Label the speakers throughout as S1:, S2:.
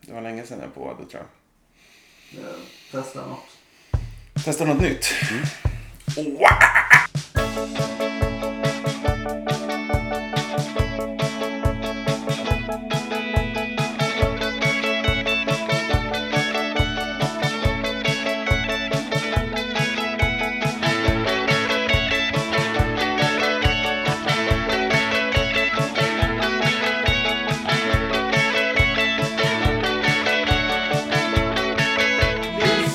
S1: Det var länge sedan jag provade tror jag.
S2: Eh, Testa något.
S1: Testa något nytt. Wow!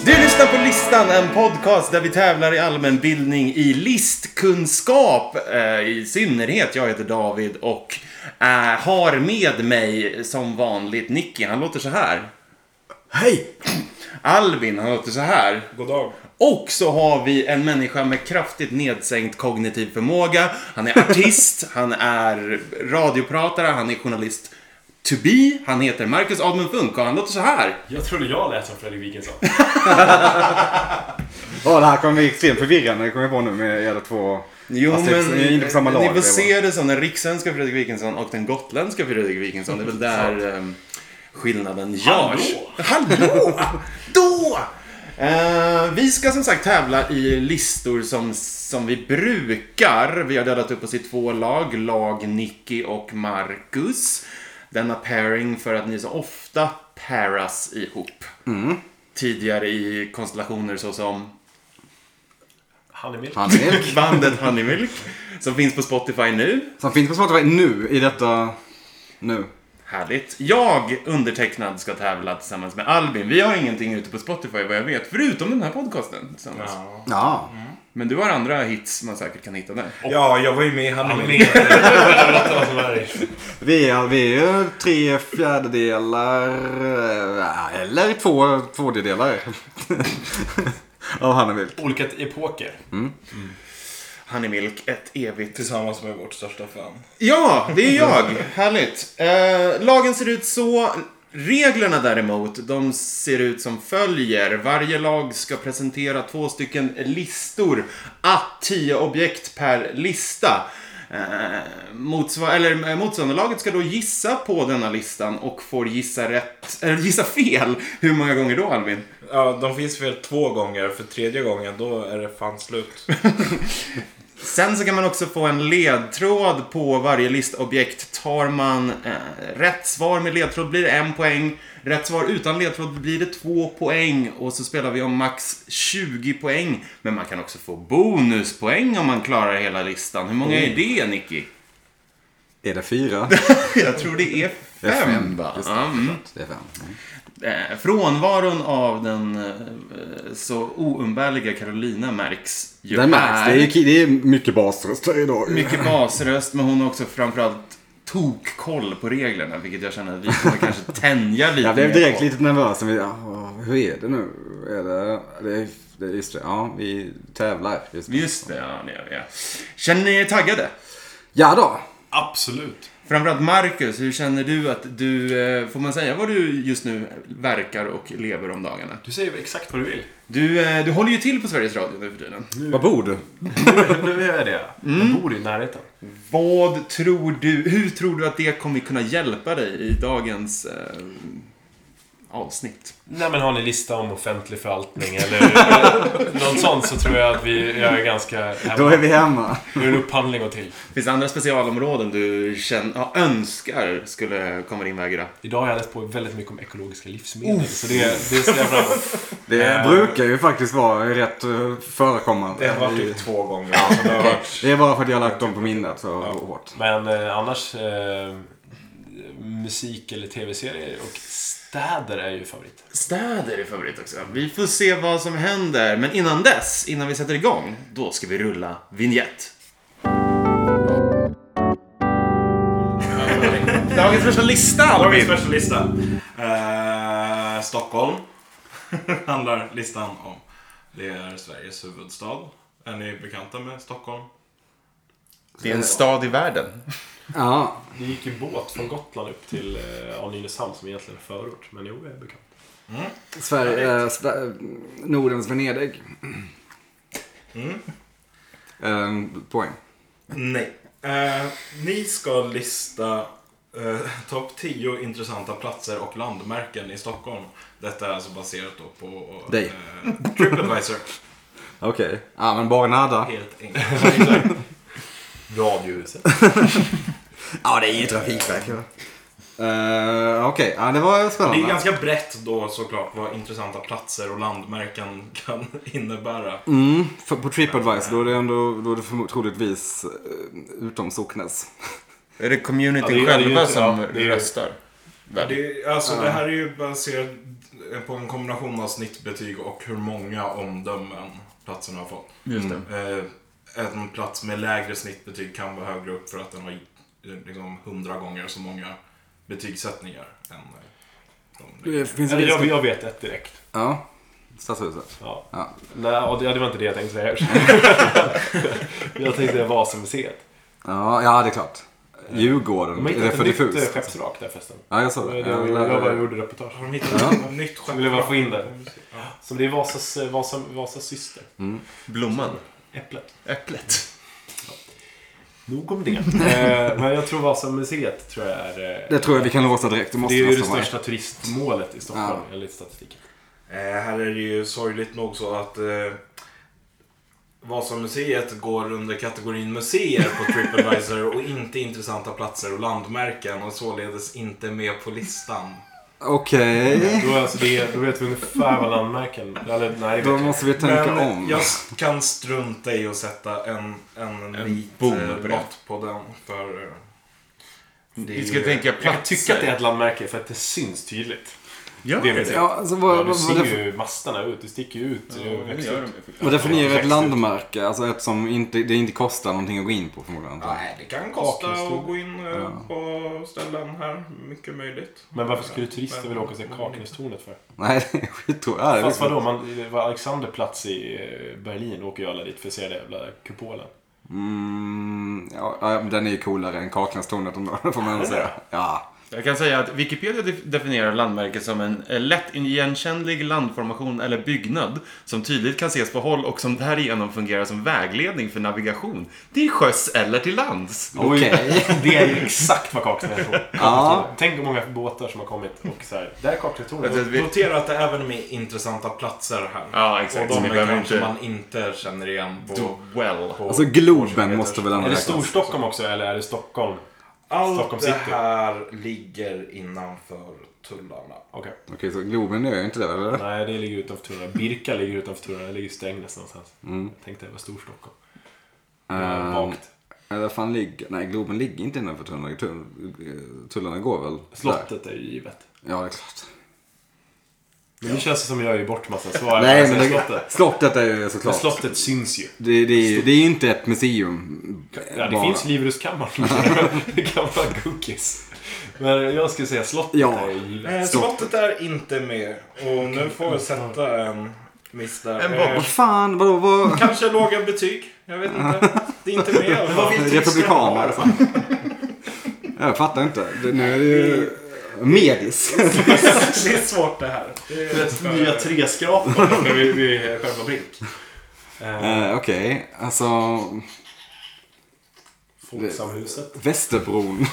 S1: Du lyssnar på Listan, en podcast där vi tävlar i allmänbildning i listkunskap. Eh, I synnerhet, jag heter David och eh, har med mig som vanligt Nicky. Han låter så här.
S2: Hej!
S1: Alvin, han låter så här.
S3: God dag.
S1: Och så har vi en människa med kraftigt nedsänkt kognitiv förmåga. Han är artist, han är radiopratare, han är journalist to be. Han heter Marcus Admund Funk och han låter så här.
S3: Jag trodde jag lät som Fredrik Wikingsson.
S4: Ja, det här kommer bli extremt förvirrande kommer jag på nu med era två.
S1: Jo,
S4: Fast jag- jag är
S1: men
S4: inne på samma lag,
S1: ni får
S4: det
S1: se det som den rikssvenska Fredrik Wikingsson och den gotländska Fredrik Wikingsson. Det är väl där ehm, skillnaden görs. Hallå! Då! Eh, vi ska som sagt tävla i listor som, som vi brukar. Vi har delat upp oss i två lag. Lag Nicky och Marcus. Denna pairing för att ni så ofta paras ihop.
S4: Mm.
S1: Tidigare i konstellationer såsom
S3: Han är mitt.
S4: Handmilk.
S1: bandet Honeymilk. Som finns på Spotify nu.
S4: Som finns på Spotify nu, i detta... Nu.
S1: Härligt. Jag, undertecknad, ska tävla tillsammans med Albin. Vi har ingenting ute på Spotify vad jag vet, förutom den här podcasten tillsammans.
S3: Ja.
S4: Ja.
S1: Men du har andra hits man säkert kan hitta där.
S5: Ja, jag var ju med i Hanna
S3: Han är
S5: Mil-
S3: mitt. Jag vet inte vad som är i.
S4: Vi är, vi är ju tre fjärdedelar... eh, Eller två tvådelar. Av Handmilk.
S3: Olika epoker.
S1: Honeymilk, ett evigt...
S5: tillsammans med vårt största fan.
S1: Ja, det är jag! Härligt. Eh, lagen ser ut så. Reglerna däremot, de ser ut som följer. Varje lag ska presentera två stycken listor. Att 10 objekt per lista. Eh, motsva- eller, eh, motståndarlaget ska då gissa på denna listan och får gissa rätt, eller gissa fel. Hur många gånger då Alvin?
S5: Ja, de finns väl två gånger. För tredje gången, då är det fan slut.
S1: Sen så kan man också få en ledtråd på varje listobjekt. Tar man eh, rätt svar med ledtråd blir det en poäng. Rätt svar utan ledtråd blir det två poäng. Och så spelar vi om max 20 poäng. Men man kan också få bonuspoäng om man klarar hela listan. Hur många är det, Nicky?
S4: Är det fyra?
S1: Jag tror det är
S4: Det är
S1: fem, va?
S4: Just det,
S1: Ja, mm.
S4: såklart. det är fem. Mm.
S1: Eh, Frånvaron av den eh, så oumbärliga Carolina märks ju
S4: Det märks.
S1: här.
S4: Det är, ki- det är mycket basröster idag.
S1: Mycket basröst, men hon har också framförallt tokkoll på reglerna, vilket jag känner att vi kommer kanske tänja lite
S4: Jag blev
S1: mer
S4: direkt
S1: på.
S4: lite nervös. Men, ja, hur är det nu? Är det, det, är- det, är- just det. Ja, vi tävlar. Just det.
S1: Just det, ja, det gör vi. ja. Känner ni er taggade?
S4: Ja då.
S3: Absolut.
S1: Framförallt Marcus, hur känner du att du, eh, får man säga vad du just nu verkar och lever om dagarna?
S3: Du säger exakt vad du vill.
S1: Du, eh, du håller ju till på Sveriges Radio nu för tiden.
S4: Vad bor du?
S3: Nu är jag det. Jag bor i närheten.
S1: Vad tror du, hur tror du att det kommer kunna hjälpa dig i dagens eh, avsnitt?
S3: Nej men har ni lista om offentlig förvaltning eller något sånt så tror jag att vi jag är ganska...
S4: Då är vi hemma.
S3: Hur en upphandling går till.
S1: Finns det andra specialområden du känner, ja, önskar skulle komma din väg idag?
S3: Idag har jag läst på väldigt mycket om ekologiska livsmedel. Så det, det ser jag fram emot.
S4: Det
S3: Eh.
S4: brukar ju faktiskt vara rätt eh, förekommande.
S5: Det har varit typ två gånger. Så det har varit...
S4: Det är bara för att jag har lagt dem på minnet så hårt.
S3: Men eh, annars... Eh, musik eller tv-serier och städer är ju favorit.
S1: Städer är favorit också. Vi får se vad som händer. Men innan dess, innan vi sätter igång, då ska vi rulla vignett. Dagens första lista,
S5: Dagens
S1: Albin!
S5: första lista. Eh, Stockholm handlar listan om. Det är Sveriges huvudstad. Är ni bekanta med Stockholm?
S1: Det är en stad i världen.
S4: Ja,
S3: Det gick ju båt från Gotland upp till eh, ja, Nynäshamn som egentligen är förort. Men jo, jag är bekant.
S4: Sverige, eh, Sve- Nordens Venedig. Eh, poäng.
S5: Nej. Eh, ni ska lista Eh, Topp 10 intressanta platser och landmärken i Stockholm. Detta är alltså baserat då på eh,
S4: Dig.
S5: Tripadvisor.
S4: Okej. Ja, men bara nada.
S5: Helt enkelt.
S3: Radiohuset.
S4: Ja, det är ju Trafikverket. Uh, Eh, Okej, ja, det var
S5: Det
S4: spännande.
S5: är ganska brett då såklart vad intressanta platser och landmärken kan innebära.
S4: Mm, för på Tripadvisor då är det ändå då är det förmo- troligtvis uh, utom Socknes.
S1: Är det
S3: Ja, det
S1: communityn
S3: är- det är ju
S1: själva
S3: inte-
S1: som
S3: ja, det är ju-
S1: röstar? Väl?
S5: Det, är- alltså, det här är ju baserat på en kombination av snittbetyg och hur många omdömen platsen har fått.
S1: Just det.
S5: Eh, en plats med lägre snittbetyg kan vara högre upp för att den har eh, liksom hundra gånger så många betygssättningar. Än, eh, de-
S4: finns
S3: Eller jag, jag vet ett direkt.
S4: Ja, Stadshuset.
S3: Ja.
S4: Ja.
S3: Nej, ja, det ja, det var inte det jag tänkte säga. jag tänkte säga Vasamuseet.
S4: Ja, ja, det är klart.
S3: De
S4: Djurgården,
S3: har
S4: är det
S3: hittat
S4: för
S3: ett nytt eh,
S4: diffust?
S3: skeppsvrak där förresten.
S4: Ja, jag sa
S3: Jag,
S4: det.
S3: jag, jag, jag bara gjorde reportage.
S5: Har de hittat
S4: Ja.
S5: ett nytt skepp?
S3: Jag ville bara få in det. Så det är Vasas, eh, Vasa, Vasas syster.
S1: Blomman.
S3: Äpplet.
S1: Äpplet.
S3: Nog om det. eh, men jag tror Vasamuseet tror jag är... eh,
S4: Det tror jag vi kan låsa direkt. Det
S3: det
S4: måste
S3: är ju det
S4: nästan vara.
S3: största turistmålet i Stockholm enligt statistiken.
S5: Eh, här är det ju sorgligt nog så att eh, Vasamuseet går under kategorin museer på Tripadvisor och inte intressanta platser och landmärken och således inte med på listan.
S4: Okej,
S3: Då, är alltså det, då vet vi ungefär vad landmärken... Eller nej, det
S4: då
S3: vet jag.
S4: måste vi tänka
S5: Men
S4: om.
S5: jag kan strunta i att sätta en, en,
S1: En
S5: vit
S1: bom
S5: eh,
S1: på det.
S5: lott på den. För, eh, det är
S1: Vi ska
S5: ju-
S1: tänka
S3: jag kan
S1: platser.
S3: tycka att det är ett landmärke för att det syns tydligt.
S1: Ja,
S3: det är väl-
S4: Ja, alltså,
S3: Ja,
S4: vad,
S3: du
S4: vad, vad,
S3: ser
S4: def-
S3: ju mastarna ut. Det sticker ju ut.
S1: Ja,
S3: eh,
S1: det
S3: växt
S1: gör
S3: ut.
S1: de ju.
S4: vad definierar ett
S3: Växt ut.
S4: landmärke? Alltså ett som inte, det inte kostar någonting att gå in på förmodligen. antar jag.
S5: Nej, det kan kosta
S3: Kakhistoria.
S5: att gå in eh, på ställen här. Mycket möjligt.
S3: Men varför skulle turister
S5: Men-
S3: vilja åka till Kaknästornet för?
S4: Nej, det är skittråkigt. Ja, det är
S3: Fast
S4: liksom-
S3: vadå, man, det var Alexanderplatz i eh, Berlin åker ju alla dit för att se den jävla kupolen.
S4: Mm, ja, ja, men den är ju coolare än Kaknästornet om det får man ändå säga. Ja.
S1: Jag kan säga att Wikipedia def- definierar landmärke som en eh, lätt igenkännlig landformation eller byggnad som tydligt kan ses på håll och som därigenom fungerar som vägledning för navigation till sjöss eller till lands.
S4: Okej.
S3: Det är ju exakt vad Kaknästornet
S4: Ja.
S3: Tänk hur många båtar som har kommit och så här, där är Kaknästornet.
S1: Alltså, vi-
S5: Notera att det även är intressanta platser här.
S1: Ja, exakt.
S5: Och
S1: Så
S5: de
S1: vi
S5: är
S1: behöver
S5: kanske
S1: inte-
S5: man inte känner igen på...
S1: Well.
S5: på
S4: Alltså Globen måste väl ändå
S3: Är det
S4: räknas?
S3: Storstockholm också eller är det Stockholm? Stockholm
S5: Allt det
S3: city?
S5: här ligger innanför tullarna.
S3: Okej.
S4: Okej, så Globen gör ju inte det, eller?
S3: Nej, det ligger utanför Tunna. Birka ligger utanför Tunna. Det ligger i Strängnäs någonstans. Jag tänkte det var Storstockholm.
S4: Mm. Ehm,
S3: Um, Vagt.
S4: Eller vad fan ligger... Nej, Globen ligger inte innanför tullarna. Tull- Tullarna går väl? där?
S3: Slottet är ju givet.
S4: Ja, det är klart.
S3: Men nu känns det som jag gör bort massa svar.
S4: Nej,
S3: Jag
S4: men
S3: säger
S4: det,
S3: slottet.
S4: slottet är ju
S3: Men
S4: såklart.
S3: slottet syns ju.
S4: Det, det, är ju- det är ju inte ett museum.
S3: Ja, det
S4: bara.
S3: finns Liveruskammaren. det kan vara cookies. Men jag skulle säga slottet
S4: Ja.
S3: är ju givet.
S5: Eh, Slottet är inte med. Och nu får vi sätta en miss där.
S1: En
S5: Eh,
S1: bomb.
S4: Vad fan, vadå? Vad...
S5: Kanske låga betyg. Jag vet inte. Det är inte med i alla fall.
S4: Republikaner. alltså. Jag fattar inte. Det, nu är det ju... Medis.
S5: Det är svårt det här. Det är-
S3: Nya treskrapan när vi, vi själva Brink. Eh,
S4: Eh, Okej, alltså
S3: Folksamhuset.
S4: Västerbron.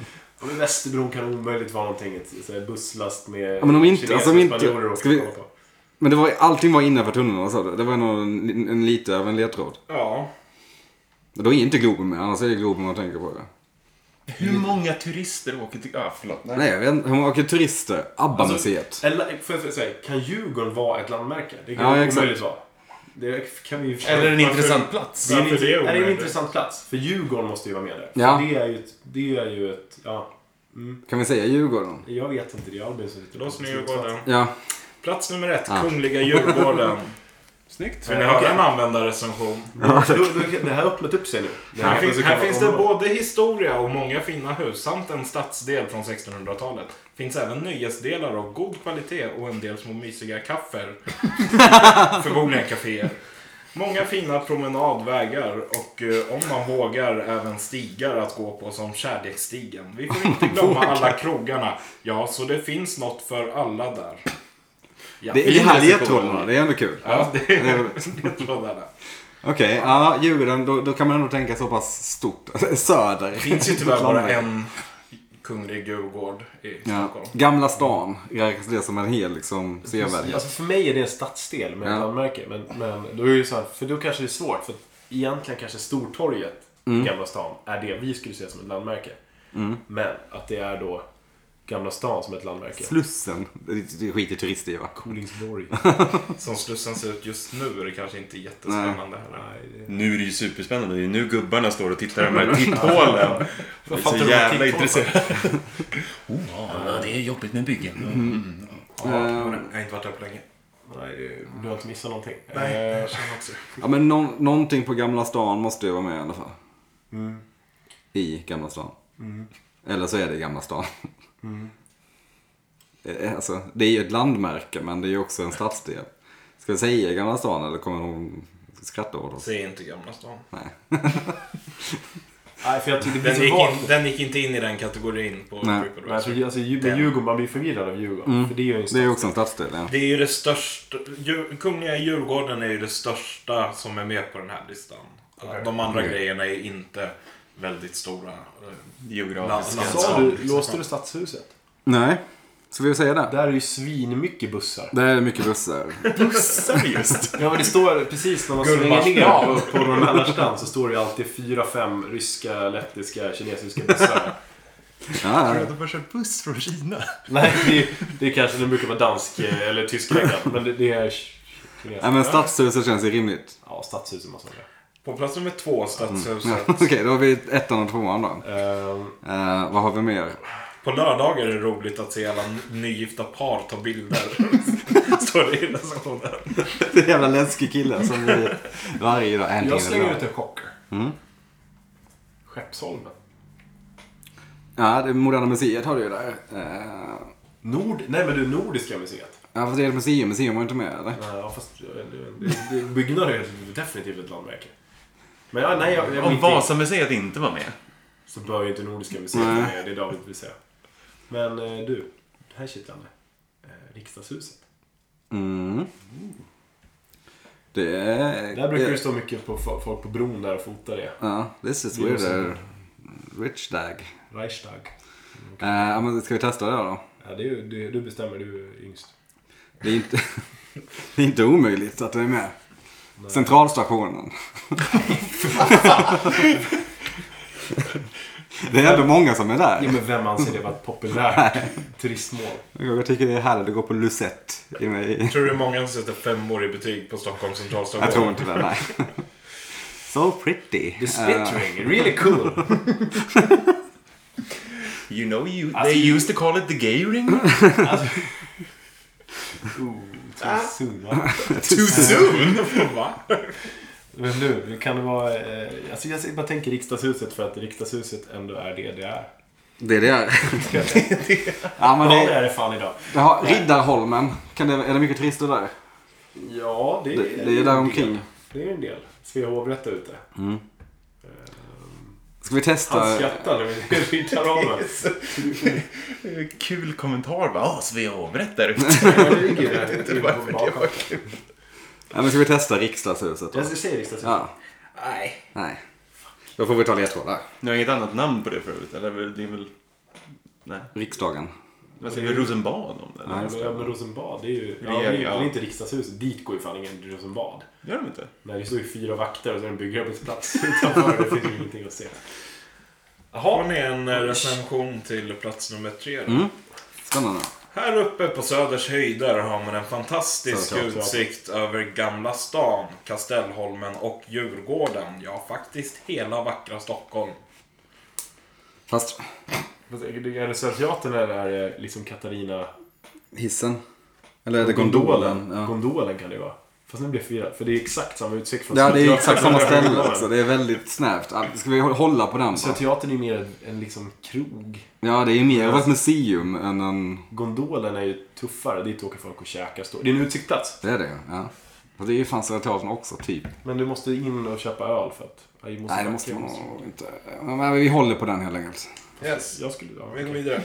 S3: Ja, men Västerbron kan omöjligt vara någonting. Ett så här busslast med
S4: Ja, men om inte- alltså, om inte-
S3: spanjorer och
S4: ska vi-
S3: kolla på.
S4: Men det var, allting var innanför tunnlarna sa du? Det var nog en, en lite av en ledtråd.
S5: Ja.
S4: Då är inte Globen med, annars är det Globen man tänker på. Ja.
S1: Hur många turister åker till... Ah, förlåt. Nej.
S4: Nej, jag vet inte. Hur många åker turister? ABBA-museet.
S5: Alltså,
S3: Eller, får jag säga, kan Djurgården vara ett landmärke? Det
S4: Ja,
S3: kan
S4: exakt.
S3: omöjligt vara. Det kan vi ju försöka-
S1: Eller en
S5: Varför-
S1: intressant plats.
S3: Det är, en,
S5: Varför det är
S3: är det en
S5: omöjligt?
S3: intressant plats. För Djurgården måste ju vara med där. För
S4: Ja.
S3: Det är ju ett... Det är ju ett ja, mm,
S5: eh,
S4: Kan vi säga Djurgården?
S3: jag vet inte, det är Albin som sitter
S5: Lås ner Djurgården.
S4: Ja.
S5: Plats nummer ett.
S4: Ja.
S5: Kungliga Djurgården.
S1: Snyggt.
S5: Vill ni höra en användarrecension?
S3: Ja, då, då, det här har öppnat upp sig nu. Det
S5: Här, finns,
S3: kanske
S5: här
S3: kan
S5: finns det
S3: vara områden.
S5: både historia och många fina hus samt en stadsdel från 1600-talet. Finns även nöjesdelar av god kvalitet och en del små mysiga kaffer. Förmodligen kaféer. Många fina promenadvägar och eh, om man vågar även stigar att gå på som Kärleksstigen. Vi får inte glömma alla krogarna. Ja, så det finns något för alla där. Ja,
S4: Det, det
S1: fin
S4: här
S1: recension.
S4: ledtrådarna, det är ändå kul.
S5: ja det är
S4: Det-
S5: ledtrådarna.
S4: Okej, ja, Djurgården, då, då kan man ändå tänka så pass stort. Söder.
S5: Det finns ju tyvärr bara en Kunglig Djurgård i
S4: Ja.
S5: Stockholm.
S4: Gamla stan räknas det som en hel liksom, sevärdighet?
S3: Alltså för mig är det en stadsdel med
S4: Ja.
S3: ett landmärke. Men, men då är det ju så här, för då kanske det är svårt. För att egentligen kanske Stortorget i Gamla stan är det vi skulle se som ett landmärke. Men att det är då Gamla stan som ett landmärke.
S4: Slussen, det, det skiter turister i va?
S3: Kolingsborg.
S5: Som Slussen ser ut just nu är det kanske inte jättespännande heller.
S3: Nej, det-
S1: Nu är det ju superspännande. Det är nu gubbarna står och tittar i de här titthålen. Jag är
S3: fattar du
S1: så
S3: vad
S1: jävla
S3: titthål är?
S1: intresserad. Ja, det är jobbigt med byggen.
S4: Eh,
S5: Jag har inte varit där på länge.
S3: Nej, det- du har inte missat någonting.
S5: Nej,
S3: Eh,
S5: jag känner också.
S4: ja, men nå- någonting på Gamla stan måste ju vara med i alla fall. Mm. I Gamla stan. Mm. Eller så är det Gamla stan. Mm. Eh, Alltså, det är ju ett landmärke men det är ju också en stadsdel. Ska vi säga Gamla stan eller kommer hon skratta åt oss?
S5: Säg inte Gamla stan.
S4: Nej.
S3: Nej, för jag tyckte det blir
S5: Den gick,
S3: så vagt.
S5: in, den gick inte in i den kategorin på
S4: Nej.
S5: Creeper
S3: Nej,
S5: West.
S3: för alltså, Djur- med Djurgården, man blir förvirrad av Djurgården. För det är ju en
S4: Det är
S3: stadsdel.
S4: ju också en stadsdel ja.
S5: Det är ju det största. Djur, Kungliga Djurgården är ju det största som är med på den här listan. De andra
S4: Okej.
S5: grejerna är inte väldigt stora. eh,
S1: Geografiskt.
S5: Land-
S3: Sa du,
S5: liksom.
S3: låste du stadshuset?
S4: Nej, ska vi säga det?
S3: Där är ju svinmycket bussar.
S4: Det är mycket bussar.
S1: Bussar just.
S3: Ja, men det står precis när man svänger
S5: Gullmars-
S3: ner på, på Norrmällarstan så står det ju alltid fyra, fem ryska, lettiska, kinesiska bussar.
S4: Ja, ja.
S1: De har kört buss från Kina.
S3: Nej, det, är- det är kanske det brukar vara dansk eh, eller tyskräknat, men det, det är
S4: Nej,
S3: kinesiskt.
S4: men stadshuset känns ju rimligt.
S3: Ja, stadshuset måste man säga.
S5: På plats nummer
S3: Mm.
S5: två, Stadshuset.
S4: Ja, Okej, då har vi ettan och tvåan då.
S3: Ehm,
S4: Eh, vad har vi mer?
S5: På lördagar är det roligt att se alla nygifta par ta bilder. Står det i recensionen.
S4: Det är en jävla läskig kille som vi varje dag äntligen
S3: jag slänger
S4: idag.
S3: ut en chocker. Skeppsholmen.
S4: Ja, det Moderna Museet har du ju där. Eh,
S3: Nord... Nej, men du, Nordiska museet.
S4: ja, fast det är ett museum. Museum var ju inte med eller?
S3: Nej, Ja, fast jag vet inte. Det- det- byggnader är definitivt ett landmärke. Men ja, nej, jag, jag
S1: Om
S3: mitt i-
S1: Vasamuseet inte var med.
S3: så bör ju inte Nordiska museet vara
S4: Nej.
S3: med. Det är David vill säga. Men eh, du, det här är kittlande. Eh, Riksdagshuset.
S4: Mm. Det är...
S3: Där brukar
S4: Eh, det-
S3: det stå mycket på fo- folk på bron där och fotar det.
S4: Ja, this is
S3: Det är
S4: weirder. Rich dag.
S3: Reichstag.
S4: Eh, ja, men ska vi testa det då?
S3: Ja, det är, ju- det, du bestämmer, du är yngst.
S4: Det är inte, det är inte omöjligt att det är med. Centralstationen. det är ändå många som är
S3: Ja,
S4: där.
S3: men vem anser det vara ett populärt turistmål?
S4: Jag tycker det är härligt att gå på Lucette. i mig.
S5: Tror du många som sätter femmor i betyg på Stockholms centralstation?
S4: Jag tror inte det, nej. So pretty.
S3: The
S4: Eh,
S3: splittering, really cool.
S1: You know you,
S3: Alltså,
S1: they
S3: you-
S1: used to call it the gay ring.
S3: Ooh, too soon, va?
S1: Too soon!
S5: Va?
S3: Men nu, nu kan det vara... Eh, alltså jag bara tänker riksdagshuset för att riksdagshuset ändå är det det är.
S4: det är det. här. ja, men
S3: Ja, det
S4: det,
S3: är det fan idag.
S4: det har, Riddarholmen. Kan det, är det mycket turister där?
S3: Ja, det,
S4: Det- det är där
S3: en
S4: omkring.
S3: del. Det är en del. Svea hovrätt är ute.
S4: Ska vi testa?
S3: Han skrattar när vi riddar av honom.
S1: Kul kommentar va? Ah, Åh, Svea hovrätt där ute.
S3: Jag vet
S1: inte varför det var
S3: kul.
S4: Ja, men ska vi testa Riksdagshuset? Då?
S3: Jag säger riksdagshuset.
S4: Ja.
S5: Nej.
S4: Nej. Då får vi ta ledtrådar.
S1: Ni har inget annat namn på det förut? Eller det är väl... Nej.
S4: Riksdagen.
S1: Vad säger vi? Rosenbad om det?
S4: Nej,
S1: Eller?
S4: just det.
S3: Ja, men Rosenbad, det är ju... Ja,
S1: Regering,
S3: det är ju
S1: ja.
S3: det är inte riksdagshuset. Dit går ju fan ingen Rosenbad.
S1: Gör de inte?
S3: Nej, det står ju fyra vakter och så är det en byggarbetsplats utanför. Det finns ju ingenting att se.
S5: Har ni en eh, recension till plats nummer tre? då?
S4: Mm. Spännande.
S5: Här uppe på Söders höjder har man en fantastisk
S3: Södra teatern.
S5: utsikt över Gamla stan, Kastellholmen och Djurgården. Ja, faktiskt hela vackra Stockholm.
S4: Fast
S3: Fast Är det är det Södra Teatern eller är det liksom Katarina...
S4: hissen. Eller är det gondolen? Ja.
S3: Gondolen kan det ju vara. Fast nu blir jag förvirrad. För det är exakt samma utsikt från
S4: ja, det är
S3: Södra
S4: exakt
S3: Teatern.
S4: samma ställe också. Det är väldigt snävt. Ja, Ska vi hålla på den då?
S3: Södra Teatern är ju mer en liksom krog.
S4: Ja, det är ju mer av ett museum än en...
S3: Gondolen är ju tuffare. Dit åker folk och käkar. Står- Det är en utsiktsplats.
S4: Det är det ja. Och det är ju fan Södra Teatern också, typ.
S3: Men du måste in och köpa öl för att... Ja, vi
S4: Nej, det måste man
S3: jag
S4: nog inte. Ja, Men vi håller på den helt enkelt.
S5: Yes.
S3: Jag skulle... Ja,
S5: Vi går
S3: okej.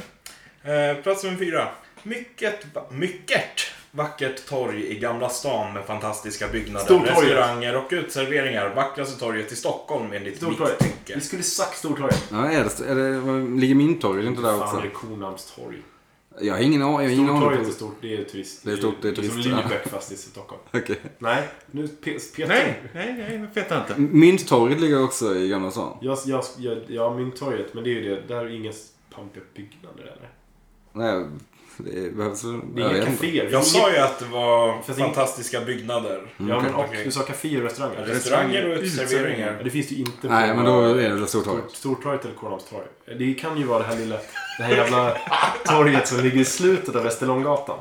S5: vidare. Eh, plats nummer fyra. Mycket, va- mycket Vackert torg i Gamla stan med fantastiska byggnader,
S3: Stortorget.
S5: restauranger och utserveringar. Vackraste torget i Stockholm enligt mitt
S3: Stortorget.
S5: tycke.
S3: Vi skulle sagt Stortorget.
S4: Ja, är det, är det, ligger min torg inte där
S3: Fan,
S4: också?
S3: det är Kornhamns torg.
S4: Jag har ingen aning. jag har ingen aning
S3: Stortorget är
S4: på-
S3: stort. Det är turist.
S4: Det är stort, det är turist,
S3: Som
S4: ja.
S3: Lübeck fast i Stockholm.
S4: Okej.
S3: Nej, nu pe- petar
S1: Nej, nej, nej, det vet jag inte.
S4: Mm. Mynttorget ligger också i Gamla stan.
S3: Jag, jag, jag, ja, Mynttorget. Men det är ju det. Där är ju inga pampiga byggnader eller?
S4: Nej, det behövs väl...
S3: Det är
S4: jag
S3: inga
S4: vet inte.
S3: kaféer.
S5: Jag sa ju att det var
S3: Fast
S5: fantastiska byggnader.
S3: Ja, men och
S5: okej.
S3: du sa kaféer och Mm. restauranger.
S5: Restauranger
S3: Ja,
S5: och utserveringar.
S3: Det finns ju inte
S4: Nej,
S3: på-
S4: men då är det väl Stortorget.
S3: Stortorget eller Kornhamnstorg. Det kan ju vara det här lilla, det här jävla torget som ligger i slutet av Västerlånggatan.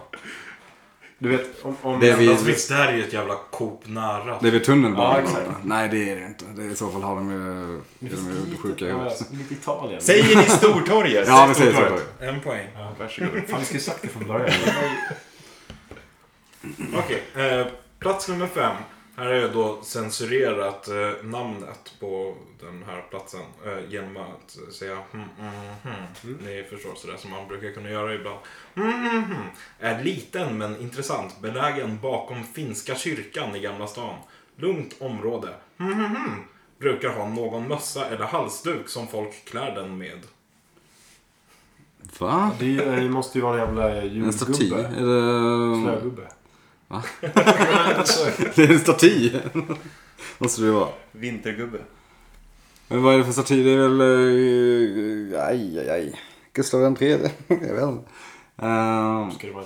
S3: Du vet, om... om
S4: Det är
S5: Alltså,
S4: vid,
S5: visst, det här är ju ett jävla Coop nära.
S4: det är vid tunnelbanan.
S3: Ja, exakt.
S4: Nej, det är det inte. Det är, I så fall har de ju... är de ju sjuka i huvudet.
S3: i Lite Italien.
S1: Säger ni Stortorget?
S4: Ja, vi säger
S3: Stortorget.
S4: Stortorget.
S5: En poäng.
S3: Ja, varsågod. Fan, vi skulle sagt det från början.
S5: Okej, eh, plats nummer fem. Här har jag då censurerat eh, namnet på den här platsen eh, genom att säga mm, mm, mm. Ni förstår sådär som man brukar kunna göra ibland. Mm, mm, mm. Är liten men intressant, belägen bakom Finska kyrkan i Gamla stan. Lugnt område. Mm, mm, mm. Brukar ha någon mössa eller halsduk som folk klär den med.
S4: Va?
S3: Det är- det måste ju vara en jävla
S4: En staty? Mm.
S3: julgubbe.
S4: Är det...
S3: Snögubbe.
S4: Det är en staty! Måste det ju vara.
S1: Vintergubbe.
S4: Men vad är det för staty? Det är väl... eh, Aj, aj, aj. Gustav den tredje. Jag vet inte. Ehm,
S3: Ska det vara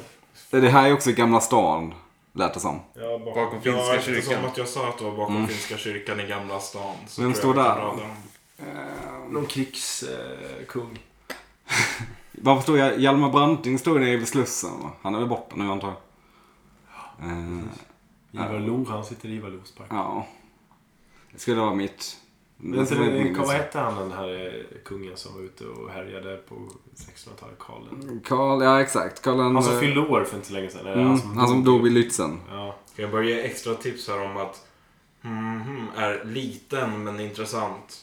S3: en-
S4: det här är också Gamla stan, lät det som.
S3: Ja, bara-
S1: Bakom
S5: Ja,
S1: finska
S5: eftersom
S1: kyrkan.
S5: att jag sa att det var bakom Finska kyrkan i Gamla stan. Så
S4: Vem
S5: tror jag
S4: står
S5: att
S4: där?
S5: jag drar den.
S4: Ehm,
S3: Någon krigskung.
S4: Varför står jag? Hjalmar Branting stod nere vid Slussen va? Han är väl borta nu antar jag. Eh,
S3: Ivar Lo, han sitter i Ivar Los park.
S4: ja. Det skulle vara mitt.
S3: Men inte,
S4: det är
S3: det-
S4: mitt-
S3: vad hette han den här eh, kungen som var ute och härjade på 1600-talet? Karl
S4: Mm.
S3: den-
S4: Karl, ja exakt. Karl den...
S3: Han som
S4: eh,
S3: fyllde år för inte så länge sedan. Eller
S4: mm, han som dog vid Lützen.
S3: Ja.
S5: Ska jag bara ge extra tips här om att mhm är liten men intressant.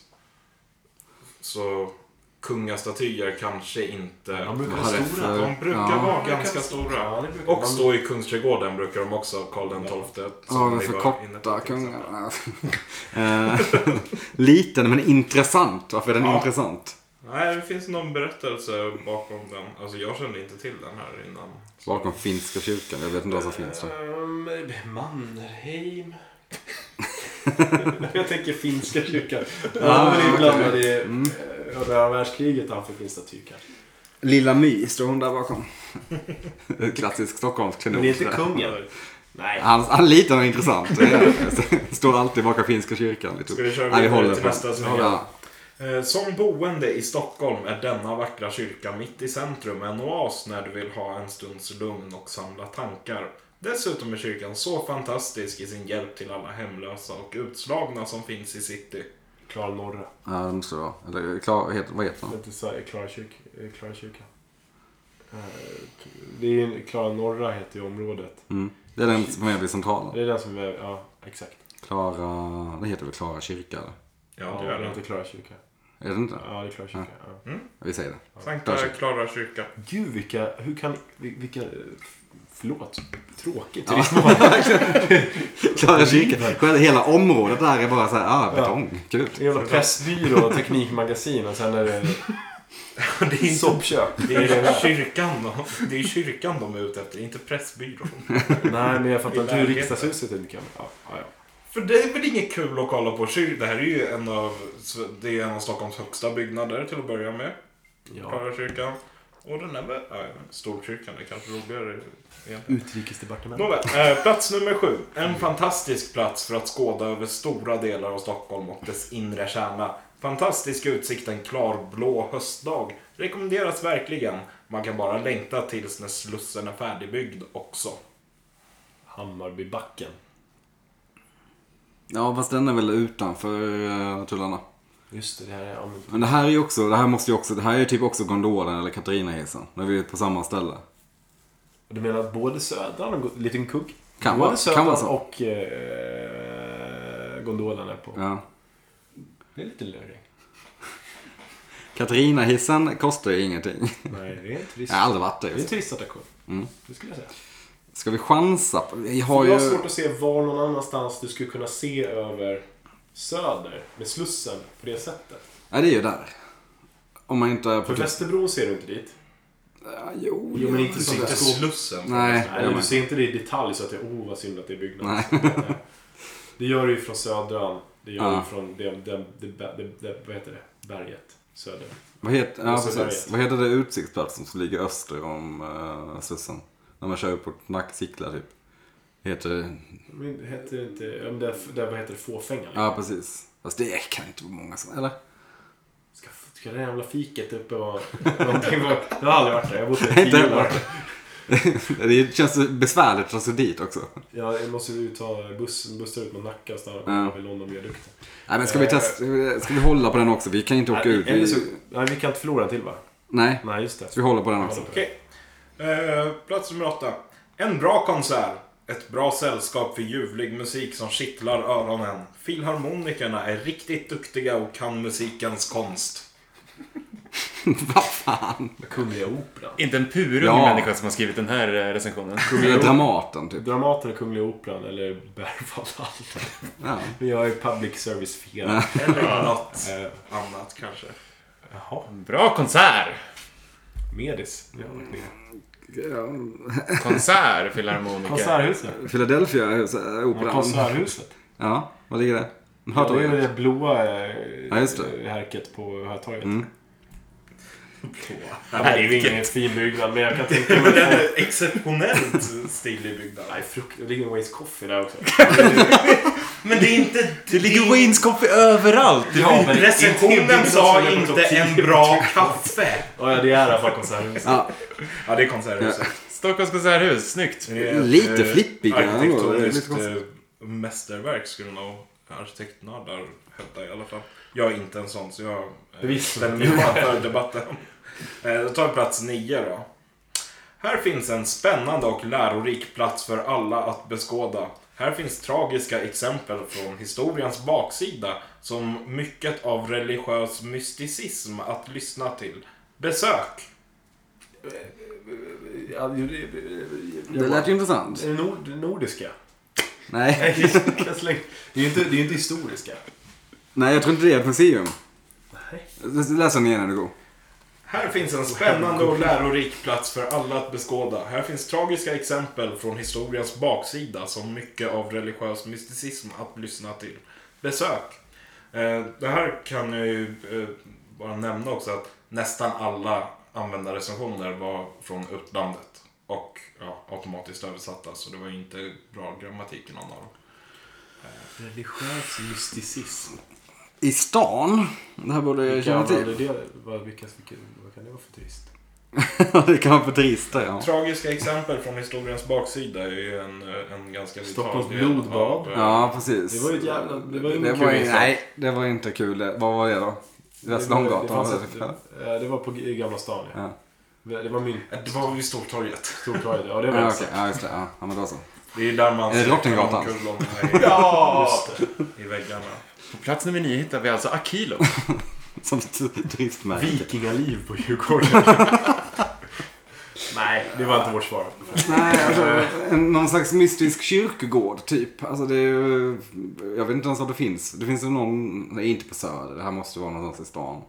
S5: Så kungastatyer kanske
S3: De
S5: inte...
S3: brukar
S4: Vad
S3: vara
S4: är det
S3: stora.
S4: för-
S5: De brukar
S4: Ja.
S5: vara ganska stora.
S3: Ja, det brukar
S5: Och
S3: man-
S5: stå i Kungsträdgården brukar de också, Karl den XII.
S4: Ja,
S5: som
S4: de
S5: vi
S4: för
S5: var inne på
S4: korta
S5: till exempel.
S4: kungarna. Eh, Liten men intressant. Varför är den
S5: Ja.
S4: intressant?
S5: Nej, det finns någon berättelse bakom den. Alltså jag kände inte till den här innan.
S4: Bakom finska kyrkan. Jag vet inte vad som finns där.
S3: Ehm, Mannerheim. jag tänker finska kyrkan. Han var ju blandad i eh, andra världskriget där han fick en staty kanske.
S4: Lilla My står hon där bakom. Klassisk Stockholmsk
S3: Men
S4: klenod.
S3: det är inte kungen. Nej.
S4: Han, han är liten och intressant. Det är det. Står alltid bakom finska kyrkan. Lite.
S5: Ska vi köra
S4: Nej, vi
S5: vidare
S4: håller
S5: till
S4: på.
S5: nästa som är-
S4: Ja.
S5: Eh, Som boende i Stockholm är denna vackra kyrka mitt i centrum en oas när du vill ha en stunds lugn och samla tankar. Dessutom är kyrkan så fantastisk i sin hjälp till alla hemlösa och utslagna som finns i city.
S3: Klara norra.
S4: ja, det måste det vara. Eller klar, heter, vad heter han?
S3: Inte så här, Klara, kyrk, eh, Klara kyrka. Eh, Det är ju Klara norra heter ju området.
S4: Mm. Det är den som är vid centralen.
S3: Det är den som är, ja exakt.
S4: Klara... Det heter väl Klara kyrka? Eller?
S5: Ja,
S3: Ja,
S5: det
S3: det
S5: är
S3: är
S5: den.
S3: inte Klara kyrka.
S4: Är det inte?
S3: Ja, det är Klara kyrka. Ja.
S4: Vi säger det.
S5: Sankta Klara kyrka.
S3: Gud, vilka... Hur kan... vil- Vilka... eh, f- Förlåt. Tråkigt.
S4: Klara kyrka. Själva hela området där är bara så här, ah, betong. Kul.
S3: Det är jävla pressbyrå och teknikmagasin och sen är det
S5: Det är, inte,
S3: soppkök.
S5: det är kyrkan då. Det är kyrkan de är ute efter, inte Pressbyrån.
S3: Nej, men jag fattar inte hur
S5: Det är
S3: riksdagshuset inte kan... Ja, ja, ja.
S5: För det är väl inget kul att kolla på kyr... Det här är ju en av, det är en av Stockholms högsta byggnader till att börja med.
S3: ja.
S5: Klara kyrkan. Och den är väl... Ja, Storkyrkan är kanske roligare egentligen.
S3: Utrikesdepartementet.
S5: Nåväl, eh, plats nummer sju. En fantastisk plats för att skåda över stora delar av Stockholm och dess inre kärna. Fantastisk utsikt en klarblå höstdag. Rekommenderas verkligen. Man kan bara längta tills när Slussen är färdigbyggd också.
S3: Hammarbybacken.
S4: Ja, fast den är väl utanför uh, tullarna.
S3: Just det, det här är... Ja, men,
S4: Men det här är ju också, det här måste ju också, det här är ju typ också gondolen eller Katarinahissen. När vi är på samma ställe.
S3: du menar att både Södran och... Go- Liten kugg?
S4: Kan
S3: både
S4: vara- kan
S3: Södran
S4: vara så.
S3: och eh, gondolen är på.
S4: Ja.
S3: Det är lite lurigt.
S4: Katarinahissen kostar ju ingenting.
S3: Nej, det är en turist.
S4: Jag har aldrig varit där
S3: Det är en
S4: just.
S3: turistattraktion.
S4: Mm.
S3: Det skulle jag säga.
S4: Ska vi chansa? på- Vi har
S3: Jag har
S4: ju...
S3: svårt att se var någon annanstans du skulle kunna se över Söder med Slussen på det sättet.
S4: Ja, det är ju där. Om man inte är på...
S3: För Västerbron ser du inte dit.
S4: Ja, jo,
S3: Jo, men inte
S5: Det är
S3: så
S5: inte
S3: där.
S5: Slussen.
S4: Nej, det
S3: Nej,
S4: är
S3: du
S4: man.
S3: ser inte det i detalj så att det är oh vad synd att det är byggnad.
S4: Nej.
S3: Men, eh, Det gör du ju från Södran. Det gör du
S4: Ja.
S3: ju från det, det, det, det, det, vad heter det? berget. Söder.
S4: Vad heter, ja,
S3: Och så
S4: precis.
S3: berget.
S4: Vad heter det utsiktsplatsen som ligger öster om uh, Slussen? När man kör upp mot Nackkitla typ. Heter det...
S3: Men det heter det inte... ja, men Där, där, vad heter det? Fåfänga? liksom.
S4: Ja, precis. Fast det kan inte vara många som... Eller?
S3: Ska, ska det här jävla fiket uppe vara någonting? Var, jag har aldrig varit där. Jag har bott där i tio år.
S4: Inte det känns besvärligt att ta sig dit också.
S3: Ja, Jag måste ju ta buss, bussar ut mot Nacka och stanna
S4: Ja.
S3: vid Londonviadukten.
S4: Nej, men Eh, ska vi testa... Ska vi hålla på den också? Vi kan inte åka ut.
S3: Eller så,
S4: Vi...
S3: nej, vi kan inte förlora en till va?
S4: Nej,
S3: Nej, just det.
S4: vi håller på den också.
S5: Okej. Eh, plats nummer åtta. En bra konsert. Ett bra sällskap för ljuvlig musik som kittlar öronen. Filharmonikerna är riktigt duktiga och kan musikens konst.
S4: Vad fan?
S3: Kungliga Operan.
S1: Inte en purung
S4: Ja.
S1: människa som har skrivit den här eh, recensionen.
S4: Eller Dramaten typ.
S3: Dramaten, Kungliga Operan eller Berwaldhallen.
S4: Ja.
S3: Vi har ju public service fel. Eh,
S5: Eller något annat kanske.
S3: Jaha,
S1: Bra konsert!
S3: Medis. Det har varit ner.
S1: Konsert, filharmoniker.
S3: Konserthuset.
S4: Philadelphia hus-
S3: Ja,
S4: operan.
S3: Konserthuset.
S4: Ja, var ligger det?
S3: Ja, det är
S4: Hörtorget?
S3: ju det blåa
S4: Ja, just det.
S3: eh, härket på Hötorget.
S4: Mm.
S3: Ja, men det är ju ingen fin byggnad, men jag kan tänka mig... att-
S5: Exceptionellt stilig byggnad.
S3: Nej, frukt. Det ligger en Ways Coffee där också.
S5: Men det är inte...
S1: Det ligger Waynes Coffee överallt.
S3: Ja, men
S5: Recensionen
S3: det
S5: sa
S3: är
S5: inte
S3: topp
S5: en
S3: 10.
S5: bra kaffe.
S3: Ja, ja, det är i alla fall Konserthuset.
S4: Ja,
S5: Ja, det är konserthuset.
S1: Stockholms konserthus, snyggt.
S5: Det är ett,
S4: lite
S5: eh,
S4: flippig. kan han vara. Det är lite
S5: Arkitektoniskt
S4: konstigt.
S5: eh, mästerverk skulle nog arkitektnördar hävda i alla fall. Jag är inte en sån så jag eh,
S3: Förvisso.
S5: ställer mig utanför debatten. Eh, Då tar vi plats nio då. Här finns en spännande och lärorik plats för alla att beskåda. Här finns tragiska exempel från historiens baksida som mycket av religiös mysticism att lyssna till. Besök!
S3: Ja, det- det- det-
S4: Det lät ju intressant.
S3: Är det nord, nordiska?
S4: Nej.
S3: Jag slänger- det är ju inte, det är ju inte historiska.
S4: Nej, jag tror inte det är ett museum.
S3: Nej.
S4: Läs den igen när du går.
S5: Här finns en spännande och lärorik plats för alla att beskåda. Här finns tragiska exempel från historiens baksida som mycket av religiös mysticism att lyssna till. Besök! Eh, Det här kan jag ju eh, bara nämna också att nästan alla användarrecensioner var från utlandet. Och ja, automatiskt översatta, så det var ju inte bra grammatik i någon av dem.
S3: Religiös mysticism.
S4: I stan? Det här borde jag känna
S3: Vilka
S4: Eh, till.
S3: det, vad, vilka, vilka, vad kan det vara för turist?
S4: det kan vara för trist där, ja.
S5: Tragiska exempel från historiens baksida är ju en, eh, en ganska
S3: Stockholms
S5: vital del
S3: blodbad.
S5: av, eh,
S4: Ja, precis.
S3: Det var ju ett jävla... Det var ju
S4: Det
S3: ingen
S4: var
S3: kul
S4: ju,
S3: inslag.
S4: nej, det var ju inte kul. Det- Vad var det då?
S3: Det var-
S4: Västerholmsgatan?
S3: det fanns
S4: var det
S3: ett-
S4: typ?
S3: eh, Det var på i Gamla stan, ja. Det var min
S5: Det var vid Stortorget.
S3: stortorget. Ja, det var
S4: Ja,
S3: också.
S4: okej. Ja, just det. Ja, Ja, men då så.
S5: Det är där man
S4: Är det Drottninggatan?
S5: kulorna
S3: Ja! Just det.
S5: i, i väggarna.
S1: På plats nummer nio hittar vi alltså Akilo.
S4: Som ett turistmärke.
S3: Vikingaliv på Djurgården. nej, det var inte vårt svar.
S4: Nej, alltså, en, någon slags mystisk kyrkogård typ. Alltså det är ju, jag vet inte ens vad det finns. Det finns ju någon, nej inte på Söder, det här måste vara någonstans i stan.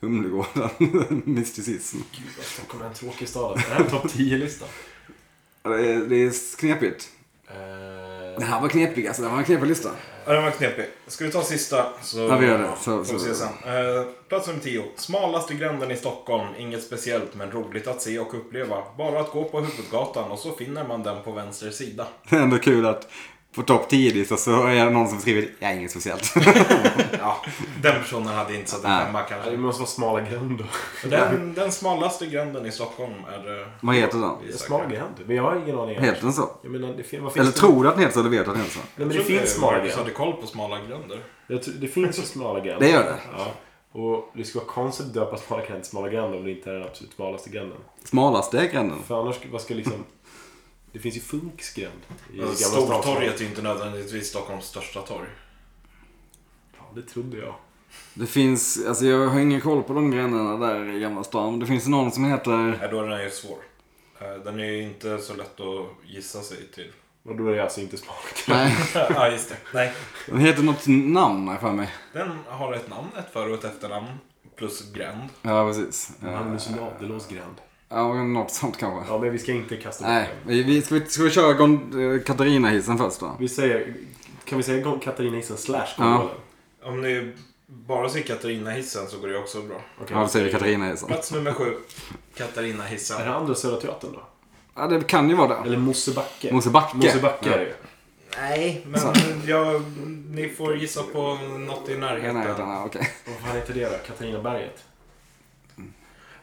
S4: Humlegården, mysticism.
S3: Gud, vad Stockholm är en tråkig stad. Det här är topp 10-listan.
S4: Ja, Det är, det är knepigt.
S3: Eh,
S4: Det här var knepigt alltså, det här var en knepig lista.
S5: Ja, den var knepig. Ska vi ta sista så
S4: Ja, vi gör det. Så-
S5: får
S4: så-
S5: vi se sen. Eh, plats nummer 10. Smalaste gränden i Stockholm. Inget speciellt men roligt att se och uppleva. Bara att gå på huvudgatan och så finner man den på vänster sida.
S4: Det är ändå kul att på topp 10 så är det någon som skriver, jag är inget speciellt.
S5: Ja, den personen hade inte satt en
S4: Nej.
S5: femma
S3: Ja, Det
S5: kanske.
S3: måste vara smala gränder.
S5: Den, den smalaste gränden i Stockholm är eh, det.
S4: Vad heter den?
S5: vi söker.
S3: Smala gränder? Men jag har ingen aning.
S4: Heter den så?
S3: Jag menar, det, fin- vad finns
S4: Eller
S3: det?
S4: tror du att den heter så eller vet du att den heter så?
S3: Nej, men det
S5: Jag tror
S3: finns
S5: att
S3: smala
S5: eh, Marcus
S3: gränder.
S5: hade koll på smala gränder.
S3: Jag tror- Det finns ju smala gränder.
S4: Det gör det.
S3: Ja. Och det skulle vara konstigt att döpa smala gränder till smala gränder om det inte är den absolut smalaste gränden.
S4: Smalaste gränden.
S3: För annars, vad ska liksom... Det finns ju Funksgränd i Gamla
S5: Alltså,
S3: stan.
S5: Stortorget är ju inte nödvändigtvis Stockholms största torg.
S3: Fan, det trodde jag.
S4: Det finns, alltså jag har ingen koll på de gränderna där i Gamla stan. Det finns någon som heter
S5: Nej, då är den ju svår. Eh, Den är ju inte så lätt att gissa sig till.
S3: Och då är det alltså inte smak.
S4: Nej,
S5: ja, just det. Nej.
S4: den heter något namn har jag för mig.
S5: Den har ett namn, ett för och ett efternamn. Plus gränd.
S4: Ja, precis. Eh,
S3: Magnus Ladulås gränd.
S4: Ja, något sånt kanske.
S3: Ja, men vi ska inte kasta bort
S4: Nej,
S3: den.
S4: vi, vi, ska, vi, ska vi köra Gon- eh, Katarina-hissen först då?
S3: Vi säger, kan vi säga Gon- Katarina Hissen slash
S4: Ja.
S3: Gondolen?
S5: Om ni bara ser Katarina hissen så går det också bra.
S3: Okej.
S4: Ja, då säger vi Katarina-hissen.
S5: Plats nummer sju. Katarina
S3: Är
S5: hissen.
S3: det andra Södra Teatern då?
S4: Ja, det kan ju vara det.
S3: Eller Mosebacke?
S4: Mosebacke.
S3: Mosebacke är det ju.
S5: Nej, men jag, ni får gissa på något i
S4: Ja, nej, den
S5: närheten.
S4: här, okej.
S3: Vad fan heter det då? Katarinaberget?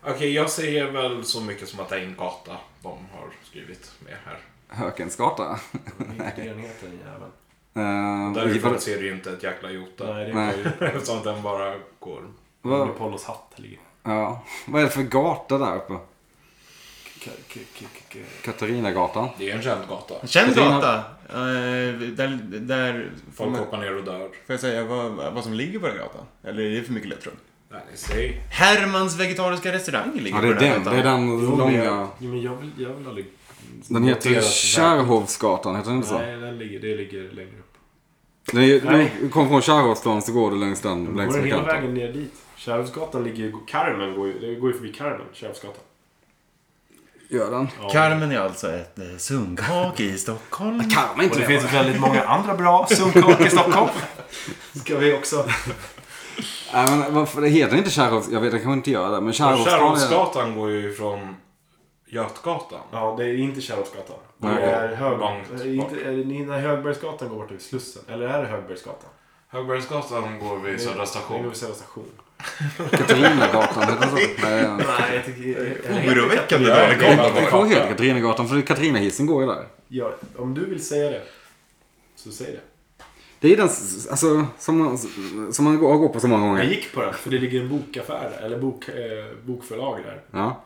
S5: Okej, jag säger väl så mycket som att det är en gata de har skrivit med här.
S4: Hökens gata.
S3: Vilken heter den jäveln?
S4: Eh, vi-
S5: Därifrån ser du ju inte ett jäkla jota.
S3: Nej, det
S4: Nej.
S3: är ju
S5: Eftersom den bara går.
S4: vad-
S3: under Pollos hatt. ligger.
S4: Ja, vad är det för gata där uppe?
S3: K- k- k- k-
S4: Katarinagatan.
S5: Det är en känd gata.
S1: Känd
S4: Katarina-
S1: gata. Eh, där, där får,
S5: Folk
S1: man,
S5: hoppar ner och dör.
S1: får jag säga vad, vad som ligger på den gatan? Eller är det för mycket ledtråd?
S5: Nej, ni säger.
S1: Hermans vegetariska restaurang ligger
S4: Ja, det är
S1: på den här
S4: den. Det
S1: gatan.
S4: är den
S3: Jo, men jag-
S4: långa.
S3: Jo, men jag vill, jag vill aldrig...
S4: Den heter
S3: noteras där.
S4: Kärrhovsgatan, heter den inte så?
S3: Nej, den ligger, det ligger längre upp.
S4: Den är,
S3: Nej.
S4: du kom från Kärrhovsplan så går du längs den,
S3: Går
S4: längs
S3: den
S4: med
S3: hela
S4: kanten.
S3: vägen ner dit? Kärvsgatan ligger ju... Carmen går ju, det går ju förbi Carmen, Kärvsgatan.
S4: Gör den?
S3: Ja.
S1: Carmen är alltså ett eh, sunkak i Stockholm.
S4: Karma inte
S3: Och det
S4: det.
S3: finns väldigt många andra bra sunkak i Stockholm. Ska vi också...
S4: Nej, men varför, det heter inte Kärrhovs... Jag vet, den kanske inte gör det. Men Kärrhovsplan är det.
S5: Kärrholmsgatan går ju från Götgatan.
S3: Ja, det är inte Kärrholmsgatan. Det
S4: Nej.
S3: är
S5: Långt
S3: Hög...
S5: bak.
S3: är Inte, är det, när Högbergsgatan går bort till Slussen. Eller är det Högbergsgatan?
S5: Högbergsgatan går vid Södra
S3: Det går
S5: station.
S3: vid Södra station.
S4: Katarinagatan, heter den så? Nej,
S3: Nej, jag tycker...
S1: Oroväckande
S5: Ja,
S1: dålig
S5: det
S1: koll.
S5: är bara-
S4: det kommer heta Katarinagatan för Katarinahissen går ju där.
S3: Ja, om du vill säga det, så säg det.
S4: Det är den s- alltså, som, man- som man har gått på så många
S3: Jag
S4: gånger.
S3: gick på den, för det ligger en bokaffär där, eller bok, eh, bokförlag där.
S4: Ja.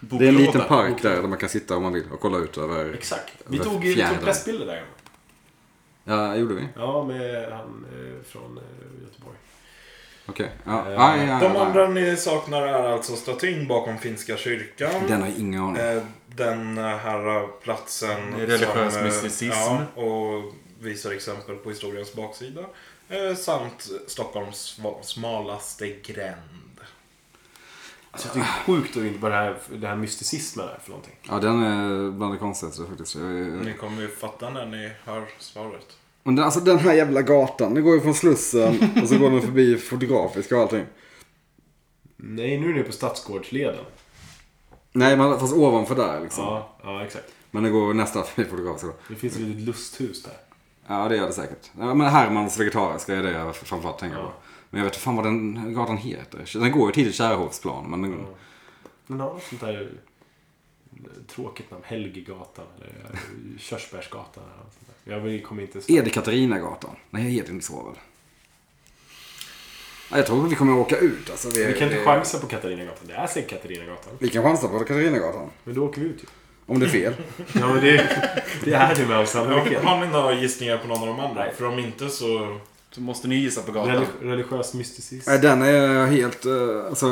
S4: Det är en liten
S1: Boklåda.
S4: park där, där man kan sitta om man vill och kolla ut över...
S3: Exakt. Vi
S4: Vad
S3: tog, vi
S4: fjärran.
S3: tog pressbilder där.
S4: Ja, gjorde vi?
S3: Ja, med han eh, från eh, Göteborg.
S4: Okej. Ja.
S3: Eh,
S4: Ja, ja, ja,
S5: De
S4: ja.
S5: andra ni saknar är alltså statyn bakom Finska kyrkan.
S4: Den har jag ingen aning.
S5: Eh, Den här platsen.
S1: Religiös
S5: som, eh,
S1: mysticism.
S5: Ja, och visar exempel på historiens baksida. Eh, Samt Stockholms sva- smalaste gränd.
S3: Alltså, jag tycker det är sjukt att inte bara det här, det här mysticismen är för någonting.
S4: Ja, den är bland det konstigaste faktiskt. Jag- jag-
S5: Ni kommer ju fatta när ni hör svaret.
S4: Men den, alltså den här jävla gatan, den går ju från Slussen och så går den förbi Fotografiska och allting.
S3: Nej, nu är ni på Stadsgårdsleden.
S4: Nej, men fast ovanför där liksom.
S3: Ja, ja, exakt.
S4: Men den går nästan förbi Fotografiska.
S3: Det finns ett litet lusthus där.
S4: Ja, det gör det säkert. Ja, men Hermans vegetariska är det jag framförallt tänker på.
S3: Ja.
S4: Men jag vet fan vad den gatan heter. Den går ju till Kärrhovsplan, men den...
S3: Den har något sånt där eh, tråkigt namn. Helgegatan eller eh, Körsbärsgatan. Eller något sånt där. Jag vill- kommer inte...
S4: Är det Katarinagatan? Nej, det heter inte så väl? Ja, Jag tror vi kommer åka ut alltså.
S3: Vi kan inte
S4: det-
S3: chansa på Katarinagatan. Det är säkert Katarinagatan.
S4: Vi kan chansa på Katarinagatan.
S3: Men då åker vi ut ju.
S4: Om det är fel.
S3: Ja, men det, det är det med all sannolikhet.
S5: Har ni några gissningar på någon av de andra? För om inte så...
S1: Så måste ni gissa på gatan.
S3: Reli- Religiös mysticism.
S4: Nej, Äh, den är helt... eh, Alltså,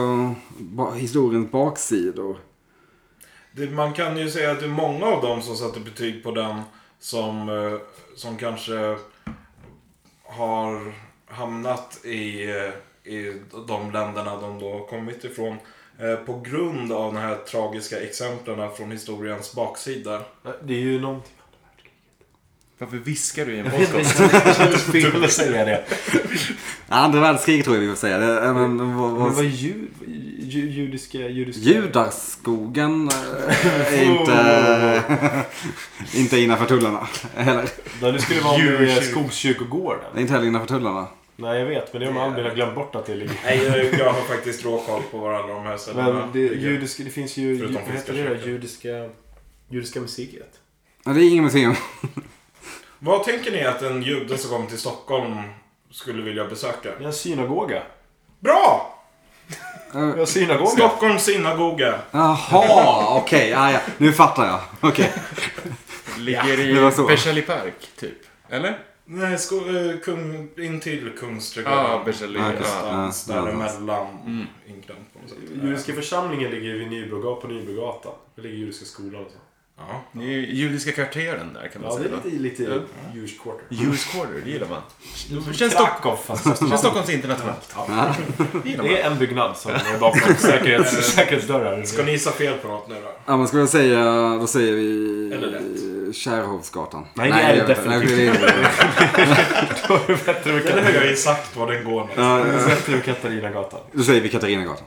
S4: ba- historiens baksidor.
S5: Det, man kan ju säga att det är många av dem som sätter betyg på den som, eh, som kanske har hamnat i, eh, i de länderna de då har kommit ifrån. eh, På grund av de här tragiska exemplen från historiens baksida.
S3: Det är ju någonting.
S1: Varför viskar du i en podcast?
S3: Det kändes fel att säga det.
S4: Ja, Andra världskriget tror jag vi får säga. Det, eh, men, vad,
S3: Men vad
S4: vad,
S3: ju, ju, judiska... judiska
S4: judarskogen eh, är inte, inte innanför tullarna. Heller.
S3: Nej, det skulle vara med
S1: Djurkyrk-
S4: Det
S3: Skogskyrkogården.
S4: är inte heller innanför tullarna.
S3: Nej, jag vet. Men det har man aldrig glömt bort att det ligger.
S5: Nej, jag- jag har faktiskt råkoll på var alla de här ställena
S3: Men det, judiska, det finns ju... ju
S5: Förutom
S3: vad heter det då?
S5: fiskekyrkan.
S3: Judiska... Judiska museet.
S4: Ja, det är inget museum.
S5: Vad tänker ni att en jude som kommer till Stockholm skulle vilja besöka?
S3: Vi har en synagoga.
S5: Bra!
S3: Vi har synagoga.
S5: Stockholms synagoga.
S4: Eh, Jaha, okej. ja, ja. Nu fattar jag. Okej.
S1: Ligger i
S4: det var så.
S1: Berzelii park, typ. Eller?
S5: Nej, sko, eh, kung, in till Kungsträdgården.
S1: Ja, Berzelii,
S4: ja.
S5: Någonstans
S4: Ja, någonstans.
S5: Däremellan. Inklämt på något sätt.
S3: Judiska församlingen ligger vid Nybrogatan, på Nybrogatan. Där ligger Judiska skolan och så.
S5: Ja.
S1: Det är ju Judiska kvarteren där kan man
S3: Ja, det
S1: säga.
S3: är lite, lite
S1: Ja.
S3: Jewish quarter.
S1: Jews quarter, det gillar man. Känns, Stock-
S3: Krakow fast
S1: känns Stockholms internationellt. Det gillar man.
S3: Det är en byggnad som är bakom säkerhets, säkerhetsdörrar.
S5: Ska ni gissa fel på något nu då?
S4: Ja, man skulle säga, då säger
S5: Eller rätt.
S4: vi Kärrhovsgatan.
S3: Nej, det är det
S4: jag vet inte.
S3: definitivt
S4: Nej, det är det.
S5: Eller hur? Jag har ju sagt var den går med.
S4: Ja, ja.
S3: Sätter du Katarinagatan?
S4: Då säger vi Katarinagatan.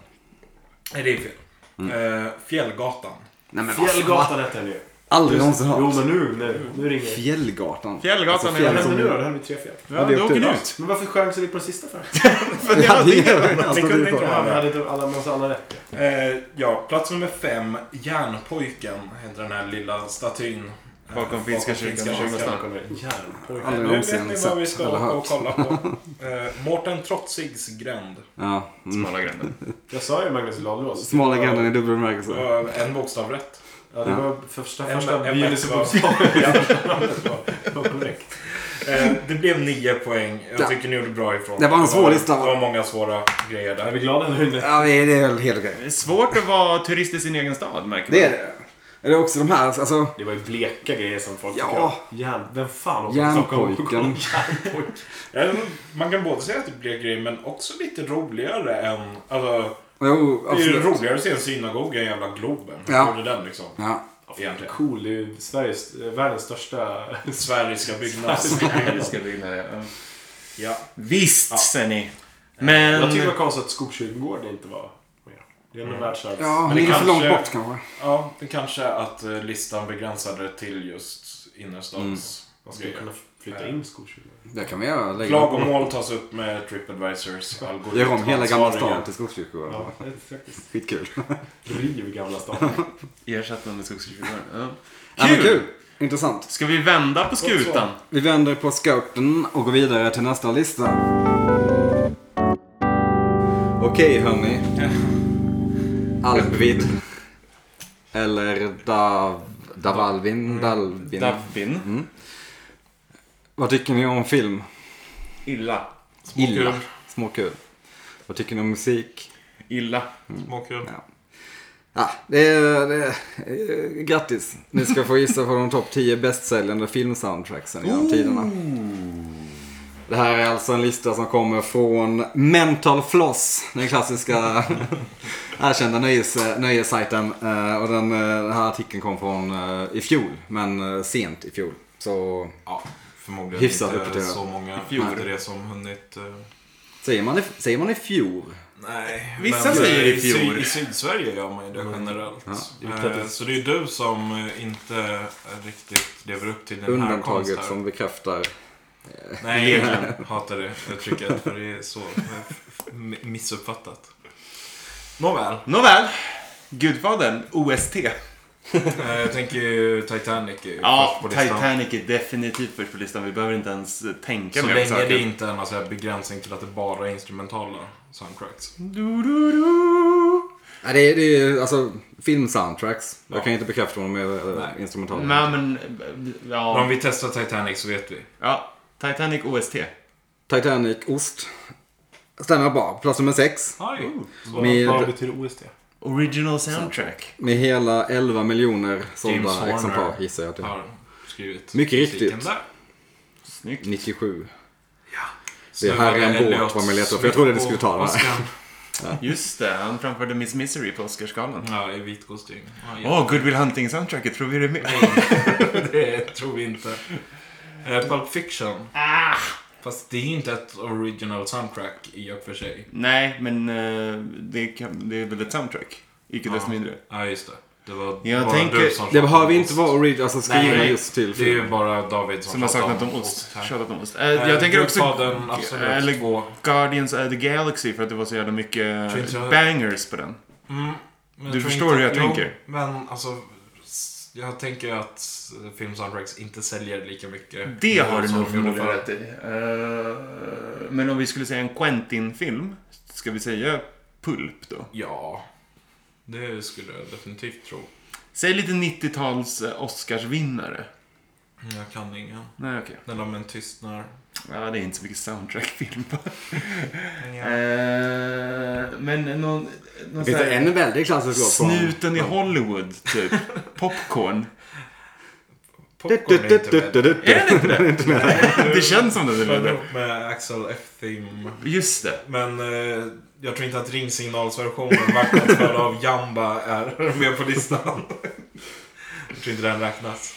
S5: Nej, det är fel.
S4: Mm.
S5: Eh, Fjällgatan.
S4: Nej, men vad fan.
S3: Fjällgatan hette den ju.
S4: Aldrig någonsin
S3: Jo,
S4: hört.
S3: men nu, nu, nu ringer det.
S4: Fjällgatan.
S1: Fjällgatan
S4: Alltså,
S1: är
S3: Vad
S4: fjäll-
S3: hände nu då? Det här med tre fel.
S1: Ja, du åker ut.
S3: Men varför chansar vi på den sista för?
S1: För det var det.
S5: Ni
S4: Alltså,
S5: kunde
S4: det är
S5: inte
S4: bara-
S5: ha
S3: Vi
S5: det.
S3: hade inte alla, massa alla rätt.
S5: Eh, ja, plats nummer fem. Järnpojken heter den här lilla statyn. Eh,
S1: Bakom finska kyrkan i Tjugostan.
S3: Järnpojken.
S4: Aldrig
S5: Nu vet
S4: någonsin
S5: ni vad vi
S4: sett
S5: ska
S4: eller
S5: åka och
S4: hört.
S5: kolla på. Eh, Mårten Trotsigs gränd.
S4: Ja. Mm.
S1: Smala gränder.
S3: Jag sa ju Magnus Ladulås.
S4: Smala grannen i dubbel bemärkelse.
S5: Det var Eh, En bokstav rätt.
S3: Ja, det var första,
S5: En-
S3: första
S5: en
S3: begynnelsebokstaven.
S5: Ja.
S3: Det var korrekt.
S5: Eh, Det blev nio poäng. Jag
S4: Ja.
S5: tycker ni gjorde bra ifrån.
S4: Det var en svår
S5: var-
S4: lista.
S5: Det var många svåra grejer
S3: Jag
S5: där.
S3: är glad ändå nu.
S4: Ja, det är det är väl helt okej.
S1: Det är svårt att vara turist i sin egen stad, märker man.
S4: Det är det. Är det också de här, alltså...
S3: Det var ju bleka grejer som folk
S4: Ja.
S3: tycker om. Järn... Vem fan åker till Stockholm?
S4: Järnpojken.
S5: Ja, Eh, Man kan både säga att det blev grejer men också lite roligare än... Alltså,
S4: Jo,
S5: det är ju
S4: absolut.
S5: roligare att se en synagoga än jävla Globen.
S4: Ja.
S5: Hur gjorde den liksom?
S4: Ja.
S5: Egentligen.
S3: Cool, det är ju Sveriges, eh, världens största...
S5: Sveriska byggnads.
S4: Alltså.
S1: Nej, det ska bli nära. Ja.
S5: ja.
S1: Visst, säger ni. Men...
S3: Jag tycker det var konstigt att Skogskyrkogården inte var med. Det är ändå världsarvs...
S4: Ja,
S5: Men
S4: men
S5: det
S4: det är för långt
S5: kanske-
S4: bort kanske.
S5: Ja, det kanske att eh, listan begränsade till just
S4: Mm.
S5: innerstads...
S3: Man skulle
S5: Mm.
S3: kunna flytta in Skogskyrkogården.
S4: Det kan vi göra. Lägga upp.
S5: Klagomål tas upp med Tripadvisors algoritm.
S4: Gör om hela Gamla
S5: ansvariga.
S4: stan till skogskyrkogård.
S3: Ja, det är faktiskt.
S4: Skitkul.
S3: Riv Gamla stan.
S1: Ersätt den med Skogskyrkogården. Ja.
S4: Ja, men
S1: Kul!
S4: kul! Intressant.
S1: Ska vi vända på skutan?
S4: Vi vänder på scouten och går vidare till nästa lista. Okej hörni. Alpvid. Eller Dav... Davalvin? Dalvin?
S1: Dubbin.
S4: Vad tycker ni om film?
S1: Illa.
S4: Illa. Småkul. Vad tycker ni om musik?
S1: Illa.
S5: Småkul.
S4: Ja, det är, det är, grattis. Ni ska få gissa på de topp 10 bästsäljande filmsoundtracksen genom tiderna. Det här är alltså en lista som kommer från Mental Floss, den klassiska erkända nöjes, nöjessajten. Eh, Och den, eh, den här artikeln kom från eh, i fjol, men eh, sent i fjol. Så
S5: Ja, förmodligen
S4: Hyfsat
S5: inte
S4: uppdaterad.
S5: så många efter det som hunnit... eh,
S4: säger man i, säger man i fjol?
S5: Nej.
S1: Vissa
S5: men,
S1: säger
S5: eh,
S1: i fjol.
S5: Sy- I Sydsverige gör man ju det generellt. Eh, Så det är ju du som eh, inte riktigt lever upp till den här konsten.
S4: Undantaget som bekräftar.
S5: Nej, jag hatar det uttrycket för det är så m- missuppfattat. Nåväl,
S1: Nåväl. Gudfadern. OST.
S5: eh, jag tänker ju Titanic är ju
S1: Ja,
S5: först på listan.
S1: Titanic är definitivt först på listan. Vi behöver inte ens tänka
S5: Så
S1: mer på
S5: länge det
S1: saken.
S5: inte är någon så här begränsning till att det bara är instrumentala soundtracks.
S1: Du, du, du.
S4: Nej, det är, det är alltså filmsoundtracks.
S5: Ja.
S4: Jag kan inte bekräfta om de är eh, instrumentala.
S1: Nej, men...
S5: Men Om
S1: Ja.
S5: vi testar Titanic så vet vi.
S1: ja. Titanic OST.
S4: Titanic Ost. Stämmer bra. Plats nummer sex.
S5: Aj, så-
S4: Med-
S3: Vad betyder OST?
S1: Original soundtrack.
S4: Med hela 11 miljoner
S5: James
S4: sålda
S5: Horner.
S4: exemplar gissar jag typ. att det är.
S5: har skrivit.
S4: Mycket
S5: musiken
S4: riktigt.
S5: Där.
S1: Snyggt.
S4: 97.
S5: Så
S4: Det här är en
S5: var det
S4: båt
S5: Elliot
S4: vad man letar efter. Jag trodde ni
S5: Smith
S4: skulle ta den här.
S5: och Oscar.
S1: Just det, han framförde Miss Misery på Oscarsgalan.
S5: Ja, i vit kostym. Ja,
S1: Åh, Good Will Hunting-soundtracket. Tror vi det är med?
S5: jättebra. det tror vi inte. Eh, Pulp Fiction.
S1: Ah!
S5: Fast det är ju inte ett original soundtrack i och för sig.
S1: Nej, men eh, det, kan, det är väl ett soundtrack. Icke desto mindre.
S5: Ja, just det. Det var
S1: Jag
S5: bara
S1: tänker-
S5: du som
S4: Det behöver
S5: pratade om
S4: inte
S5: ost.
S4: vara original, alltså skrivna
S5: Nej,
S4: just till
S5: Det är ju
S4: filmen.
S5: bara David som,
S1: Som har
S5: pratade
S1: saknat om ost.
S5: här.
S1: Tjatat om ost. Eh, jag tänker också eh,
S5: Gudfadern, absolut. Mm,
S1: eller-
S5: Två.
S1: Guardians of the Galaxy för att det var så jävla mycket
S5: Tror inte jag-
S1: bangers på den.
S5: Mm,
S1: Du
S5: men tror
S1: förstår hur jag
S5: jo,
S1: tänker.
S5: Men alltså, s- jag tänker att filmsoundtracks inte säljer lika mycket.
S1: Det har du
S5: som
S1: nog
S5: de gjorde
S1: förmodligen
S5: förr.
S1: rätt i. Eh, men om vi skulle säga en Quentin-film, ska vi säga Pulp då?
S5: Ja, det skulle jag definitivt tro.
S1: Säg lite 90-tals eh, Oscarsvinnare.
S5: Jag kan ingen.
S1: Nej, okej.
S5: När de en tystnar.
S1: Ja, det är inte så mycket soundtrackfilm.
S5: Ja.
S1: Eh, men någon, någon
S4: Det finns
S1: sån här
S4: en väldigt klassisk låt från...
S1: Snuten i Hollywood, typ. Popcorn.
S5: Popcorn är inte med.
S1: Är det inte det? Det känns som det.
S5: Jag
S1: Eller?
S5: ihop med Axel F-Theme.
S1: Just det.
S5: Men eh, jag tror inte att ringsignalsversionen marknadsförd av Jamba är med på listan. jag tror inte den räknas.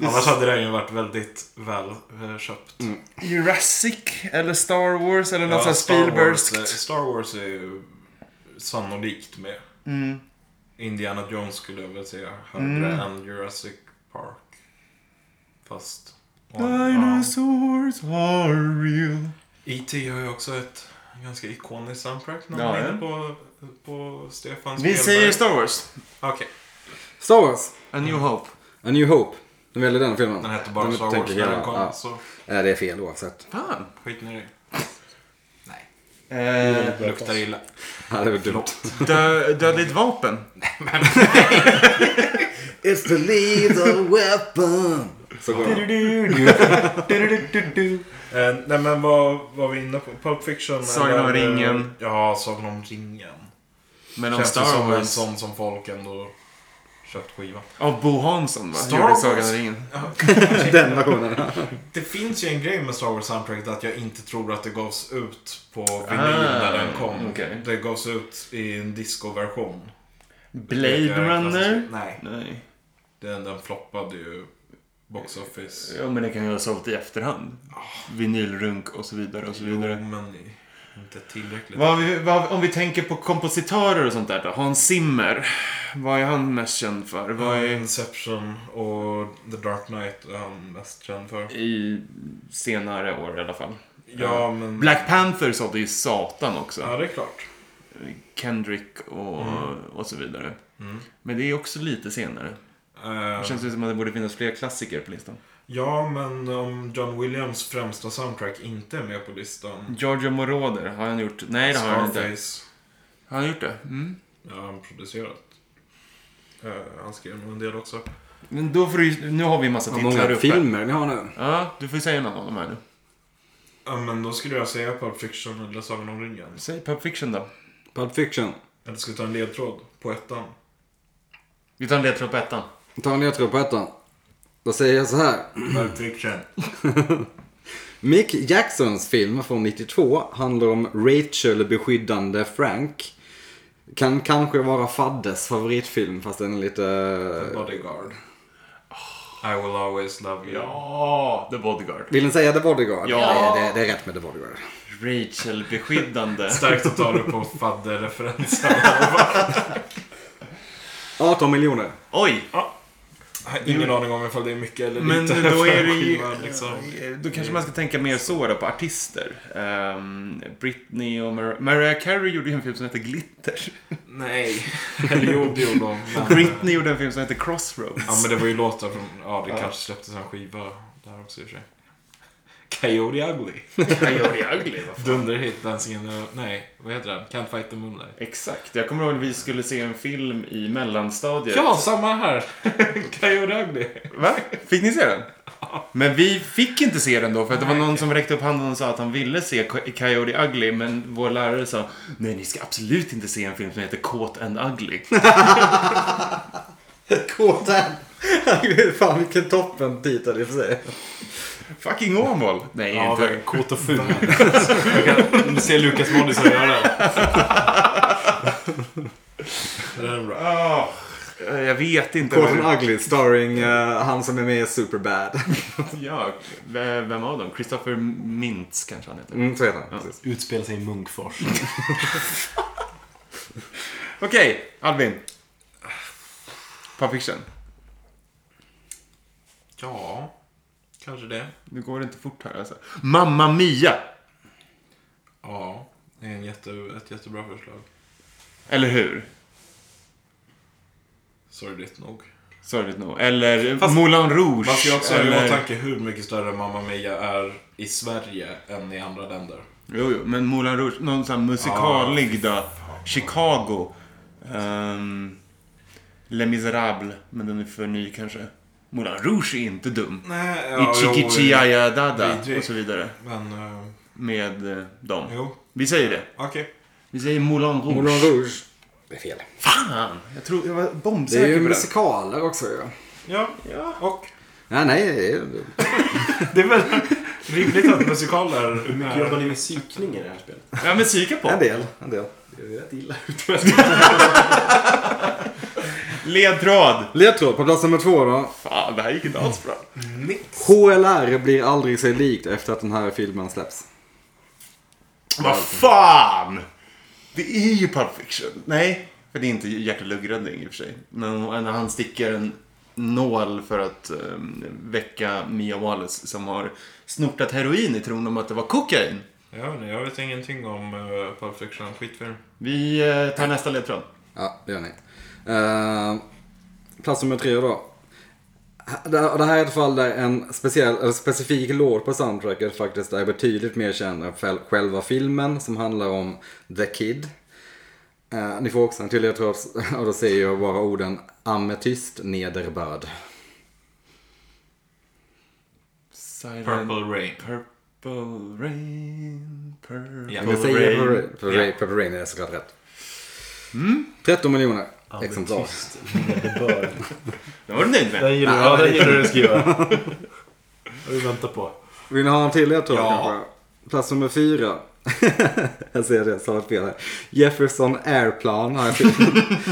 S5: Annars hade den ju varit väldigt väl eh, köpt.
S1: Jurassic eller Star Wars eller något
S5: Ja,
S1: sånt
S5: Star Wars, eh,
S1: Spielbergskt.
S5: Star Wars är ju sannolikt med.
S1: Mm.
S5: Indiana Jones skulle jag väl säga högre än Jurassic Park. Fast... Ja.
S1: Dinosaurs are real.
S5: E.T. har ju också ett ganska ikoniskt soundtrack när
S1: Ja,
S5: man är
S1: ja.
S5: inne på, på Stefan
S1: Vi säger Star Wars.
S5: Okej,
S4: Star Wars.
S1: A New Hope.
S4: A New Hope. Du väljer den filmen.
S5: den hette bara
S4: Den
S5: Star Wars
S4: tänker
S5: när
S4: hela-
S5: den kom,
S4: ja.
S5: så
S4: Nej, det är fel oavsett.
S1: Fan.
S5: skit ner i
S1: Eh,
S5: det. Luktar illa.
S4: Ja, det var dumt.
S1: dö, dödligt vapen.
S4: It's the lethal weapon. Så går den.
S5: Eh, nej men vad var vi inne på? Pulp Fiction?
S1: Sagan om ringen.
S5: Ja, Sagan om ringen.
S1: Men om
S5: Känns det
S1: Star
S5: som en
S1: Wars.
S5: sån som folk ändå köpt skiva.
S1: Av Bo Hansson va?
S5: Star
S1: Gjorde
S5: Wars?
S1: Sagan om ringen.
S4: Den versionen.
S5: Det finns ju en grej med Star Wars soundtracket att jag inte tror att det gavs ut på vinyl
S1: Ah,
S5: när den kom.
S1: okej.
S5: Det gavs ut i en discoversion.
S1: Blade
S5: Jag är
S1: Runner.
S5: klassisk- Nej,
S1: Nej.
S5: den, den floppade ju box office.
S1: Ja men det kan ju ha sålt i efterhand. Vinylrunk och så vidare och så vidare.
S5: Ah. Jo, men inte tillräckligt.
S1: Vad vi, vad, om vi tänker på kompositörer och sånt där då. Hans Zimmer. Vad är han mest känd för? Vad är...
S5: Inception och The Dark Knight är han mest känd för.
S1: I senare år i alla fall.
S5: Ja, men...
S1: Black Panther sålde ju satan också.
S5: Ja, det är klart.
S1: Kendrick och, och så vidare.
S5: Mm.
S1: Men det är också lite senare.
S5: Eh,
S1: Det känns ju som att det borde finnas fler klassiker på listan.
S5: Ja, men om John Williams främsta soundtrack inte är med på listan.
S1: Giorgio Moroder, har han gjort? Nej, det har han inte.
S5: Scarface.
S1: Har han gjort det? Mm.
S5: Ja, han producerat. Eh, han skrev nog en del också.
S1: Men då får du, ju- nu har vi en massa
S4: Vad
S1: titlar
S4: många
S1: uppe.
S4: filmer ni har nu.
S1: Ja, du får ju säga någon av dem här nu.
S5: Ja, men då skulle jag säga Pulp Fiction eller Sagan om ringen.
S1: Säg Pulp Fiction då.
S4: Pulp Fiction.
S5: Eller ska vi ta en ledtråd på ettan?
S1: Vi tar en ledtråd på ettan.
S4: Ta en ledtråd på ettan. Då säger jag så här.
S5: Pulp Fiction.
S4: Mick Jacksons film från 92 handlar om Rachel beskyddande Frank. Kan kanske vara Faddes favoritfilm fast den är lite...
S5: Bodyguard. Ah. I will always love you.
S1: Ja, The Bodyguard.
S4: Vill ni säga The Bodyguard?
S1: Ja.
S4: Det, det, det är rätt med The Bodyguard.
S1: Rachel beskyddande.
S5: Starkt att ta det på fadderreferensen.
S4: 18 miljoner.
S1: Oj!
S5: Ingen aning om ifall det är mycket eller
S1: Men
S5: lite.
S1: då
S5: för
S1: är det ju...
S5: skivan, liksom.
S1: Då kanske man ska tänka mer så då på artister. Ehm, Britney och Mar- Mariah Carey gjorde ju en film som hette Glitter.
S5: Nej. Eller jo, det gjorde de. Men...
S1: Britney gjorde en film som hette Crossroads.
S5: Ja, men det var ju låtar från... Ja, det kanske släpptes en skiva där också i och för sig. Coyote Ugly.
S1: Coyote Ugly. vad fan.
S5: Dunderhit, Dancing in the... Nej, vad heter den? Can't fight the moonlight.
S1: Exakt. Jag kommer ihåg när vi skulle se en film i mellanstadiet.
S5: Ja, samma här. Coyote Ugly.
S1: Va? Fick ni se den? Men vi fick inte se den då för att det var någon som räckte upp handen och sa att han ville se Co- Coyote Ugly men vår lärare sa Nej, ni ska absolut inte se en film som heter Kåt and Ugly.
S4: Kåten! Fan vilken toppen titel i och för sig.
S1: Fucking Åmål! Nej, inte.
S5: kåt och ful. Du ser Lukas Moodysson göra det. Det är bra.
S1: Ah, jag vet inte.
S4: Kåten Ugly starring eh, han som är med i Superbad.
S1: Ja, v- vem av dem? Christopher Mintz kanske han heter.
S4: Mm, så heter han. Precis.
S3: Utspelar sig i Munkfors.
S1: Okej, Albin. Pulp Fiction.
S5: Ja, kanske det.
S1: Nu går det inte fort här alltså. Mamma Mia!
S5: Ja, det är en jätte, ett jättebra förslag.
S1: Eller hur?
S5: Sorgligt nog.
S1: Sorgligt nog. Eller
S5: Fast-
S1: Moulin Rouge.
S5: Man ska också ha i
S1: eller...
S5: åtanke hur mycket större Mamma Mia är i Sverige än i andra länder.
S1: Jo, jo, men Moulin Rouge. Någon sån här musikalig då. Chicago. Ehm, Les Misérables. Men den är för ny kanske. Moulin Rouge är inte dum.
S5: Nej,
S1: Ja,
S5: ja, jo,
S1: Ichikichiaya dada
S5: DJ.
S1: och så vidare.
S5: Men, eh,
S1: Med eh, dem.
S5: jo.
S1: Vi säger det.
S5: Okej.
S1: Vi säger Moulin Rouge.
S4: Moulin Rouge. Det är fel.
S1: Fan! Jag, tror, jag var
S4: Det är ju
S1: bombsäker på den.
S4: musikaler också ju.
S5: Ja. ja, och?
S4: Nej, nej. det är-
S5: Det är väl rimligt att musikaler...
S3: Jobbar ni med psykning i det här spelet?
S1: Ja, men psyka
S4: En
S1: på.
S4: del. En del.
S3: Det är rätt illa ut.
S1: Ledtråd!
S4: Ledtråd på plats nummer två då.
S1: Fan, det här gick inte alls bra.
S4: HLR blir aldrig sig likt efter att den här filmen släpps.
S1: Vad fan! Det är ju Pulp Fiction. Nej, för det är inte hjärt och lungräddning i och för sig. Men när han sticker en nål för att ehm, väcka Mia Wallace som har snortat heroin i tron om att det var kokain.
S5: Jag vet, inte, jag vet ingenting om uh, Pulp Fiction. Skitfilm.
S1: Vi eh, tar nästa ledtråd.
S4: Ja, det gör ni. Eh, plats nummer tre då. Det det här är ett fall där en speciell, eller specifik låt på soundtracket faktiskt är betydligt mer känd än fel- själva filmen som handlar om The Kid. Eh, ni får också en till ledtråd och då säger jag bara orden ametyst nederbörd.
S1: Silent
S5: Purple Rain.
S1: purple rain, purple
S5: Ja.
S4: Jag
S1: rain.
S4: säger Purple Rain, Purple Rain, Purple Rain är såklart rätt. 13 miljoner exemplar.
S3: Nederbörd.
S1: Den var du nöjd med?
S3: Den gillar du. Ja, den gillar du att skriva. Vad vi väntar på.
S4: Vill ni ha en till ledtråd
S5: Ja.
S4: kanske? Plats nummer fyra. jag säger det, sa fel här. Jefferson Airplane har jag skrivit.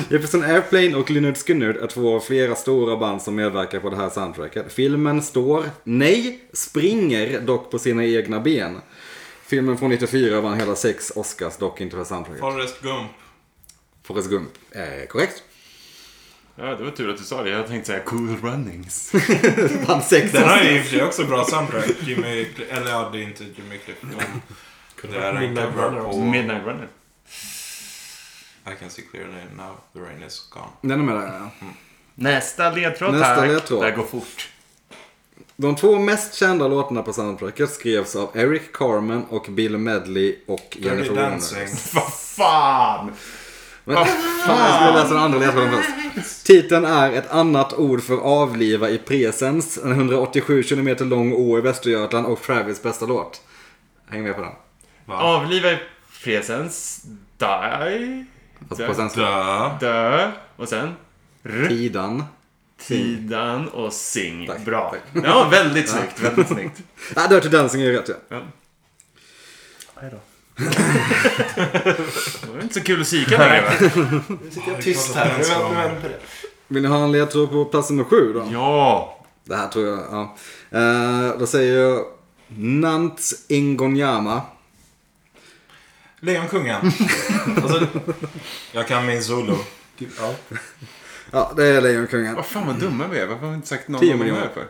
S4: Jefferson Airplane och Lynyrd Skynyrd är två av flera stora band som medverkar på det här soundtracket. Filmen står, nej, springer dock på sina egna ben. Filmen från 94 vann hela sex Oscars, dock inte för soundtracket.
S5: Forrest Gump.
S4: Forrest Gump är korrekt.
S1: Ja, det var tur att du sa det. Jag tänkte säga cool runnings.
S4: Vann sex
S5: Den
S4: Oscars.
S5: har ju i och för sig också bra soundtrack. Jimmy... Cl- Eller ja, det är inte Jimmy Clifton. Det är en
S3: Midnight
S5: cover
S3: Runner
S5: på...
S3: också.
S1: Midnight runner.
S5: I can see clearly now. The rain is gone.
S4: Den är med där, ja.
S1: Nästa ledtråd
S4: Nästa
S1: tack.
S4: ledtråd.
S1: Det här går fort.
S4: De två mest kända låtarna på soundtracket skrevs av Eric Carmen och Bill Medley och
S5: Dirty
S4: Jennifer Warner.
S5: Dancing.
S1: Vad fan!
S4: Men, fan, jag skulle läsa den andra ledtråden först. Titeln är ett annat ord för avliva i presens. En 187 km lång å i Västergötland och Travis bästa låt. Häng med på den.
S5: Va?
S1: Avliva i presens. Die.
S4: Fast på svenska.
S5: Dö.
S1: Dö. Och sen? R.
S4: Tidan.
S1: Tidan och sing.
S4: Tack,
S1: Bra. Ja, väldigt snyggt. Väldigt snyggt.
S4: Nej, Ah, Dirty Dancing är ju rätt ja.
S1: Ja. Det var inte så kul att psyka längre va?
S3: Nu sitter jag tyst här. Nu vänt- nu vänder det.
S4: Vill ni ha en ledtråd på plats nummer sju då?
S1: Ja.
S4: Det här tror jag, ja. Eh, då säger jag Nant Ingonyama.
S5: Lejonkungen.
S3: Alltså,
S5: Jag kan min Zulu.
S3: typ, ja.
S4: Ja, det är Lejonkungen.
S1: Vad fan vad dumma vi är. Varför har vi inte sagt någon
S4: 10
S1: av de
S4: miljoner.
S1: här för?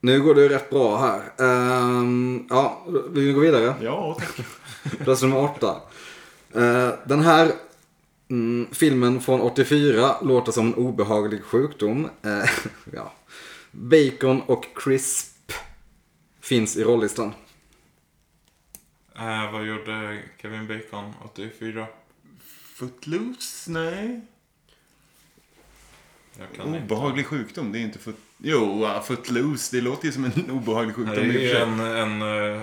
S4: Nu går det ju rätt bra här. Ehm, ja, vill vi gå vidare?
S1: Ja, tack.
S4: Plats nummer åtta. Eh, den här mm, filmen från 84 låter som en obehaglig sjukdom. Eh, ja. Bacon och crisp finns i rollistan.
S5: Eh, vad gjorde Kevin Bacon 84?
S1: Footloose? Nej.
S5: Jag
S3: Oh,
S5: kan inte.
S1: Obehaglig sjukdom, det är inte foot... Jo, ah, footloose, det låter ju som en obehaglig sjukdom
S5: Det är
S1: i och för
S5: ju
S1: sig.
S5: en, en, eh,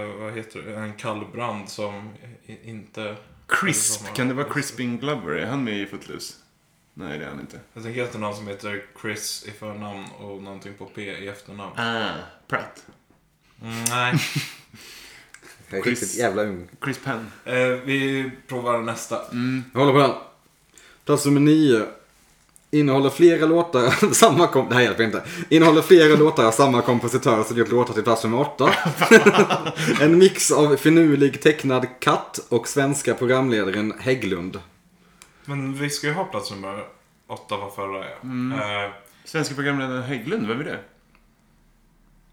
S5: eh, vad heter det, en kallbrand som i- inte...
S1: Crisp, kan det vara Crispin Glover? Är han med i Footloose? Nej, det är han inte.
S5: Jag tänker efter någon som heter Chris i förnamn och någonting på P i efternamn.
S1: Ah, Pratt.
S5: Mm, nej.
S4: Jag är
S1: Crisp.
S4: riktigt jävla ung.
S1: Chris Penn.
S5: Eh, vi provar nästa.
S4: Jag håller på den. Plats nummer nio. Innehåller flera låtar av samma kom... Det här hjälper inte. Innehåller flera låtar av samma kompositör som gjort låtar till plats nummer åtta. en mix av finurlig tecknad katt och svenska programledaren Hägglund.
S5: Men vi ska ju ha plats nummer åtta var förra ja.
S4: Mm.
S5: Eh,
S1: Svenska programledaren Hägglund, vem är det?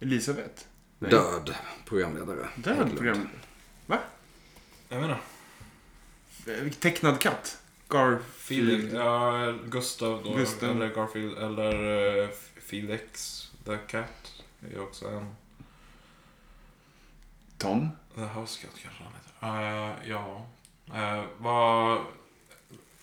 S1: Elisabeth? Nej.
S4: Död programledare.
S1: Död
S4: Hägglund.
S1: program... Va?
S5: jag menar.
S1: Eh, Tecknad katt? Garfield?
S5: Felix, ja, Gustav då.
S1: Gustav.
S5: Eller Garfield. Eller eh, Felix the Cat. Är ju också en.
S1: Tom?
S5: The House Cat kanske han heter. Eh, ja. Eh, vad...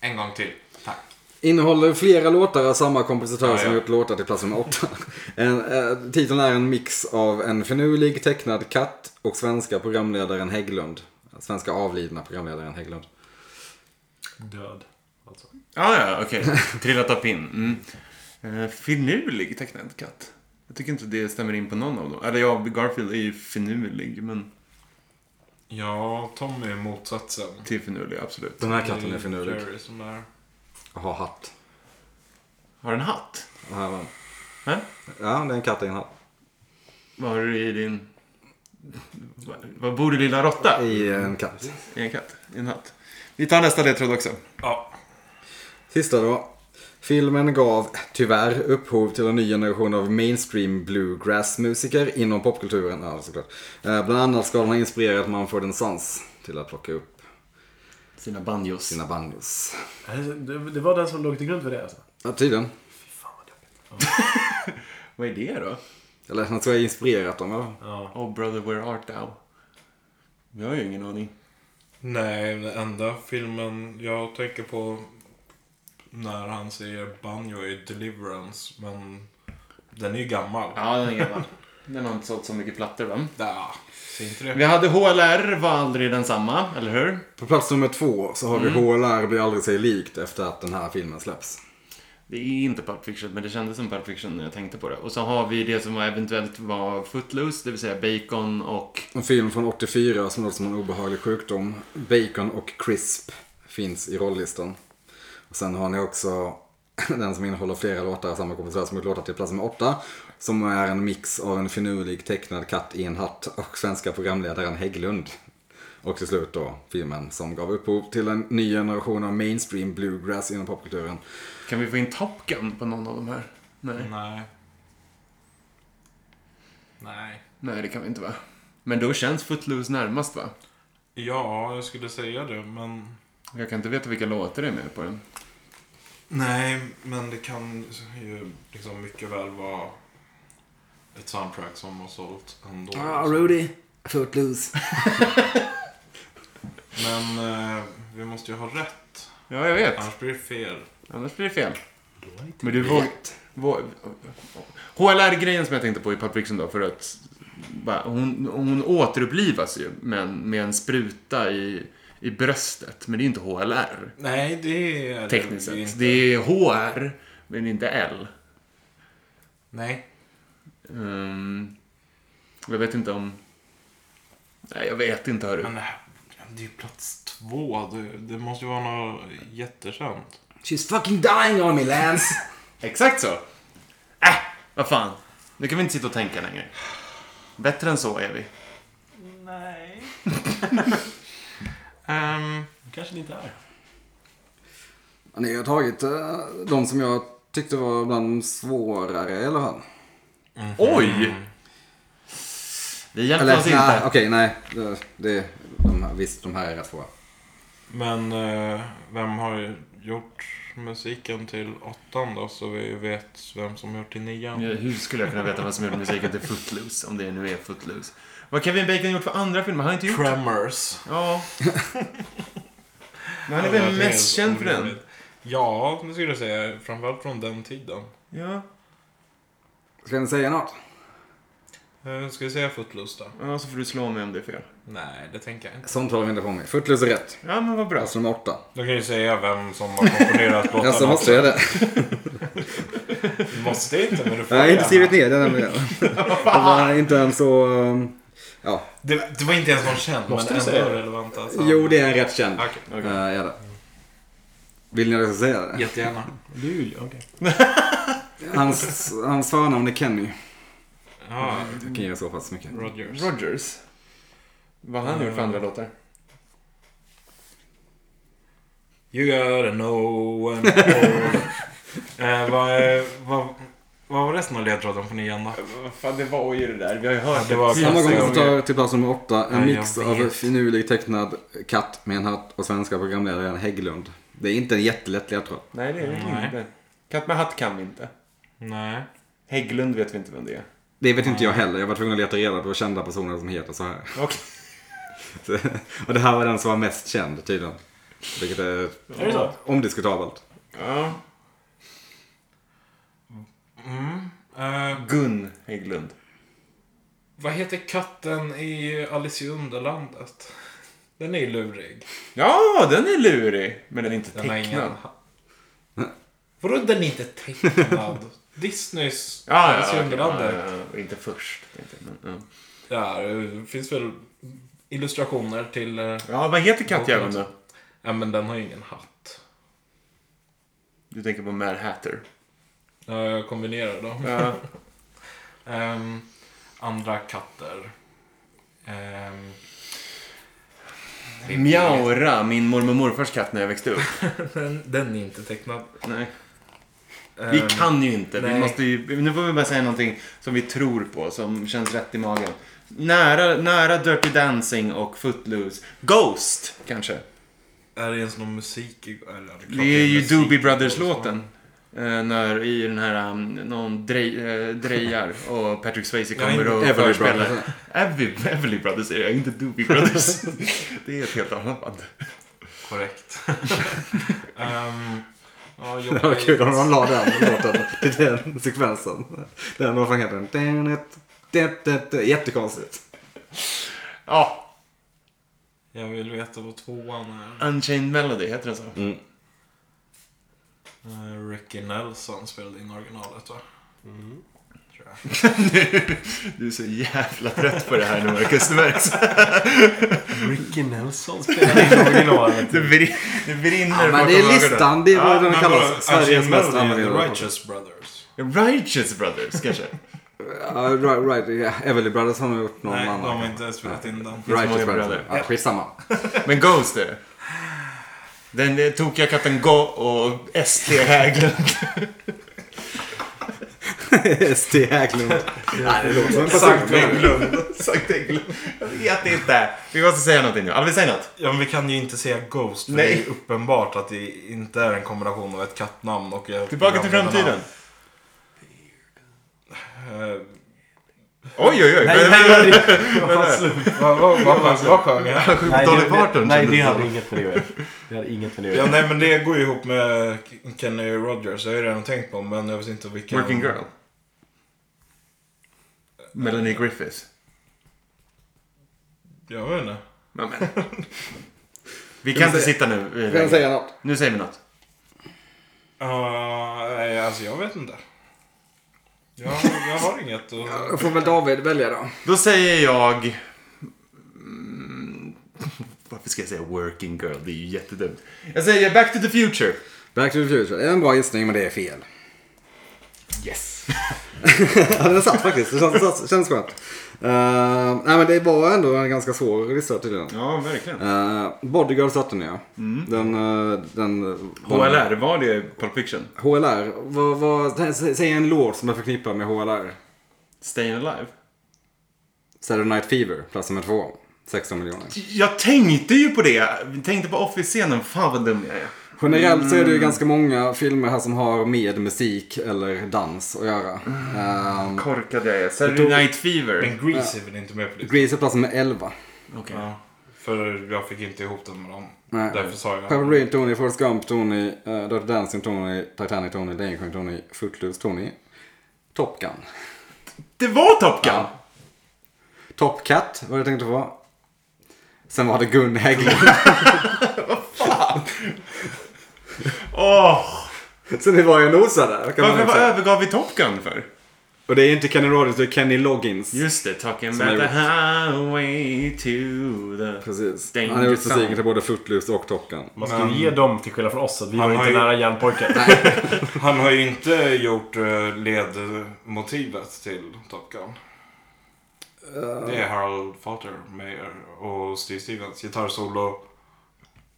S5: En gång till. Tack.
S4: Innehåller flera låtar av samma kompositör
S5: Ja,
S4: som
S5: ja.
S4: gjort låtar till plats nummer åtta. En, eh, titeln är en mix av en finurlig tecknad katt och svenska programledaren Hägglund. Svenska avlidna programledaren Hägglund.
S3: Död. Alltså.
S1: Ah, ja, okej. Trillat av pinn. Mm. Eh, finurlig tecknad katt. Jag tycker inte det stämmer in på någon av dem. Eller ja, Garfield är ju finurlig, men
S5: Ja, Tommy är motsatsen.
S1: till finurlig, absolut.
S4: Den här katten är finurlig.
S5: Jerry som är...
S4: Och har hatt.
S1: Har du en hatt?
S4: Och här var den.
S1: Hä?
S4: Ja, det är en katt i en hatt.
S1: Vad har du i din... Va- Vad bor du lilla råtta?
S4: I eh, en katt.
S1: I en katt? I en hatt? Vi tar nästa ledtråd också.
S5: Ja.
S4: Sista då. Filmen gav tyvärr upphov till en ny generation av mainstream bluegrass-musiker inom popkulturen. Ja, såklart. Eh, Bland annat ska den ha inspirerat Mumford Sons till att plocka upp
S1: Sina banjos.
S4: sina banjos.
S3: Det, det var den som låg till grund för det alltså.
S4: Ja, tydligen.
S1: Vad är det då?
S4: Eller han tror jag inspirerat dem, eller?
S3: Ja.
S1: Oh brother, where art thou? Jag har ju ingen aning.
S5: Nej, den enda filmen jag tänker på när han säger banjo är Deliverance, men den är ju gammal.
S1: Ja, den är gammal. Den har inte sålt så mycket plattor, va?
S5: Ja. Ser inte det?
S1: Vi hade HLR, var aldrig densamma, eller hur?
S4: På plats nummer två så har vi HLR blir aldrig sig likt efter att den här filmen släpps.
S1: Det är inte Pulp Fiction, men det kändes som Pulp Fiction när jag tänkte på det. Och så har vi det som var eventuellt var Footloose, det vill säga Bacon och...
S4: En film från 84 som låter som en obehaglig sjukdom. Bacon och Crisp finns i rolllistan. Och sen har ni också den som innehåller flera låtar av samma kompositör som gjort låtar till plats nummer åtta. Som är en mix av en finurlig tecknad katt i en hatt och svenska programledaren Hägglund. Och till slut då filmen som gav upphov till en ny generation av mainstream bluegrass inom popkulturen.
S1: Kan vi få in Top Gun på någon av de här? Nej.
S5: Nej. Nej.
S1: Nej, det kan vi inte va? Men då känns Footloose närmast va?
S5: Ja, jag skulle säga det, men...
S1: Jag kan inte veta vilka låtar det är med på den.
S5: Nej, men det kan ju liksom mycket väl vara ett soundtrack som har sålt ändå.
S4: Ah, Rudy, Footloose.
S5: Men eh, vi måste ju ha rätt,
S1: Ja, jag vet.
S5: annars blir det fel.
S1: Annars blir det fel. Men du våg... våg- HLR-grejen som jag tänkte på i Pulp Fiction då, för att bara, hon, hon återupplivas ju men med en spruta i, i bröstet. Men det är ju inte HLR.
S5: Nej, det är
S1: Tekniskt
S5: det ju
S1: sett.
S5: inte.
S1: Det är HR, men inte L.
S5: Nej.
S1: Ehm, jag vet inte om... Nej, jag vet inte hörru.
S5: Men det, här, det är ju plats två. Det, det måste ju vara något jättekänt.
S4: She's fucking dying on me Lance.
S1: Exakt så! Äh, vad fan. Nu kan vi inte sitta och tänka längre. Bättre än så är vi.
S5: Nej.
S3: kanske det inte är.
S4: Ja, Ni har tagit eh, de som jag tyckte var bland de svårare i alla fall.
S5: Mhm.
S1: Oj! Vi hjälpte
S4: Eller
S1: oss
S4: nej,
S1: inte.
S4: okej, nej. Det, det, de här, visst, de här är rätt svåra.
S5: men eh, vem har gjort musiken till åttan då? Så vi vet vem som har gjort till nian.
S1: Ja, Eh, Hur skulle jag kunna veta vad som gjorde musiken till Footloose? Om det nu är Footloose. Vad har Kevin Bacon gjort för andra filmer? Han har inte gjort...
S5: Tremors.
S1: Ja. Men han är väl mest känd för den?
S5: Ja, det skulle jag säga. Framförallt från den tiden.
S1: Ja.
S4: Ska ni säga något?
S5: Eh, Ska vi säga Footloose då?
S1: Ja, så får du slå mig om det är fel.
S5: Nej, det tänker jag inte.
S4: Sånt håller vi inte på med. Footloose är rätt.
S1: Ja, men vad bra.
S4: Plats nummer åtta.
S5: Då kan jag ju säga vem som har komponerat låtarna.
S4: Alltså, måste jag det?
S5: Du måste inte, men du får
S4: Jag har inte
S5: gärna.
S4: skrivit ner det nämligen. Alltså, Det var inte en så... um, Ja.
S5: Det, det var inte ens någon känd,
S3: Måste
S5: men
S3: du säga
S5: ändå
S3: det?
S5: relevant alltså.
S4: Jo, det är en rätt känd.
S5: Okej.
S4: Eh, är det. Vill ni att jag ska säga det?
S5: Jättegärna.
S3: Det är ju... Okej.
S4: Hans, hans förnamn är Kenny.
S5: Ja,
S4: Jag kan ge så pass mycket.
S5: Rogers.
S1: Rogers. Vad har han gjort för andra låtar?
S5: You gotta know and know. eh, vad, är- vad, vad var resten av ledtråden på nian då?
S1: Vad fan, det var ju det där. Vi har ju hört
S5: det var-
S4: Samma
S5: Nästa
S4: gång
S5: gång.
S4: vi tar till plats nummer åtta. En
S5: Ja, jag
S4: mix
S5: vet.
S4: av finurlig tecknad katt med en hatt och svenska programledaren Hägglund. Det är inte en jättelätt ledtråd.
S1: Nej, det är det
S5: Nej.
S1: inte. Katt med hatt kan vi inte.
S5: Nej.
S1: Hägglund vet vi inte vem det är.
S4: Det vet inte jag heller. Jag var tvungen att leta reda på kända personer som heter så här.
S1: Okej.
S4: Så- och det här var den som var mest känd tydligen. Vilket är
S3: Är det så?
S4: omdiskutabelt.
S1: Ja.
S5: Eh,
S1: Gun Hägglund.
S5: vad heter katten i Alice i Underlandet? Den är ju lurig.
S1: Ja, den är lurig. Men den är inte
S5: Den har ingen...
S1: tecknad.
S5: Vadå den är inte tecknad? Disneys
S1: Ja, ja,
S5: Alice i
S1: okej, ja,
S5: Underlandet.
S1: ja, ja. Inte först. tänkte jag, men, ja.
S5: Ja, det finns väl illustrationer till... eh,
S1: ja, vad heter kattjäveln då?
S5: Ja, men den har ju ingen hatt.
S1: Du tänker på Mad Hatter.
S5: Ja, jag kombinerar dem.
S1: Ja.
S5: Ehm, andra katter. Ehm,
S1: Mjaura, Eh, min mormor och morfars katt när jag växte upp.
S5: den, den är inte tecknad.
S1: Nej.
S5: Ehm,
S1: Vi kan ju inte. Vi
S5: nej.
S1: måste ju, nu får vi bara säga någonting som vi tror på, som känns rätt i magen. Nära, nära Dirty Dancing och Footloose. Ghost, kanske.
S5: Är det ens någon musik? i- Eller, klart
S1: Det är ju
S5: musik
S1: Doobie
S5: i
S1: Brothers-låten. Eh, när i den här, um, någon drej, eh, drejar och Patrick Swayze
S5: Jag är
S1: kommer
S5: inte-
S1: och
S4: Everly
S1: förspelar. Everly, Everly Brothers är jag, inte Doobie Brothers. det är ett helt annat band.
S5: Korrekt. Ehm, ja,
S4: Det var kul om
S5: Jobbigt.
S4: de la den låten till den sekvensen. Den, vad fan heter den? Det, det, det. Jättekonstigt.
S1: Ja,
S5: Jag vill veta vad tvåan är.
S1: Unchained Melody, heter den så?
S5: Uh, Ricky Nelson spelade in originalet va? Tror jag.
S1: Du är så jävla trött på det här nu, Marcus. Du märks.
S3: Ricky Nelson spelade in originalet.
S1: Det brin- det brinner
S4: Ja, men
S1: bakom
S4: det är
S1: ögonen.
S4: listan. Det är vad den
S5: men alltså, vadå,
S4: kallas. Sveriges
S5: Unchained
S4: mest
S5: Melody and
S4: använda
S5: The
S4: låt.
S5: Righteous Brothers.
S1: Righteous Brothers, kanske?
S4: Ja, right, right. yeah. Everly Brothers har nog gjort någon
S5: Nej, de
S4: annan.
S5: har inte spelat in den.
S1: så många
S4: Righteous Brothers.
S1: bröder.
S4: Ja, skitsamma.
S1: Men Ghost är det. Den eh, tokiga katten Go och ST Hägglund.
S4: St. Hägglund. Nej, det låter som en
S1: Sankt
S4: person.
S1: Hägglund. Sankt Hägglund. Jag vet inte. Vi måste säga någonting nu. Alvi, säg något.
S5: Ja, men vi kan ju inte säga Ghost för
S1: Nej.
S5: det är uppenbart att det inte är en kombination av ett kattnamn och ett
S1: Tillbaka till
S5: programledarnamn.
S1: framtiden.
S5: Eh,
S1: Oj, oj, oj.
S3: Nej, nej, nej. det var slut.
S5: Vad Eh, vad- vad- vad sjöng jag?
S3: Nej,
S1: Dolly
S3: det-
S1: Parton
S3: Nej,
S1: kändes
S3: det
S1: det
S3: hade
S1: som.
S3: inget med det att göra. Det hade inget med det att
S5: Ja,
S3: göra.
S5: nej men det går ju ihop med Kenny Rogers. Jag har ju redan tänkt på men jag vet inte vilken.
S1: Working Girl. Melanie Griffith.
S5: Jag vet inte.
S1: Men, men. Vi kan inte sitta nu. eh,
S4: Kan jag
S1: längre.
S4: säga något?
S1: Nu säger vi något.
S5: Ja, nej, alltså jag vet inte. Jag, jag har inget och...
S4: Jag får väl David välja då.
S1: Då säger jag... Mm, Varför ska jag säga working girl? Det är ju jättedumt. Jag säger back to the future.
S4: Back to the Future. Det är en bra gissning, men det är fel.
S1: Yes.
S4: Ja, den satt faktiskt. Det känns, känns, känns skönt. Eh, nej, men det var ändå en ganska svår lista tydligen.
S1: Ja, verkligen.
S4: Uh, Bodyguard satte den ja. Den, eh, den...
S1: HLR, var det Pulp Fiction?
S4: HLR. Vad, vad, sä- säg en låt som är förknippad med HLR.
S1: Staying Alive?
S4: Saturday Night Fever, plats nummer två. 16 miljoner.
S1: Jag tänkte ju på det. Jag tänkte på Office-scenen. Fan vad dum jag är.
S4: Generellt så är det
S5: Mm.
S4: ju ganska många filmer här som har med musik eller dans att göra. Ehm,
S1: Korkad jag är. Saturday Night
S5: Men
S1: Fever.
S5: Grease är väl inte med på det?
S4: Grease är plats nummer 11.
S1: Okej.
S5: Ja, för jag fick inte ihop den med dem.
S4: Nej.
S5: Därför sa jag...
S4: Purple Rain, Tony, Forrest Gump, Tony, uh, Dirty Dancing, Tony, Titanic, Tony, Lejonkung, Tony, Footloose, Tony, Top Gun.
S1: Det var Top Gun!
S4: Ja. Top Cat var det jag tänkte på. Sen var det Gun Hägglund.
S1: Åh!
S4: Så ni var ju nosade. kan
S1: Varför
S4: man väl
S1: vad
S4: säga.
S1: övergav vi Top Gun för?
S4: Och det är inte Kenny Rogers, det är Kenny Loggins.
S1: Just det, Talking
S4: Som
S1: about the
S4: jag
S1: highway to the...
S4: Precis.
S1: Danger
S4: Han har gjort musiken
S1: Zone.
S4: till både Footloose och Top Gun.
S3: Man ska ju ge dem till skillnad från oss att vi
S5: Han
S3: var
S5: har
S3: inte
S5: ju-
S3: nära järnpojkar.
S5: Han har ju inte gjort eh, ledmotivet till Top Gun.
S4: Eh.
S5: Det är Harold Falter, Mayer och Steve Stevens gitarrsolo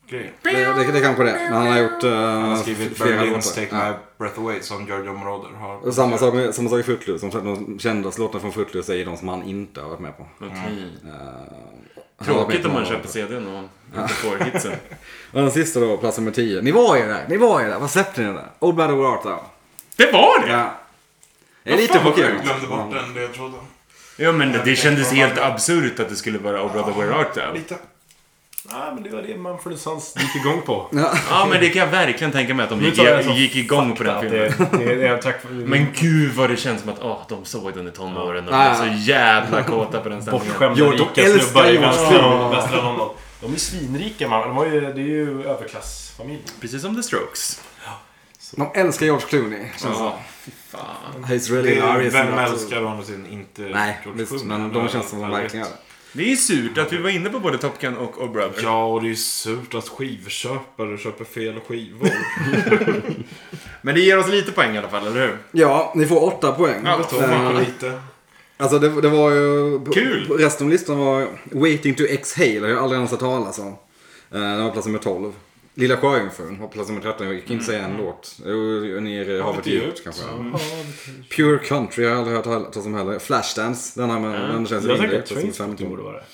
S5: grejer.
S4: Det, det, det är kanske det. Men han har gjort eh,
S5: Han har skrivit
S4: flera
S5: Berlins
S4: låtar.
S5: Take
S4: Ja.
S5: My Breath Away som Giorgio Moroder har.
S4: Och samma sak, med, samma sak i Footloose. De, de kändaste låtarna från Footloose är ju de som han inte har varit med på.
S1: Okej.
S4: Eh, han har varit med
S1: Tråkigt
S4: på
S1: om man
S4: några
S1: köper
S4: låtar.
S1: CDn och inte får hitsen.
S4: Och den sista då, plats nummer 10. Ni var ju där, ni var ju där. Vad släppte ni där? Old Battle War Art Thou.
S1: Det var det!
S4: Ja. Det är lite
S5: Fan, vad sjukt,
S4: chockerande.
S5: Jag glömde bort den ledtråden.
S1: Ja men det, det kändes helt absurt att det skulle vara Oh Brother Where Art Thou.
S5: Lite.
S3: Nej, men det var det man någonstans gick igång på.
S1: Ja, men det kan jag verkligen tänka mig att de
S3: Nu
S1: gick,
S3: tar jag det som
S1: gick igång på den
S3: Att
S1: filmen.
S3: det, det, det är tack för...
S1: Men gud vad det känns som att åh, de såg den i tonåren och
S4: Ja.
S1: blev så jävla kåta på den stämningen.
S3: bortskämda
S4: Jo, de
S3: rika
S4: älskar
S3: snubbar i
S4: ju oss.
S3: västra, västra London. De är svinrika man. De har ju, det är ju överklassfamilj.
S1: Precis som The Strokes. Alltså,
S4: De älskar George Clooney, känns det
S5: Ja.
S4: som. He's really
S5: Det är,
S4: hilarious.
S5: vem
S4: and also-
S5: älskar å andra sidan inte
S4: Nej,
S5: George
S4: visst.
S5: Clooney?
S4: Men de känns som de verkligen gör det.
S1: Det är ju surt att vi var inne på både Top Gun och Oh Brother.
S5: Ja, och det är surt att skivköpare köper fel skivor.
S1: Men det ger oss lite poäng i alla fall, eller hur?
S4: Ja, ni får åtta poäng.
S1: Ja,
S5: Då får man
S4: Eh,
S5: lite.
S4: Alltså det, det var ju...
S1: Kul!
S4: Resten av listan var Waiting to Exhale, har jag aldrig ens hört talas om. Eh, Den var plats nummer 12. Lilla Sjöjungfrun var plats nummer 13. Jag kan inte säga
S3: Mm.
S4: en låt. Jo, Ner i havet
S5: lite
S4: djupt
S5: djupt,
S4: kanske. Pure Country har jag aldrig hört talas om heller. Flashdance, den, här, men den känns
S3: Jag
S4: rimlig
S3: tänker att
S4: eftersom
S3: Trainspotting
S4: 15.
S3: borde vara det.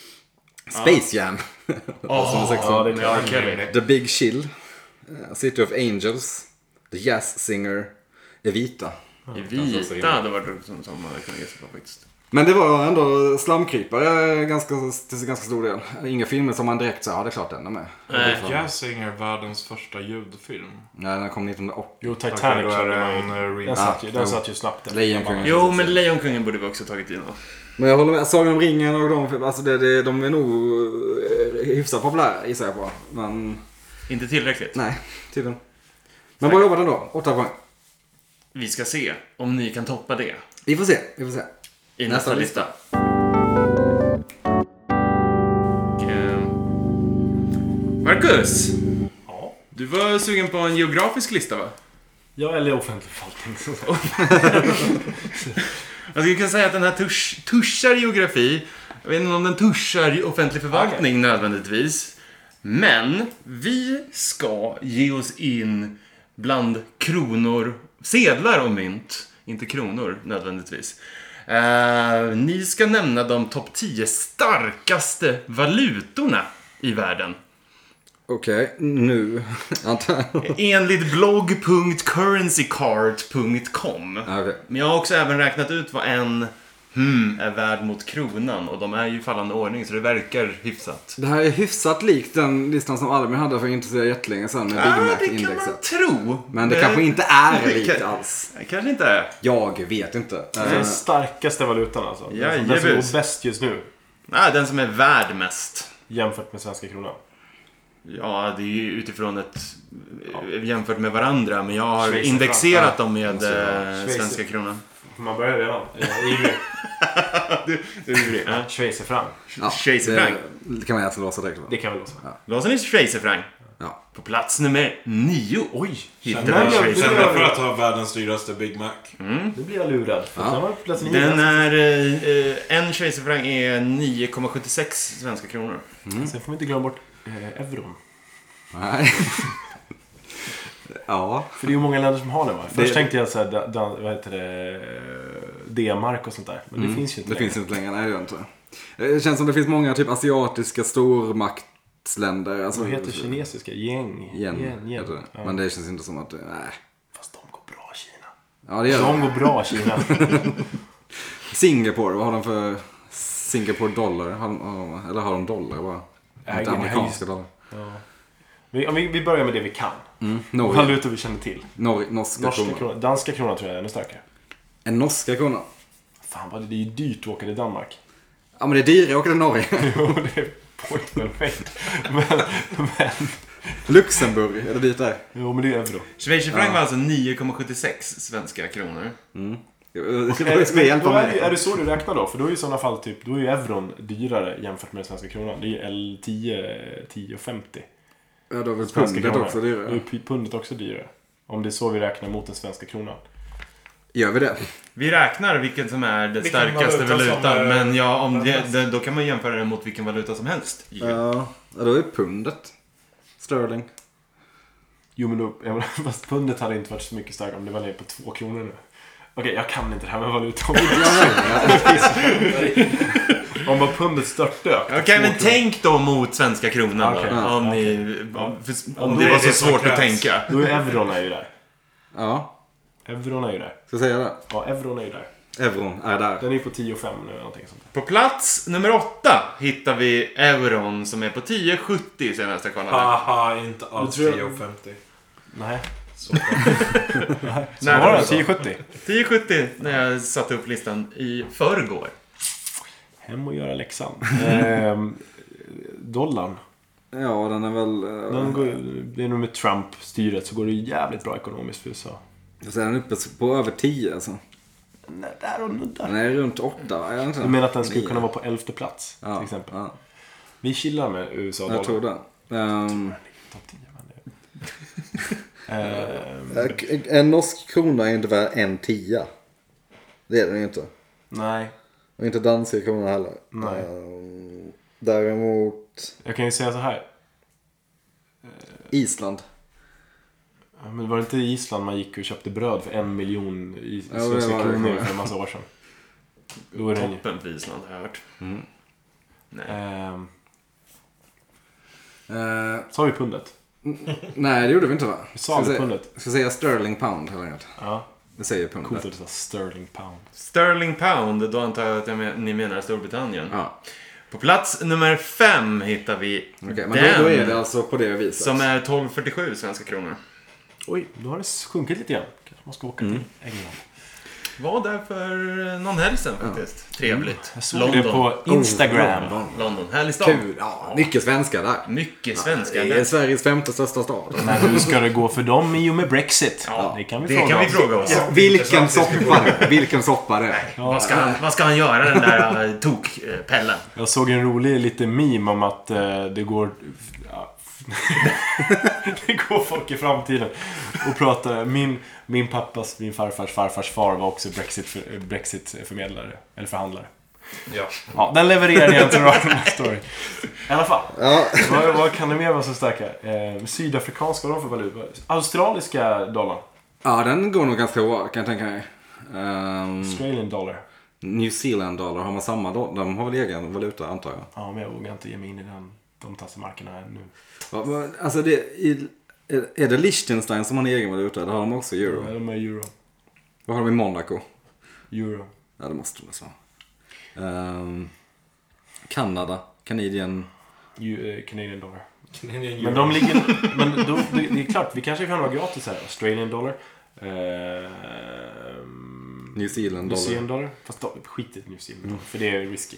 S4: Space Jam. plats nummer 16.
S3: Ja, det är klart.
S1: Kelly.
S4: The Big Chill. eh, City of Angels. The Jazz Singer. Evita.
S1: Vita hade varit som, som man hade kunnat gissa på faktiskt.
S4: Men det var ändå slamkrypare eh, ganska, till ganska stor del. Inga filmer som man direkt sa, ja det är klart den är med.
S1: Nej.
S5: Jazzinger, världens första ljudfilm.
S4: Nej, den kom 1980.
S3: Jo, Titanic
S5: Okej, då är
S3: körde
S5: det
S3: man ju.
S5: en eh,
S3: Den
S5: remake.
S3: satt ju, den
S4: jo.
S3: satt ju snabbt. den.
S4: Lejonkungen.
S1: Jo, men Lejonkungen borde vi också tagit in. va?
S4: Men jag håller med, Sagan om ringen och de, alltså det, det, de är nog eh, hyfsat populära gissar jag på. Men
S1: Inte tillräckligt.
S4: nej, tydligen. Men bra jobbat ändå, 8 poäng.
S1: Vi ska se om ni kan toppa det
S4: Vi får se, vi får se.
S1: i nästa,
S4: Nästa
S1: lista. Och, eh, Marcus!
S3: Ja.
S1: Du var sugen på en geografisk lista va?
S3: Ja, eller offentlig förvaltning.
S1: Alltså, Jag skulle kunna säga att den här tusch, tuschar geografi. Jag vet inte om den tuschar offentlig förvaltning nödvändigtvis. Men vi ska ge oss in bland kronor, sedlar och mynt. Inte kronor nödvändigtvis. Eh, ni ska nämna de topp 10 starkaste valutorna i världen.
S4: Okej, nu antar jag. Okej,
S1: Enligt blogg.currencycart.com. Men jag har också även räknat ut vad en hmm är värd mot kronan och de är ju i fallande ordning så det verkar hyfsat.
S4: Det här är hyfsat likt den listan som Albin hade för inte så jättelänge sedan med Big
S1: Ja, Ah, det kan man
S4: Mac-indexet.
S1: tro. Eh,
S4: Men det kanske inte är
S1: det
S4: likt
S1: kan-
S4: alls.
S1: Nej, Kanske inte är.
S4: Jag vet inte.
S3: Den
S4: Eh,
S3: starkaste valutan alltså. Den som- den som
S1: Jajebus.
S3: går bäst just nu
S1: Nej, Ah, den som är värd mest.
S3: jämfört med svenska kronan.
S1: Ja, det är ju utifrån ett eh, jämfört med varandra men jag har
S3: Schweizer
S1: indexerat dem med eh,
S4: Schweizer-
S1: svenska kronan.
S3: Man börjar redan. Jag är ivrig.
S1: Ja.
S3: Schweizerfranc.
S4: ja,
S1: Schweizerfranc.
S4: det- Det kan man alltså låsa direkt va?
S3: Det kan väl låta.
S1: Låsen är schweizerfranc.
S4: Ja.
S1: På plats nummer nio. Oj! Hittar
S3: Känner
S1: vi Mm.
S3: jag-
S1: schweizerfranc.
S5: Kända för att ha världens dyraste Big Mac.
S3: Nu blir jag lurad. För
S4: Ja.
S3: Den var plötsligt nio.
S1: Den är... eh, eh, en schweizerfranc är 9,76 svenska kronor.
S3: Mm. Sen får vi inte glömma bort eh, euron.
S4: Nej. ja.
S3: För det är ju många länder som har den va? Först
S4: Det-
S3: tänkte jag såhär, da, da, vad heter det, eh, D-mark och sånt där. Men det finns ju inte
S4: Mm. Det
S3: längre.
S4: finns inte längre. Nej, det gör det inte. Det känns som det finns många typ asiatiska stormaktsländer. Alltså,
S3: Vad heter kinesiska? Yang?
S4: Yen,
S3: Yen, yen.
S4: heter det.
S3: Ja.
S4: Men det känns inte som att... det- Nej.
S3: Fast de går bra Kina.
S4: Ja, det gör
S3: De
S4: det.
S3: går bra Kina.
S4: Singapore, vad har de för... Singapore dollar? Har de, har de, eller har de dollar bara?
S3: Nej,
S4: inte
S3: det här
S4: amerikanska
S3: är-
S4: dollar.
S3: ja. vi, om vi, vi börjar med det vi kan.
S4: Norge.
S3: Valutor vi känner till.
S4: Norge. Norska
S3: Norska
S4: kronan.
S3: kronan. Danska kronan tror jag är ännu starkare.
S4: En norska krona.
S3: Fan vad det är ju dyrt att åka till Danmark.
S4: Ja, men det är dyrare att åka till Norge.
S3: Jo, det är point perfekt. Men, men.
S4: Luxemburg, är det dit där?
S3: Jo, men det är euro.
S1: Schweizerfranc var alltså 9,76 svenska kronor.
S4: Det skulle
S3: Är,
S4: vara ett spel
S3: men,
S4: på
S3: då är, det,
S4: mig.
S3: är det så du räknar då? För då är ju i sådana fall typ, då är ju euron dyrare jämfört med den svenska kronan. Det är ju L10, 10,50.
S4: Ja, då är väl
S3: Svenska
S4: pundet också
S3: Då är
S4: dyrare.
S3: ju pundet också dyrare. Om det är så vi räknar mot den svenska kronan.
S4: Gör vi det?
S1: Vi räknar vilken som är den
S5: Vilken
S1: starkaste
S5: valuta som
S1: valutan,
S5: är
S1: men ja, om det,
S5: världens-
S1: det, då kan man jämföra den mot vilken valuta som helst.
S4: Ja, ja, då är pundet. Sterling.
S3: Jo men då, jag menar, fast pundet hade inte varit så mycket starkare om det var ner på två kronor nu. Okej, jag kan inte det här med valutor. om bara pundet störtdök.
S1: Okej, men tänk då mot svenska kronan
S3: Okej.
S1: då.
S3: Ja,
S1: Om, ni, om, för- om
S3: då
S1: det
S3: är
S1: var
S5: det
S1: så
S5: som
S1: svårt att
S5: krävs.
S1: tänka.
S3: Då är euron är ju där.
S4: Ja,
S3: Euron är ju där.
S4: ska jag säga det?
S3: Ja, euron är ju där.
S4: Euron är där.
S3: Den är ju på 10 och 5 nu eller någonting sånt.
S1: På plats nummer åtta hittar vi euron som är på 10,70 senast jag kollade.
S5: Haha, inte alls
S3: tror jag-
S5: 10,50.
S3: Nej.
S5: Så.
S3: Så alltså
S1: Nej,
S3: var
S1: det
S3: det
S1: var så.
S3: 1070.
S1: 10,70 när jag satte upp listan i förrgår.
S3: Hem och göra läxan. Ehm, dollarn.
S4: Ja, den är väl... eh,
S3: Den går, ju- det är nog med Trump-styret så går det ju jävligt bra ekonomiskt för USA.
S4: Så är den uppe på över 10 alltså.
S3: Nej, där och där.
S4: Den är runt 8. Är den inte
S3: Du menar att den skulle kunna vara på elfte plats?
S4: ja,
S3: Till exempel.
S4: Ja,
S3: Vi chillar med USA
S4: jag tror det. Ehm,
S3: Topp 10 men det... Ehm,
S4: en norsk krona är inte värd en tia. Det är den ju inte.
S3: nej,
S4: Och inte danska kronor heller.
S3: Nej.
S4: Ehm, däremot
S3: jag kan ju säga så här.
S4: Island.
S3: Ja, Men var det inte i Island man gick och köpte bröd för en miljon i
S4: Ja, det var
S3: svenska
S4: det.
S3: kronor för en massa år sedan? Då är den ju-
S1: Toppen för Island har jag hört. Nej.
S3: Ehm,
S4: Eh,
S3: Sa vi pundet?
S4: nej, det gjorde vi inte va?
S3: Vi sa
S4: Ska
S3: väl
S4: jag säga-
S3: pundet?
S4: Ska jag säga sterling pound helt enkelt?
S3: Ja.
S4: Det säger
S3: Coolt
S4: pundet.
S3: att det sa sterling pound.
S1: Sterling pound, då antar jag att jag men, ni menar Storbritannien.
S4: Ja.
S1: På plats nummer fem hittar vi
S4: Okej, men
S1: den
S4: då, då är det alltså på det viset.
S1: som är 12,47 svenska kronor.
S3: Oj, nu har det sjunkit lite grann. Kanske man ska åka till England.
S1: Var där för någon helg sedan faktiskt. Trevligt.
S3: Jag såg
S1: London.
S3: det på Instagram.
S4: Oh, London.
S1: London. Härlig stad.
S4: Kul. Ja, mycket svenskar där.
S1: Mycket svenska.
S4: Det är Sveriges femte största stad.
S3: Men hur ska det gå för dem i och med Brexit?
S1: Ja,
S3: det kan vi
S1: det
S3: fråga
S1: kan vi
S3: oss.
S1: fråga oss.
S4: Ja, vilken soppa! Vilken soppa det är.
S1: Vad, ska han, vad ska han göra den där eh, tokpellen?
S3: Jag såg en rolig liten meme om att eh, det går... Ja, det går folk i framtiden och pratar. Min, min pappas, min farfars farfars far var också Brexit, Brexit-förmedlare. Eller förhandlare.
S5: Ja.
S3: Ja, den levererar jag inte Rotten Story. I alla fall.
S4: Ja.
S3: Vad, vad kan det mer vara så starka? Eh, sydafrikanska, vad har de för valuta? Australiska dollarn.
S4: ja, den går nog ganska bra kan jag tänka mig. Ehm,
S3: Australian dollar.
S4: New Zeeland dollar, har man samma dollar? De har väl egen valuta antar jag.
S3: Ja, men jag vågar inte ge mig in i den, de tassemarkerna ännu.
S4: Ja, men, Alltså det, i- är- är det Liechtenstein som har en egen valuta? Eller har de också euro?
S3: Ja, de är euro.
S4: Vad har de i Monaco?
S3: Euro.
S4: Ja, det måste de alltså ha. Ehm, Kanada, Canadian.
S3: Ju- eh, Canadian dollar. Men
S5: Men
S3: de ligger... men då, det, det är klart, vi kanske kan vara gratis här. Australian dollar. Eh,
S4: New
S3: New
S4: Zealand dollar. Mm.
S3: Zealand dollar. Fast då, skit i New Zealand dollar, för det är risky.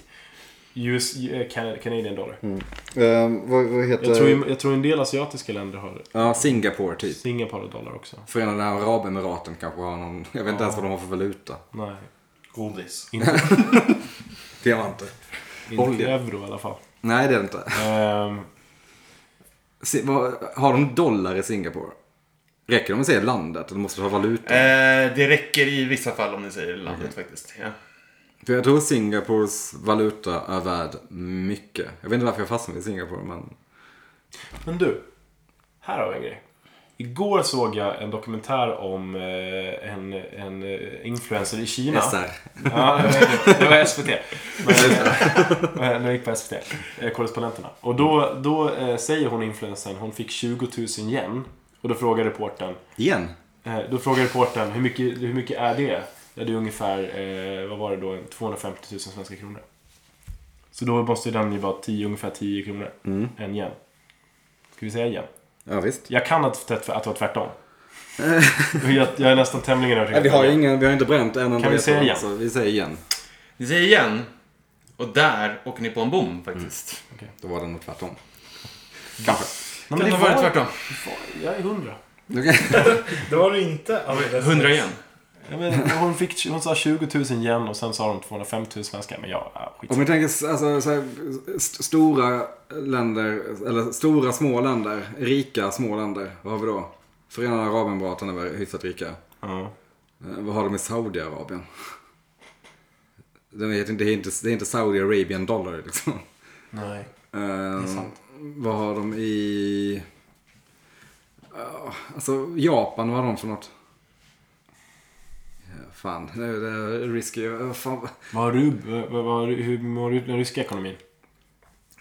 S3: US, eh, Can- Canadian dollar.
S4: Ehm, vad, vad heter
S3: Jag tror, ju- jag tror en del asiatiska länder har
S4: Ja, Singapore typ.
S3: Singapore dollar också.
S4: Förenade Arabemiraten kanske har någon. Jag vet inte ens vad de har för valuta.
S3: Nej.
S5: Godis.
S3: Inte,
S4: Diamanter.
S3: inte
S4: Olja.
S3: euro i alla fall.
S4: Nej, det är det inte.
S3: Ehm,
S4: Se, vad, har de dollar i Singapore? Räcker det om att säga landet? Eller måste du ha valuta?
S1: Eh, det räcker i vissa fall om ni säger landet faktiskt. Ja.
S4: För jag tror Singapores valuta är värd mycket. Jag vet inte varför jag fastnade i Singapore, men...
S3: men du. Här har vi en grej. Igår såg jag en dokumentär om eh, en, en eh, influencer i Kina.
S4: SR.
S3: Ja, det var SVT. Men, eh, de gick på SVT. eh, Korrespondenterna. Och då, då eh, säger hon influensen hon fick 20 000 yen. Och då frågar reportern
S4: Igen.
S3: Eh, Då frågar reportern hur mycket, hur mycket är det? Ja, det är ungefär, eh, vad var det då, 250 000 svenska kronor. Så då måste den ju vara 10, ungefär 10 kronor.
S4: Mm.
S3: En yen. Ska vi säga yen?
S4: Ja, visst.
S3: Jag kan ha tvärt- att det var tvärtom. jag, jag är nästan tämligen övertygad.
S4: Nej, vi, har ju ingen, vi har inte bränt en enda
S3: Kan vi säga
S4: resa,
S3: igen?
S4: Så vi säger igen.
S1: Ni säger igen. Och där åker ni på en bom faktiskt.
S4: Då var det nog tvärtom. Kanske.
S3: Nej,
S1: Kan
S3: men
S1: det
S3: det
S1: ha varit
S3: var,
S1: tvärtom?
S3: jag är hundra.
S4: Okej.
S5: Det var det inte. alldeles.
S1: 100 igen.
S3: Ja, men hon, fick, hon sa 20 000 yen och sen sa de 250 000 svenska. Men ja, ja, skit.
S4: Om vi tänker s- alltså, så här, st- stora länder, eller stora små länder, rika små länder. Vad har vi då? Förenade Arabemiraten är väl hyfsat rika.
S3: Ja.
S4: Eh, Vad har de i Saudiarabien? Det är inte, det är inte, det är inte Saudi Arabian dollar liksom.
S3: Nej.
S4: Ehm, vad har de i... Ja, alltså Japan, vad har de för något? Ja, fan, nu är det risky. Ja, Fan.
S3: Vad har rub, vad, vad, hur mår den ryska ekonomin?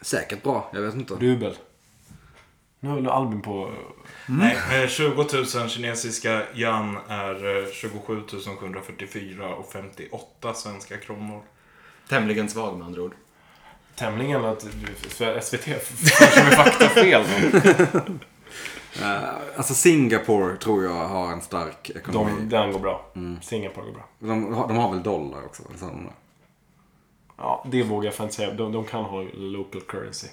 S4: Säkert bra, jag vet inte.
S3: Rubel. Nu håller Albin på...
S5: Nej, eh, 20 000 kinesiska yuan är eh, 27 744 och 58 svenska kronor.
S1: Tämligen svag med andra ord.
S3: Tämligen att du- för SVT kanske med faktafel.
S4: Eh, alltså Singapore tror jag har en stark
S3: De,
S4: ekonomi.
S3: den går bra. Singapore går bra.
S4: De, de, har, de har väl dollar också? eller så har de det.
S3: Ja, det vågar jag fan inte säga. De, de kan ha local currency.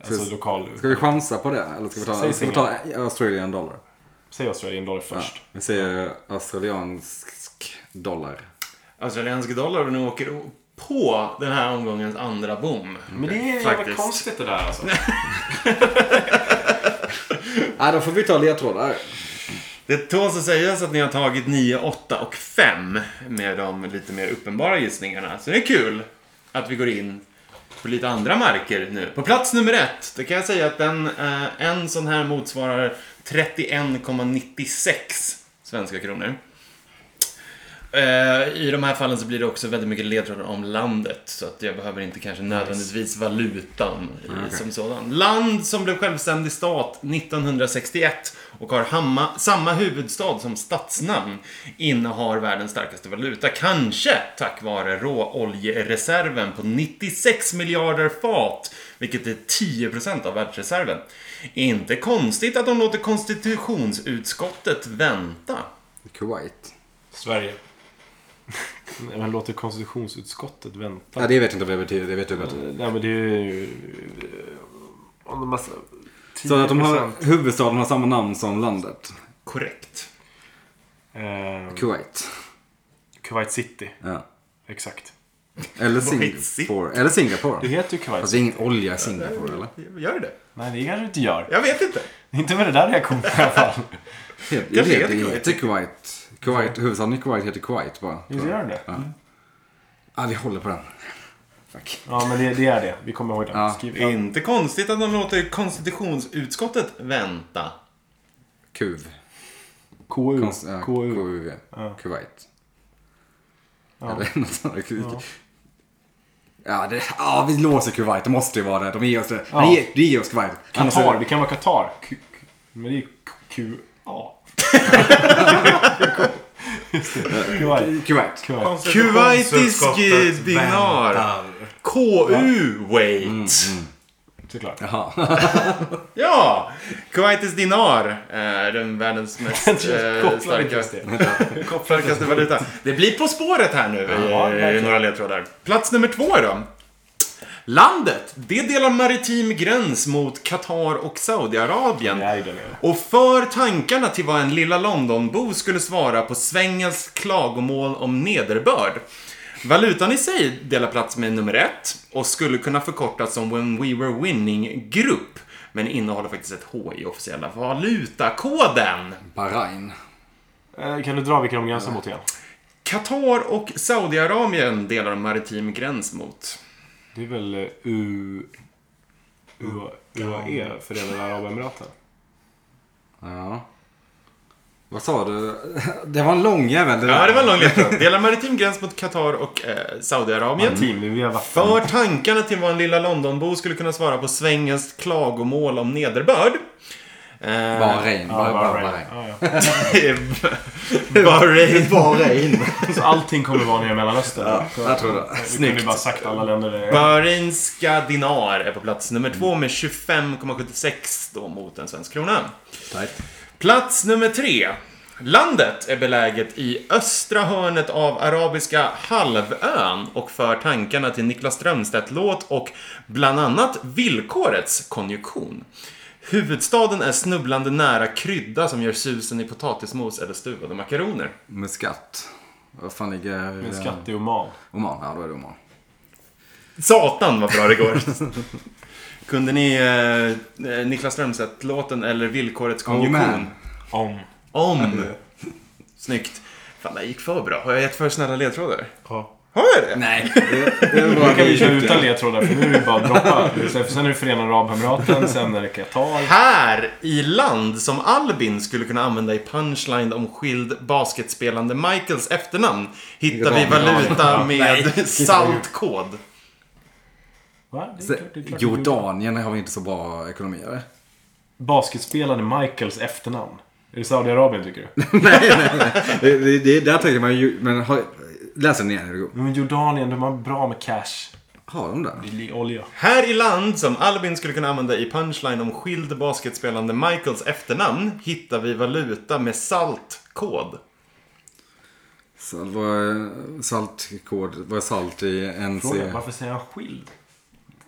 S3: Alltså
S4: Ska-
S3: lokal...
S4: Ska vi chansa på det? Eller ska vi ta,
S3: Säg
S4: ska vi ta Australian dollar?
S3: Säg Australian dollar först.
S4: Ja, vi säger australiansk dollar.
S1: Australiensk dollar nu åker på den här omgångens andra bom.
S3: Men det är jävla
S1: Faktiskt.
S3: konstigt det där alltså.
S4: Nej, Äh, då får vi ta ledtrådar.
S1: Det tåls att sägas att ni har tagit 9, 8 och 5 med de lite mer uppenbara gissningarna. Så det är kul att vi går in på lite andra marker nu. På plats nummer ett, det kan jag säga att den, eh, en sån här motsvarar 31,96 svenska kronor. Eh, I de här fallen så blir det också väldigt mycket ledtrådar om landet. Så att jag behöver inte kanske nödvändigtvis valutan i, som sådan. Land som blev självständig stat 1961 och har hamma, samma huvudstad som stadsnamn innehar världens starkaste valuta. Kanske tack vare råoljereserven på 96 miljarder fat, vilket är 10% av världsreserven. Inte konstigt att de låter konstitutionsutskottet vänta.
S4: Kuwait.
S5: Sverige.
S3: Nej, Men låter konstitutionsutskottet vänta?
S4: Ja, det vet jag inte vad det betyder. Det vet du bättre.
S3: Nej men det är ju... eh, Om de massa... 10%.
S4: Så att de har, huvudstaden har samma namn som landet.
S1: Korrekt.
S3: Ehm,
S4: Kuwait.
S3: Kuwait City.
S4: Ja.
S3: Exakt.
S4: Eller
S1: Kuwait City.
S4: Singapore. Eller
S3: Det
S4: Singapore.
S3: heter ju Kuwait
S4: Fast
S3: City.
S4: det är ingen olja i Singapore eller?
S1: Gör det?
S3: Nej, det kanske inte gör.
S1: Jag vet inte.
S3: Inte med det där reaktionen i alla fall.
S4: Det
S1: Kanske
S4: heter,
S1: heter Kuwait.
S4: heter Kuwait. Kuwait. Huvudstaden i Kuwait heter Kuwait bara.
S3: Visst gör den det?
S4: Ja, vi håller på den. Fuck.
S3: Ja, men det, det är det. Vi kommer ihåg det.
S4: Ja.
S3: Skriv in.
S1: Inte konstigt att de låter konstitutionsutskottet vänta.
S4: Kuv.
S3: KU.
S4: Konst, ja,
S3: KU.
S4: KUV. Kuwait.
S3: Ja.
S4: Eller något sånt. Ja. Ja, det, ja, vi låser Kuwait. Det måste ju vara det. De ger oss det.
S3: Ja.
S4: De ger, de ger oss Kuwait. Annars är
S3: Qatar.
S4: det-
S3: Det kan vara Qatar. Q- Q- Men det är ju Q... Ja. Just det. Kuwait.
S4: Kuwait.
S3: Kuwait.
S1: Kuwaitisk
S5: Konstitutionsutskottet
S1: dinar.
S5: väntar.
S1: KU-wait.
S3: Såklart.
S4: Jaha.
S1: Ja! Kuwaitis dinar är den världens mest eh,
S3: Kopplar inte just
S1: starkaste,
S3: det.
S1: starkaste valuta. Det blir På spåret här nu
S3: Ja,
S1: i- eh, i
S3: verkligen.
S1: några ledtrådar. Plats nummer två då. Landet, det delar maritim gräns mot Qatar och Saudiarabien.
S3: Det är ju det. nu.
S1: Och för tankarna till vad en lilla Londonbo skulle svara på Svengels klagomål om nederbörd. Valutan i sig delar plats med nummer ett och skulle kunna förkortas som When We Were Winning Group. Men innehåller faktiskt ett H i officiella valutakoden.
S4: Bahrain.
S3: Eh, Kan du dra vilka de gränsar mot igen?
S1: Qatar och Saudiarabien delar en maritim gräns mot.
S3: Det är väl eh, U... U- UAE, Förenade Arabemiraten.
S4: Ja. Vad sa du? Det var en lång jävel det
S1: Ja,
S4: där.
S1: det var en lång ledtråd. Delar maritim gräns mot Qatar och eh, Saudiarabien.
S3: Team, det är jävla
S1: För tankarna till vad en lilla Londonbo skulle kunna svara på svängens klagomål om nederbörd. Eh,
S4: Bahrain.
S3: Ja,
S4: Bara- bara
S3: Bahrain.
S4: Bahrain.
S3: Ja, ja.
S1: Bahrain.
S4: Bahrain.
S3: Så allting kommer vara nere i Mellanöstern.
S4: Ja, jag tror det.
S3: Vi kunde ju
S4: Snyggt.
S3: bara sagt alla länder. det är.
S1: Bahrainska dinar är på plats nummer två med 25,76 då mot en svensk krona.
S4: Tajt.
S1: Plats nummer tre. Landet är beläget i östra hörnet av Arabiska halvön och för tankarna till Niklas Strömstedt-låt och bland annat villkorets konjunktion. Huvudstaden är snubblande nära krydda som gör susen i potatismos eller stuvade makaroner.
S4: Muskat. Vad fan ligger... eh,
S3: Men skatt i Oman.
S4: Oman. Ja, då är det Oman.
S1: Satan vad bra det går! Kunde ni eh, eh, Niklas Strömstedt-låten eller Villkorets konjunktion?
S4: man.
S5: Om.
S1: Om! Snyggt! Fan, det här gick för bra. Har jag gett för snälla ledtrådar?
S5: Ja.
S1: Har jag det?
S4: Nej. Det, det
S3: Nu
S4: var
S3: kan vi köra
S4: det.
S3: utan ledtrådar för nu är det bara att droppa. Sen- Sen är det Förenade Arabemiraten, sen är det Qatar.
S1: Här i land som Albin skulle kunna använda i punchline om skild basketspelande Michaels efternamn hittar vi
S4: Jordanien.
S1: valuta med saltkod.
S3: Va? Det är klart, det är klart.
S4: Jordanien har vi inte så bra ekonomi, eller?
S3: basketspelaren Michaels efternamn? Är det Saudiarabien tycker du?
S4: Det, det, det, där tänker man ju, men har, läs den igen. Hugo.
S3: Men Jordanien, de har bra med cash.
S4: Har de där?
S3: Billig olja.
S1: Här i land som Albin skulle kunna använda i punchline om skild basketspelande Michaels efternamn hittar vi valuta med saltkod.
S4: Salt, vad är saltkod? Vad är salt i
S3: Fråga,
S4: NC?
S3: varför säger han skild?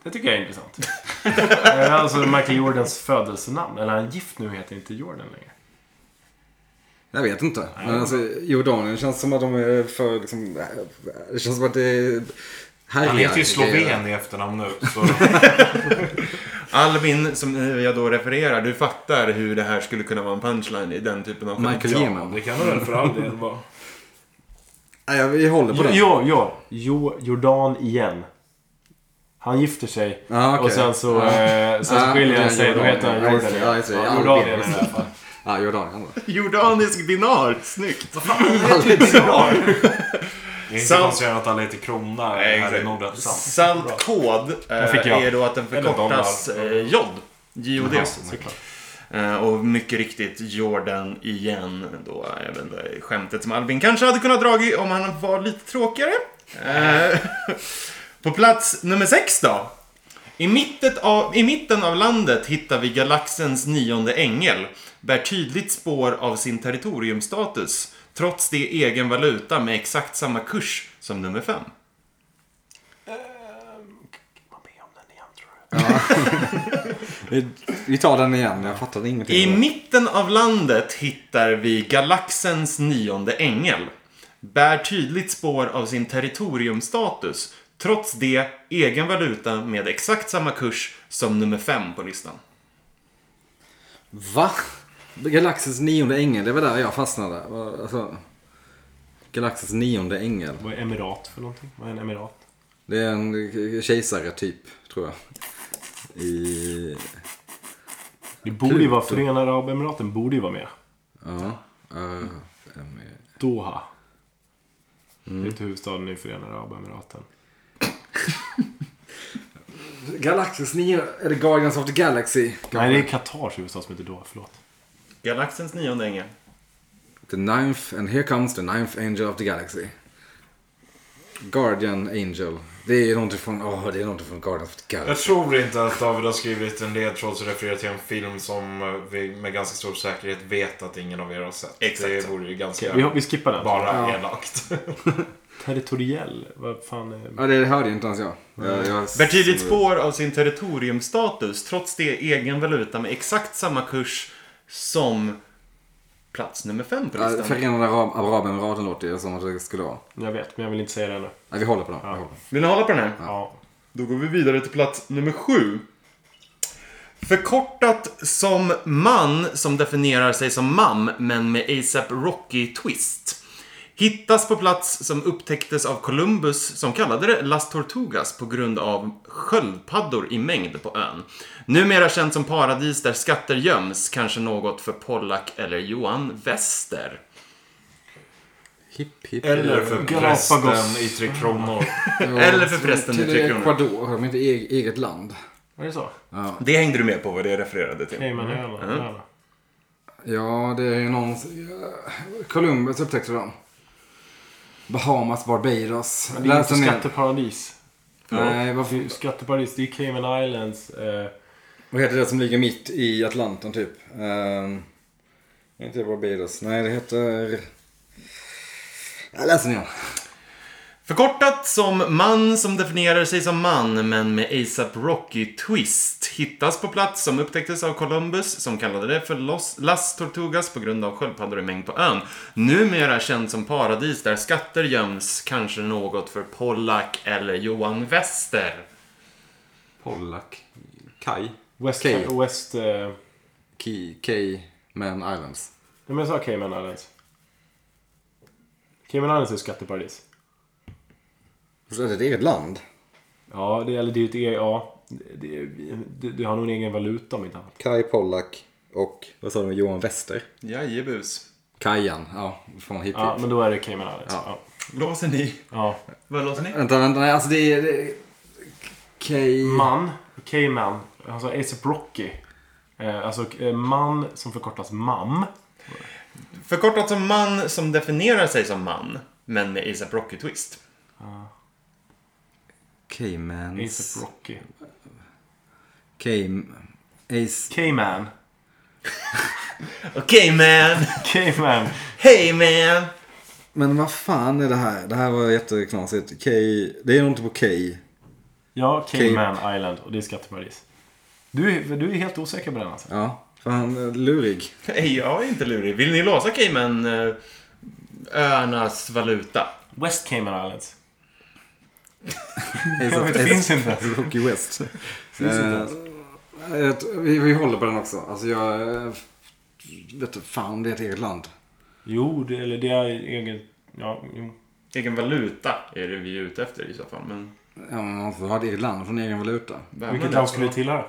S3: Det tycker jag är intressant. Eh, alltså Michael Jordans födelsenamn. Eller han är gift nu och heter inte Jordan längre.
S4: Jag vet inte. Men alltså, Jordanien känns som att de är för liksom, Det känns som att det är härliga
S5: Han heter ju
S4: grejer.
S5: Sloven i efternamn nu. Så.
S1: Albin, som jag då refererar, du fattar hur det här skulle kunna vara en punchline i den typen av skämt.
S4: Michael
S5: Ja,
S4: Yeman.
S5: det kan det väl för all del vara.
S4: Nej, jag- vi håller på
S3: Jo,
S4: den.
S3: jo, jo. jo Jordan igen. Han gifter sig.
S4: Ja, Ah, okej.
S3: Och sen så,
S4: Ja.
S3: eh, sen så
S4: Ja,
S3: skiljer han
S4: Jordan,
S3: sig. Då heter han
S4: ja, just
S3: Jordan
S4: det, ja, just det.
S3: igen.
S4: Ja,
S3: Ja, Jordan
S4: det
S3: är
S4: är
S3: det i
S4: det.
S3: alla fall.
S4: Ja, Jordanien då.
S1: Jordanisk dinar, snyggt!
S5: Det är inte
S1: Sant.
S5: konstigt att alla heter Krona
S1: Nej,
S5: här
S1: exakt.
S5: i Norden. Sant.
S1: Saltkod eh,
S3: fick jag.
S1: är då att den
S5: Eller
S1: förkortas
S5: dollar.
S1: eh, JOD. JOD.
S3: Ja, såklart.
S1: Eh, Och mycket riktigt Jordan igen. Då även det skämtet som Albin kanske hade kunnat dragit om han var lite tråkigare. Eh, På plats nummer sex då. I, mittet av, I mitten av landet hittar vi galaxens nionde ängel. Bär tydligt spår av sin territoriumstatus. Trots det egen valuta med exakt samma kurs som nummer fem.
S4: Vi, vi tar den igen. Jag fattade ingenting.
S1: I mitten av landet hittar vi galaxens nionde ängel. Bär tydligt spår av sin territoriumstatus. Trots det egen valuta med exakt samma kurs som nummer fem på listan.
S4: Va? Galaxens nionde ängel, det var där jag fastnade. Alltså, Galaxens nionde ängel.
S3: Vad är emirat för någonting? Vad är en emirat?
S4: Det är en kejsare typ, tror jag. I...
S3: Det borde ju vara Förenade Arabemiraten. Borde ju vara med.
S4: Ja. eh, em-
S3: Doha.
S4: Mm.
S3: Vet du huvudstaden i Förenade Arabemiraten?
S4: Galaxens nionde... Är det Guardians of the Galaxy?
S3: Nej, det är Katars huvudstad som heter Doha. Förlåt.
S1: Galaxens nionde ängel.
S4: The ninth, and here comes the ninth angel of the galaxy. Guardian angel. Det är någonting från... Åh, det är någonting från Guardians of the
S5: Jag
S4: Galaxy.
S5: tror inte att David har skrivit en ledtråd som refererar till en film som eh, vi med ganska stor säkerhet vet att ingen av er har sett.
S1: Exakt
S5: Det
S1: så.
S5: vore ju ganska
S3: Okej, vi, vi skippar den.
S5: bara elakt.
S3: Territoriell? Vad fan är...
S4: Ja, det hörde inte ens jag. jag, jag
S1: Bär tydligt spår av sin territoriumstatus. Trots det egen valuta med exakt samma kurs som plats nummer fem på
S4: Ja,
S1: listan.
S4: Förenade Arab- Arabemiraten låter ju som att det skulle vara.
S3: Jag vet, men jag vill inte säga det ännu.
S4: Nej, vi håller på den.
S3: Ja.
S4: Vi håller på den.
S1: Vill ni hålla på den här?
S3: Ja.
S1: Då går vi vidare till plats nummer sju. Förkortat som man som definierar sig som mam men med ASAP Rocky twist. Hittas på plats som upptäcktes av Columbus som kallade det Las Tortugas på grund av sköldpaddor i mängd på ön. Numera känt som paradis där skatter göms, kanske något för Pollack eller Johan Wester.
S4: Hipp, hipp.
S5: Eller för
S3: Galapagos.
S5: prästen i Tre Kronor.
S1: Eller för prästen i
S4: Till
S1: Tre Kronor.
S4: Ecuador, de är inte eget, eget land.
S3: Är det så?
S1: Det hängde du med på vad det refererade till.
S3: Caymanöarna? öarna.
S4: Ja, det är ju någon... Columbus upptäckte dem. Bahamas, Barbados.
S3: Men Det är
S4: Läs
S3: inte
S4: den ner.
S3: skatteparadis.
S4: Nej,
S3: Det är
S4: vad,
S3: ju Skatteparadis, det är Cayman Islands. Eh,
S4: vad heter det som ligger mitt i Atlanten typ? Ehm, inte Barbados. Nej, det heter... Jag läser ner.
S1: Förkortat som man som definierar sig som man men med ASAP Rocky twist. Hittas på plats som upptäcktes av Columbus som kallade det för Los, Las Tortugas på grund av sköldpaddor i mängd på ön. Numera känd som paradis där skatter göms. Kanske något för Pollack eller Johan Wester.
S4: Pollack. Kaj.
S3: West...
S4: Cayman.
S3: West eh, nej,
S4: Key. Cayman Islands.
S3: men jag sa Cayman Islands. Cayman Islands är skatteparadis.
S4: Så är det ett eget land?
S3: Ja, det, eller det är ju ett E- ja. Det, det, det har nog en egen valuta om inte annat.
S4: Kaj Pollack och... Vad sa de? Johan Wester?
S1: Jajebus.
S4: Kajan. Ja, från hipp
S3: Ja,
S4: hipp.
S3: men då är det Cayman Islands. Ja.
S1: Låser ni?
S3: ja.
S1: Vad låser ni?
S4: Vänta, vänta, nej alltså det är... det är- K...
S3: Man, Cayman. Han sa Ace of Alltså, Rocky. Eh, Alltså eh, man som förkortas MAM.
S1: Förkortat som man som definierar sig som man, men med ASAP Rocky-twist.
S4: Caymans...
S3: ASAP Rocky.
S4: Came... Ace...
S3: K-Man.
S1: Okej man,
S3: K-Man.
S1: hey man.
S4: Men vad fan är det här? Det här var jätteknasigt. K... Det är nog inte på K.
S3: Ja, K-Man Island. Och det är skatteparadis. Du, är- du är helt osäker på den alltså?
S4: Ja. För han är lurig.
S1: Nej, jag är inte lurig. Vill ni låsa Cayman eh, öarnas valuta?
S3: West Cayman Islands.
S4: Ace of-
S3: Det
S4: Ace-
S3: finns inte.
S4: Ace of Rocky West.
S3: inte
S4: Eh, jag tror- vi, vi håller på den också. Alltså jag... eh, Vet inte fan om det är ett eget land.
S3: Jo, det, eller det är egen... Ja, jo.
S1: Egen valuta är det vi är ute efter i så fall. Men
S4: Ja, men alltså, man får ha ett eget land från egen valuta.
S1: vem är
S3: Vilket
S1: det?
S3: land skulle du tillhöra?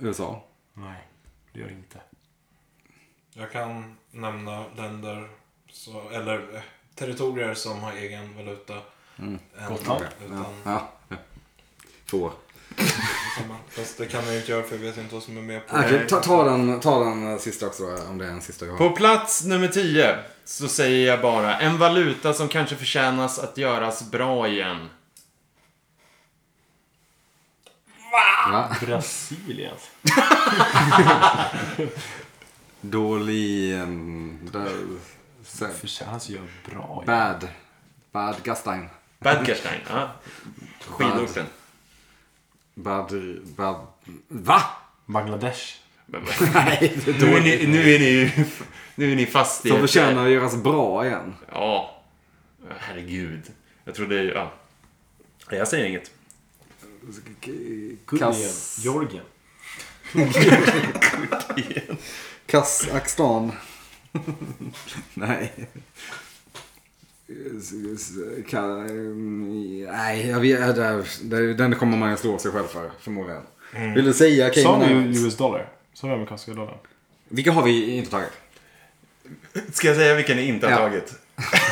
S4: USA.
S3: Nej, det gör det inte.
S5: Jag kan nämna länder, så, eller eh, territorier som har egen valuta. Än-
S3: Gotland.
S5: Utan,
S4: Ja. Får.
S5: samma. Fast det kan jag ju inte göra för jag vet inte vad som är med på
S4: Okej, ta, ta, den, ta den eh, sista också då, om det är en sista jag har.
S1: På plats nummer 10 så säger jag bara en valuta som kanske förtjänas att göras bra igen.
S4: Va?
S3: Brasilien.
S4: Dålig... ehm, där- så-
S3: Förtjänas ju bra.
S4: Bad. Bad Gastein.
S1: Badgerstein, ja. Skidorten.
S4: Bad... Bad... Va?
S3: Bangladesh.
S4: Nej, det är
S1: Nu är
S4: dåligt.
S1: ni, nu är ni, nu är ni fast i...
S4: Som
S1: ett-
S4: förtjänar att göras bra igen.
S1: Ja. Herregud. Jag trodde... Ja. Jag säger inget.
S4: Kas...
S3: Georgien.
S4: Kazakstan. Nej. S- s- Ka... Nej, jag vet, där- där- den kommer man ju slå sig själv för förmodligen. Vill Mm. du säga
S3: Sa
S4: Cayman
S3: du
S4: Islands?
S3: US dollar? Sa du amerikanska dollarn?
S4: Vilka har vi inte tagit?
S1: Ska jag säga vilka ni inte har
S4: Ja.
S1: tagit?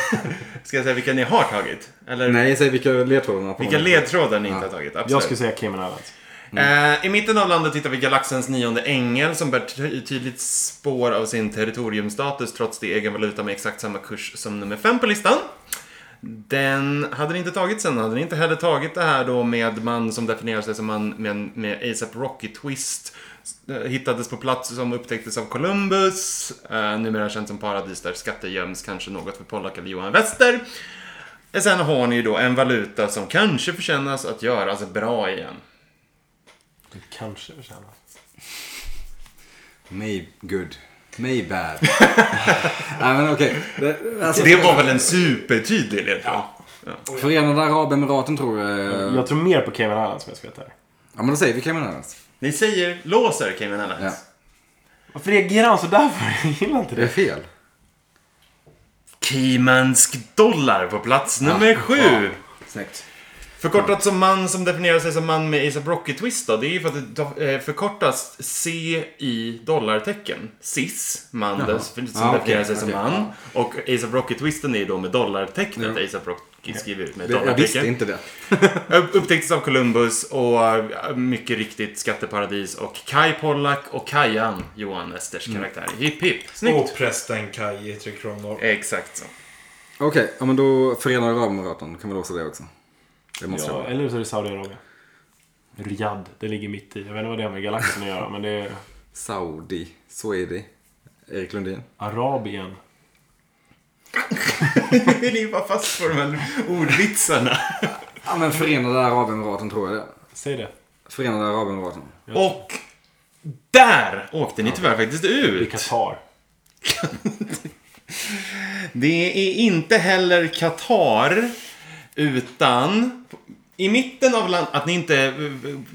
S1: Ska jag säga vilka ni har tagit? Eller
S4: Nej, säg vilka ledtrådarna. på
S1: vilka
S4: den.
S1: ledtrådar ni inte har tagit? Absolut.
S3: Jag skulle säga Cayman Islands.
S1: Eh, I mitten av landet hittar vi galaxens nionde ängel som bär ty- tydligt spår av sin territoriumstatus trots det egen valuta med exakt samma kurs som nummer fem på listan. Den hade ni inte tagit sen, hade ni inte heller tagit det här då med man som definierar sig som man med, med ASAP Rocky-twist. eh, Hittades på plats som upptäcktes av Columbus. Eh, numera känns som paradis där skatter göms, kanske något för Pollack eller Johan Wester. Eh, Sen har ni ju då en valuta som kanske förtjänas att göras bra igen.
S3: Det kanske förtjänar.
S4: May good. May bad. Nej men okej. Det- Alltså,
S1: Det var väl en supertydlig ledtråd?
S4: Förenade Arabemiraten tror jag.
S3: Jag tror mer på Cayman Islands om jag ska veta det.
S4: Ja men då säger vi Cayman Islands.
S1: Ni säger låser Cayman Islands.
S3: Varför reagerar han sådär för? Jag gillar inte
S4: Det är
S3: det.
S4: fel.
S1: Caymansk dollar på plats nummer sju.
S4: Snyggt.
S1: Förkortat som man som definierar sig som man med ASAP Rocky-twist då. Det är ju för att det do- eh, förkortas C i dollartecken. Cis, man des- som
S4: Ah,
S1: definierar
S4: okej,
S1: sig som
S4: okej.
S1: man. Och ASAP Rocky-twisten är ju då med dollartecknet. ASAP Rocky skriver ut med
S4: Det, jag visste
S1: dollartecken.
S4: inte det.
S1: Upp- Upptäcktes av Columbus och äh, mycket riktigt skatteparadis och Kai Pollack och Kajan, Johan Esters karaktär. Hipp hipp. Snyggt.
S5: Och prästen Kaj i Tre Kronor.
S1: Exakt så.
S4: Okej, ja, men då Förenade Arabemiraten. Kan vi låsa det också? Det måste
S3: Ja,
S4: jag.
S3: eller så är det Saudiarabien. Riyadh, det ligger mitt i. Jag vet inte vad det har med galaxen att göra, men det är
S4: Saudi. Så är det. Erik Lundin.
S3: Arabien.
S1: Ni var fast på de här ordvitsarna.
S4: Ja men Förenade Arabemiraten tror jag det.
S3: Säg det.
S4: Förenade Arabemiraten.
S1: Och där åkte ni tyvärr faktiskt
S3: Det är
S1: ut.
S3: Qatar.
S1: Det är inte heller Qatar, utan i mitten av landet, att ni inte eh,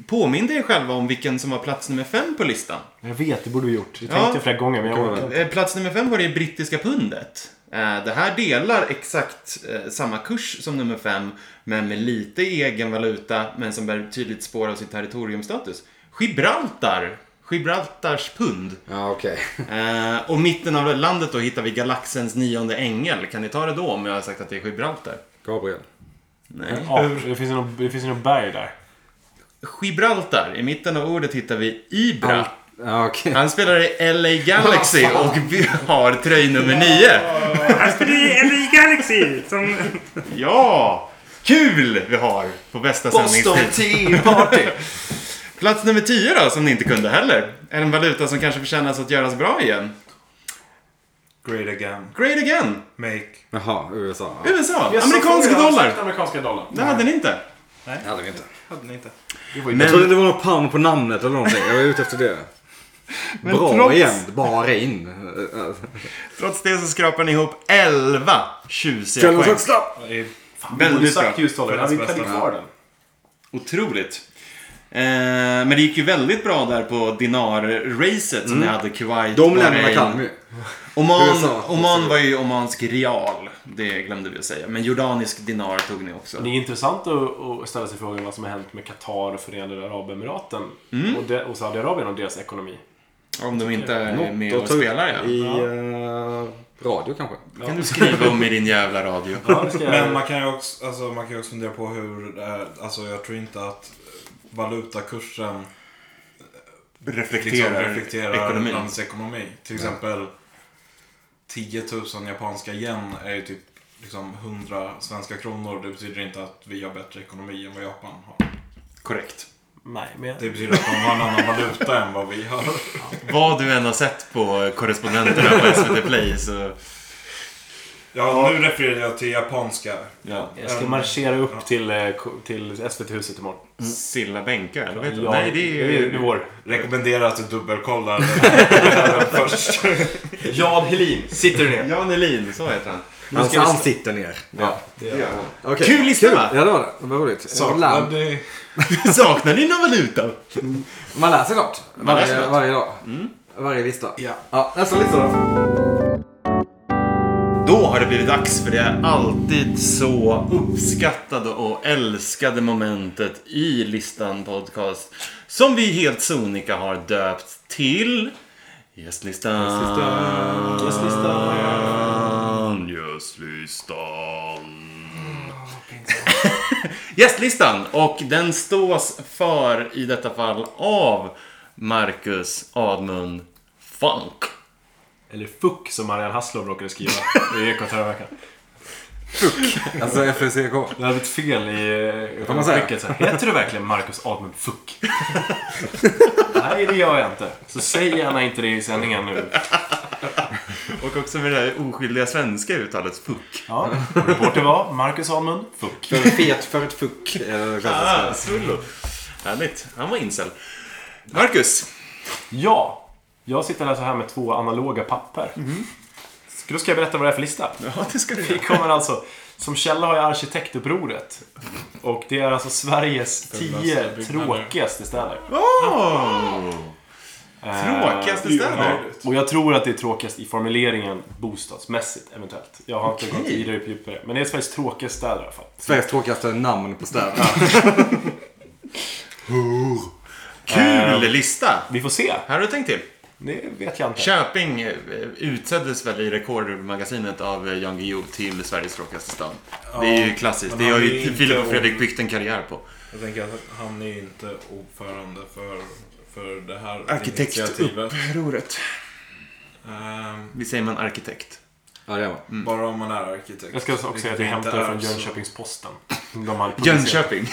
S1: påminde er själva om vilken som var plats nummer fem på listan.
S3: Jag vet, det borde vi gjort. Det
S1: Ja.
S3: tänkte jag flera gånger, men jag orkar inte.
S1: Eh, Plats nummer fem var det brittiska pundet. Eh, Det här delar exakt eh, samma kurs som nummer fem, men med lite egen valuta, men som bär tydligt spår av sin territoriumstatus. Gibraltar! Gibraltars pund.
S4: Ja okej.
S1: Eh, och mitten av landet då hittar vi galaxens nionde ängel. Kan ni ta det då om jag har sagt att det är Gibraltar?
S4: Gabriel.
S1: Nej.
S3: Ja, det finns ju någon- det finns ju något berg där.
S1: Gibraltar. I mitten av ordet hittar vi Ibra.
S4: Ja, okej.
S1: Han spelar i LA Galaxy och vi har tröj nummer 9.
S5: Han spelar i LA Galaxy! Som...
S1: Ja! Kul vi har på bästa
S6: Boston
S1: sändningstid.
S6: Tea Party.
S1: Plats nummer 10 då, som ni inte kunde heller. Är en valuta som kanske förtjänas att göras bra igen.
S5: Great again.
S1: Great again!
S5: Make.
S4: Jaha, USA. Ja.
S1: USA!
S7: Jag sa
S1: Amerikanska
S7: förut, jag har
S1: dollar!
S7: sagt Amerikanska dollar.
S1: Det hade ni inte.
S4: Det hade vi inte.
S7: Hade ni inte.
S4: Jag
S1: Men,
S4: trodde det var någon pound på namnet eller någonting. Jag var ute efter det. Bra
S1: trots-
S4: igen. Bara in.
S1: trots det så skrapar ni ihop 11 tjusiga
S4: Kan du
S1: poäng.
S4: också slapp?
S1: Väldigt bra.
S3: sagt just dollar.
S7: Världens
S3: Vi kan ju
S7: bästa.
S3: kvar den.
S1: Otroligt. Eh, men det gick ju väldigt bra där på dinar-racet som ni hade Kuwait,
S4: De länderna
S1: Bahrain.
S4: kan vi.
S1: Oman,
S4: USA.
S1: Oman var ju omansk real. Det glömde vi att säga. Men jordanisk dinar tog ni också.
S3: Det är intressant att, att ställa sig frågan vad som har hänt med Qatar och Förenade Arabemiraten och, de, och Saudiarabien och deras ekonomi.
S1: Om de inte är med
S4: Då
S1: och
S4: tar vi
S1: spelar ja.
S4: I eh, radio kanske.
S1: kan du skriva om i din jävla radio.
S3: Ja, det ska jag-
S5: Men man kan ju också, alltså, man kan ju också fundera på hur... eh, Alltså jag tror inte att valutakursen liksom, reflekterar
S1: ekonomin.
S5: landets ekonomi. Till exempel 10 000 japanska yen är ju typ liksom 100 svenska kronor. Det betyder inte att vi har bättre ekonomi än vad Japan har.
S1: Korrekt.
S3: Nej, men jag-
S5: Det betyder att de har en annan valuta än vad vi har.
S1: Vad du än har sett på korrespondenterna på SVT Play så...
S5: Ja, nu refererar jag till japanska.
S1: Ja.
S3: jag ska marschera upp till, eh, ko- till SVT-huset imorgon.
S1: Silla bänkar? eller vad heter det?
S3: Ja,
S1: Nej, det är ju...
S3: vår.
S5: Rekommenderar att du dubbelkollar den först.
S3: Jan Helin sitter du ner.
S1: Jan Elin, så heter han.
S3: Nu
S4: Alltså,
S3: ska vi
S4: han
S3: sl-
S4: sitter ner.
S3: Ja, det gör jag.
S4: Okay.
S1: Kul lista, va?
S4: Ja, det var det. Det var roligt.
S5: Saknar
S4: Land.
S5: ni-
S1: Saknar ni någon valuta?
S4: Man lär sig något.
S1: Man lär sig
S4: Varje,
S1: något.
S4: varje dag. Varje lista.
S5: Ja.
S4: ja nästa lista då.
S1: Då har det blivit dags för det alltid så uppskattade och älskade momentet i Listan Podcast. Som vi helt sonika har döpt till Gästlistan. Gästlistan. Gästlistan. Gästlistan. Och den stås för, i detta fall, av Marcus Admund Funk.
S3: Eller fuck som Marianne Hasslov råkade skriva i Ekot förra veckan.
S4: Alltså FUCK.
S3: Det hade ett fel i eh,
S4: Får man säga?
S3: skicket, så här, Heter du verkligen Marcus Admund Fuck? Nej, det gör jag inte. Så säg gärna inte det i sändningen nu.
S1: Och också med det här oskyldiga svenska uttalet fuck.
S3: Ja, och reporter var Marcus Admund Fuck.
S4: För fet för ett fuck. är det klassiska.
S1: Ah, Svullo. Härligt. Han var incel. Marcus.
S3: Ja, jag sitter alltså här med två analoga papper. Ska- Då ska jag berätta vad det är för lista.
S1: Ja, det ska du
S3: Vi kommer alltså, som källa har jag Arkitektupproret. Och det är alltså Sveriges tio tråkigaste städer.
S1: Oh!
S3: Eh,
S1: Tråkigaste städer.
S3: Och jag tror att det är tråkigast i formuleringen bostadsmässigt eventuellt. Jag har inte gått vidare på djupare. Men det är Sveriges tråkigaste städer i alla fall.
S4: Sveriges tråkigaste namn på städer.
S1: Kul lista.
S3: Vi får se.
S1: Här har du tänkt till.
S3: Det vet jag inte.
S1: Köping eh, utseddes väl i rekordmagasinet av eh, Jan Guillou till Sveriges tråkigaste stad. Det är ju klassiskt.
S5: men
S1: Det
S5: han
S1: har
S5: är
S1: ju
S5: inte
S1: Filip och
S5: om-
S1: Fredrik byggt en karriär på.
S5: Jag tänker att han är inte ordförande för, för det här initiativet.
S1: Arkitektupproret.
S5: Ehm,
S1: Vi säger man arkitekt.
S4: Ja, det är man.
S1: Mm.
S5: Bara om man är arkitekt.
S3: Jag ska också säga att jag
S5: Vilket inte
S3: hämtar
S5: är,
S3: från
S5: så-
S3: Jönköpings-Posten. De hade publicerat.
S1: Jönköping.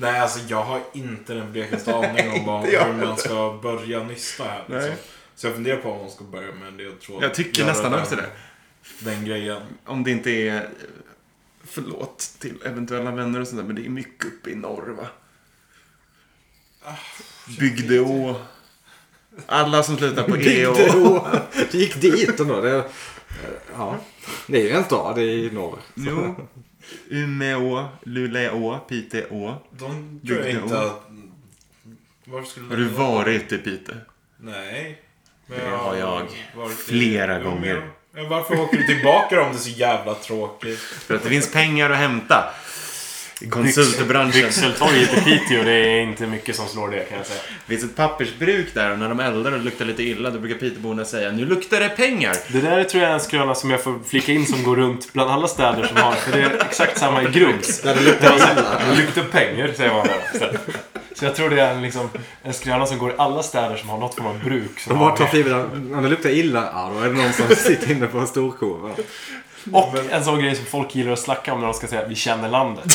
S5: Nej, alltså jag har inte den blekaste aning om vad, hur man ska börja nysta här. Liksom. Så jag funderar på om man ska börja med det. Jag, tror
S1: Jag tycker
S5: göra
S1: nästan
S5: den,
S1: också det.
S5: Den grejen.
S1: Om det inte är, eh, förlåt till eventuella vänner och sånt där, men det är mycket uppe i norr va?
S5: Ah,
S1: Bygdeå. Alla som slutar på E EÅ.
S4: Det gick dit ändå. Det, ja. det är ju en stad det är i norr.
S1: Jo. Umeå, Luleå, Piteå.
S5: De tror jag
S1: Bygdeå.
S5: inte att... Varför skulle
S1: Har du varit i Piteå?
S5: Nej. Men
S1: Det har jag.
S5: varit i
S1: Flera
S5: Umeå.
S1: gånger.
S5: Men varför åker du tillbaka om det är så jävla tråkigt?
S1: För att det finns pengar att hämta. I konsultbranschen.
S3: Yxeltorget i Piteå, det är inte mycket som slår det kan jag säga.
S1: Det finns ett pappersbruk där och när de eldar och det luktar lite illa då brukar Piteborna säga Nu luktar det pengar!
S3: Det där är, tror jag är en skröna som jag får flika in som går runt bland alla städer som har. För det är exakt samma i Grums.
S4: Där det luktar illa.
S3: Det luktar pengar, säger man där. Så jag tror det är en, liksom, en skröna som går i alla städer som har något form av bruk. Som
S4: De bara
S3: har
S4: tar fibrerna. Om det luktar illa, ja då är det någon som sitter inne på en storkova.
S3: Och en sån grej som folk gillar att slacka om när de ska säga att vi känner landet.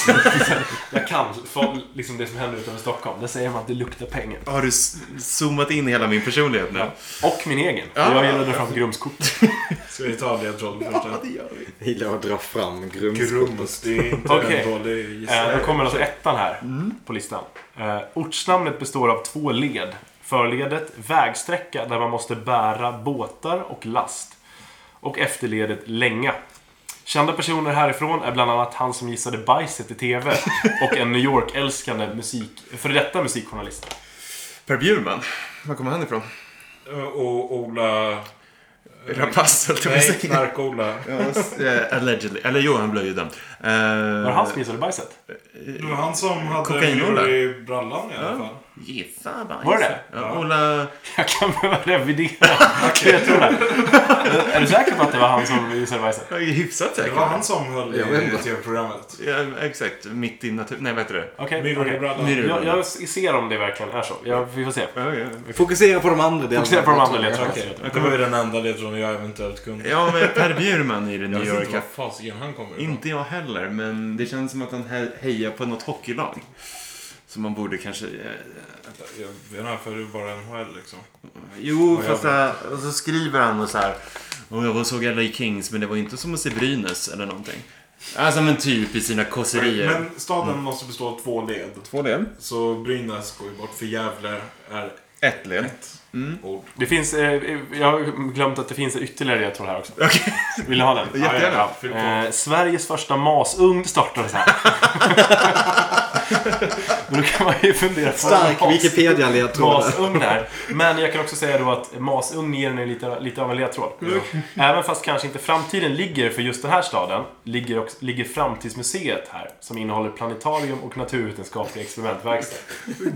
S3: jag kan för, liksom det som händer utanför Stockholm. Där säger man att det luktar pengar.
S1: Har du s- zoomat in i hela min personlighet nu?
S3: Och min egen. Jag gillar att dra fram Grumskort.
S5: Ska vi ta ledtråden först?
S1: det gör vi.
S4: Gillar att dra fram grumskott.
S5: Grums, det är inte
S3: Okej.
S5: en dålig
S3: Eh,
S5: gissning.
S3: Då kommer alltså ettan här på listan. Eh, ortsnamnet består av två led. Förledet vägsträcka där man måste bära båtar och last. Och efterledet länga. Kända personer härifrån är bland annat han som gissade bajset i TV och en New York-älskande musik, före detta musikjournalist.
S1: Per Bjurman. Eh, Var kommer han ifrån?
S5: Äh, Och Ola...
S1: Rapace, höll jag på att
S5: Nej,
S1: säga.
S5: knark-Ola.
S1: Ja, s- eh, Allegedly. Eller jo, han blev ju dömd. Eh,
S3: Var det han som gissade bajset?
S5: Det var han som hade
S1: Kokain-Ola.
S5: myror i brallan i alla fall.
S1: Gissa bajs.
S3: Var det det?
S1: Ja, Ola...
S3: Jag kan behöva revidera. Jag tror det. Är du säker på att det var han som gissade bajset?
S1: Jag är hyfsat
S5: Det
S1: säker.
S5: var han som höll
S4: Jag vet
S5: i
S4: inte.
S5: tv-programmet.
S1: Ja, exakt. Mitt i natur... Nej, vad heter det?
S3: Okej,
S5: Myror i
S3: okej.
S5: brallan.
S1: Myror.
S3: Jag, jag ser om det verkligen är så. Jag, vi får se.
S1: Ja, ja.
S4: Fokusera på de andra delarna.
S3: Fokusera på de andra ledtrådarna.
S5: Okej, det var ju den enda ledtråden jag eventuellt kunde.
S1: Ja, men Per Bjurman i det
S5: Jag
S1: New
S5: vet inte
S1: York.
S5: var fasiken han kommer ifrån.
S1: Inte jag heller, men det känns som att han he- hejar på något hockeylag. Så man borde kanske... eh,
S5: Jag vet inte, för det är bara NHL liksom.
S1: Jo,
S5: jag
S1: fast så här, och så skriver han och så här. Och jag var och såg LA Kings, men det var inte som att se Brynäs eller någonting. Alltså, men typ i sina kosserier.
S5: Men staden måste bestå av två led.
S1: Två led.
S5: Så Brynäs går ju bort, för Gävle är
S1: Ett led.
S5: ord.
S3: Det finns, eh, jag har glömt att det finns ytterligare ledtråd här också. Vill ni ha den?
S1: Jättegärna.
S3: Ja, ja, ja. Eh, Sveriges första masugn startades här. Men då kan man ju fundera på
S4: Stark
S3: mas-
S4: Wikipedia-ledtråd.
S3: masugn här. Men jag kan också säga då att masugn ger en lite, lite av en ledtråd. Även fast kanske inte framtiden ligger för just den här staden, ligger, också, ligger Framtidsmuseet här. Som innehåller planetarium och naturvetenskapliga experimentverkstad.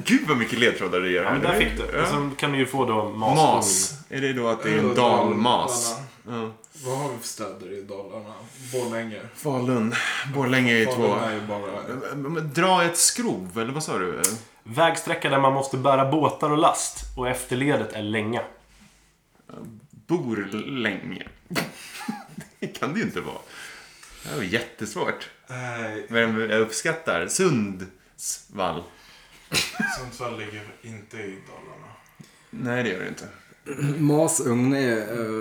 S1: Gud vad mycket ledtrådar det gör.
S3: Ja, men där fick du. Alltså,
S1: Ja.
S3: Och sen kan du ju få då masugn.
S1: Mas. Är det då att det är en dalmas? Ja.
S5: Vad har vi för städer i Dalarna? Borlänge.
S1: Falun. Borlänge är ju två.
S5: Falun är ju bara...
S1: Men Dra ett skrov, eller vad sa du?
S3: Vägsträcka där man måste bära båtar och last och efterledet är länga.
S1: Borlänge. Det kan det ju inte vara. Det här var jättesvårt.
S5: Nej,
S1: Men jag uppskattar Sundsvall.
S5: Sundsvall ligger inte i Dalarna.
S1: Nej, det gör det inte.
S4: Masugn är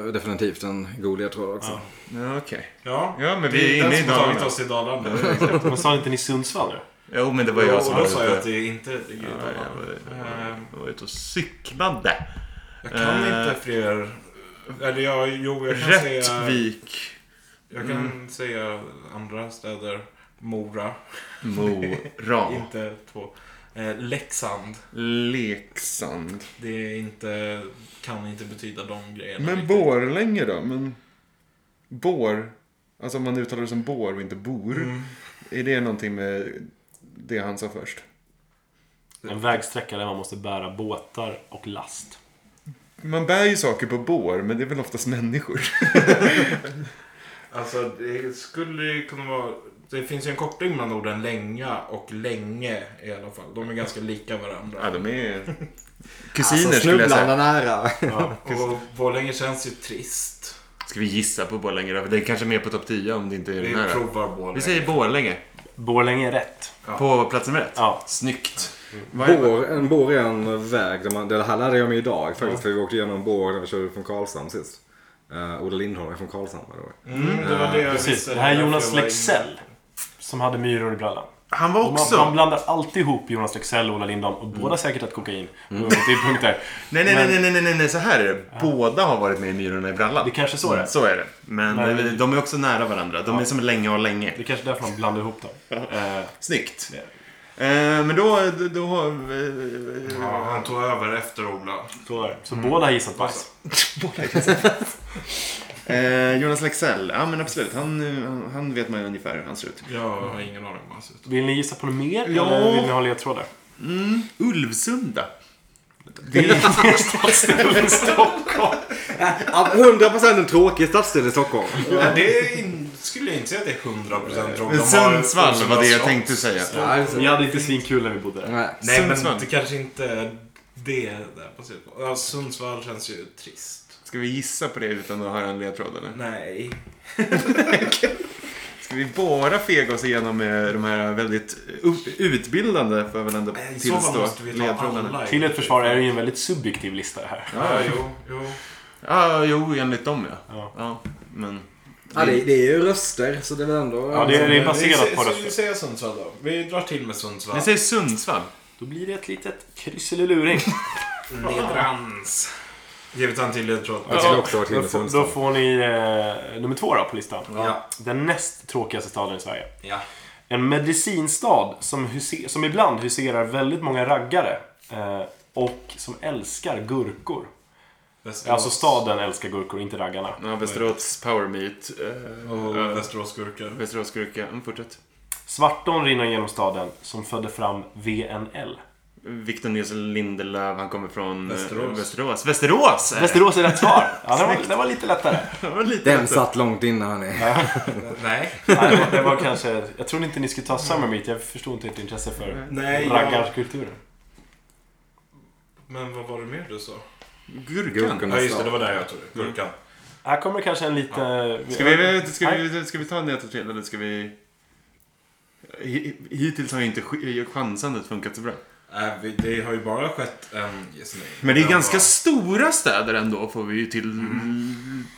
S4: eh, definitivt en god ledtråd också.
S1: Ja, okej.
S5: Ja,
S1: Ja, men
S5: det
S1: vi är
S5: den
S1: inne i
S5: som har tagit
S1: Dalarna.
S5: oss i Dalarna.
S3: Men sa inte ni Sundsvall nu?
S1: Jo, men det var
S5: Och,
S1: jag som
S5: och då sa
S1: var
S5: jag
S1: ute.
S5: att det inte ligger i
S1: Ja, jag
S5: Dalarna.
S1: var,
S5: Eh,
S1: jag var ute och cyklade.
S5: Jag kan
S1: Eh.
S5: inte fler... Eller jag, jo, jag kan säga...
S1: Rättvik,
S5: Jag kan
S1: Mm.
S5: säga andra städer. Mora.
S1: Mora,
S5: Inte två. Eh, Leksand.
S1: Leksand.
S5: Det är inte, kan inte betyda de grejerna.
S1: Men
S5: riktigt.
S1: Borlänge då? Men Bor, alltså om man uttalar det som bor och inte bor.
S5: Mm.
S1: Är det någonting med det han sa först?
S3: En vägsträcka där man måste bära båtar och last.
S1: Man bär ju saker på bår, men det är väl oftast människor.
S5: Alltså det skulle ju kunna vara... Det finns ju en koppling mellan orden länga och länge i alla fall. De är ganska lika varandra.
S1: Ja, de är
S4: Alltså
S1: kusiner skulle jag
S4: snubblande
S1: säga.
S4: nära.
S5: och Borlänge känns ju trist.
S1: Ska vi gissa på Borlänge då? Det är kanske mer på topp 10 om det inte är
S5: Vi
S1: den här.
S5: provar Borlänge.
S1: Vi säger Borlänge.
S3: Borlänge är rätt.
S1: På plats nummer ett?
S3: Ja.
S1: Snyggt.
S4: Bår, en bår är en väg. Där man, det här lärde jag mig idag faktiskt. För vi åkte igenom bår när vi körde från Karlshamn sist. Uh, Ola Lindholm är från Karlshamn by the way.
S5: Mm, det var det jag
S3: Precis.
S5: visste.
S3: Det här är
S5: Därför
S3: Jonas
S5: jag var
S3: Leksell. Som hade myror i brallan.
S1: Han var
S3: Man, man blandar alltid ihop Jonas Leksell och Ola Lindholm. Och båda säkert att kokain. Och Det är punkter.
S1: Nej, nej, nej, nej, nej, nej, nej, så här är det. Båda har varit med i Myrorna i brallan. Mm,
S3: Det kanske så är det.
S1: Så är det. Men
S3: Men-
S1: de är också nära varandra. De är som länge och länge.
S3: Det är kanske är därför man blandar ihop dem. Eh,
S1: Snyggt.
S3: Det är
S1: Eh, men då, då har vi...
S5: inne- Ja, han tog över efter Ola.
S3: så är det. Så båda har gissat bajs.
S1: Eh, Jonas Lexell. Ja, men absolut. Han, eh, han vet man ju ungefär hur han ser ut.
S5: Jag har ingen aning om hur han ser ut.
S3: Vill ni gissa på något mer?
S1: Ja.
S3: Eller vill ni ha ledtrådar?
S1: Ulvsunda.
S3: Det är en stadsdel i Stockholm.
S4: Ja, 100% en tråkig stadsdel i Stockholm.
S5: Ja, det är in... skulle jag inte säga att det är 100%
S1: Men
S5: tråkigt.
S1: Sundsvall var det jag tänkte säga.
S3: Vi hade inte svinkul när vi bodde där.
S4: Nej.
S5: Nej,
S1: Sundsvall.
S5: men det kanske inte är det där på slutet. Ja, Sundsvall känns ju trist.
S1: Ska vi gissa på det utan att höra en ledtråd eller?
S5: Nej.
S1: Ska vi bara fega oss igenom med de här väldigt u- utbildande, får jag väl ändå
S5: Eh, I så fall
S1: tillstå,
S5: måste vi ta
S1: ledtrådarna?
S5: alla.
S3: Till ett försvar är det ju en väldigt subjektiv lista det här.
S5: Ja, jo, Eh, jo.
S1: Ja, jo, enligt dem ja.
S3: Ja.
S1: men...
S4: Ja, det, det är ju röster, så det är väl ändå...
S3: Ja, det är, det är
S5: Vi
S3: baserat
S5: sä-
S3: på
S5: sä-
S3: röster.
S5: säger Sundsvall då. Vi drar till med Sundsvall.
S1: Vi säger Sundsvall.
S3: Då blir det ett litet krysseluring.
S5: Ledrans. Ger vi ta en till ledtråd?
S8: Jag skulle också ha varit
S3: då,
S8: inne
S3: får, då
S8: på
S3: får ni eh, nummer två då på listan.
S5: Ja.
S3: Den näst tråkigaste staden i Sverige.
S5: Ja.
S3: En medicinstad som, huse, som ibland huserar väldigt många raggare. Eh, och som älskar gurkor.
S5: Västerås.
S3: Alltså staden älskar gurkor, inte raggarna.
S1: Ja, Västerås Power Meet.
S5: Och
S1: eh,
S5: Västerås gurka.
S1: Västerås Gurka. Mm, fortsätt.
S3: Svartån rinner genom staden som födde fram VNL.
S1: Victor Nilsson Lindelöf, han kommer från eh,
S5: Västerås.
S1: Västerås. Västerås! är det.
S3: Västerås är rätt svar. Ja, det, var, det var lite lättare.
S1: Det var lite
S4: Den
S1: lätt.
S4: satt långt innan hörni.
S5: Nej.
S3: Nej, det var- det var kanske, jag trodde inte ni skulle ta Summer Meet. Jag förstod inte ert intresse för
S5: Nej, jag...
S3: raggarkulturen.
S5: Men vad var det mer du sa?
S1: Gurkan.
S5: Ja, just det. Det var där jag tog det.
S1: Mm.
S5: Gurkan.
S3: Här kommer kanske en lite...
S1: Ska vi, eh, ska, vi, ska vi ta en ledtråd till eller ska vi... Hi- Hittills har ju inte sk- eh, chansandet funkat så bra.
S5: Nej, Eh, vi- det har ju bara skett en gissning.
S1: Men det är
S5: Den
S1: ganska
S5: var-
S1: stora städer ändå, får vi ju till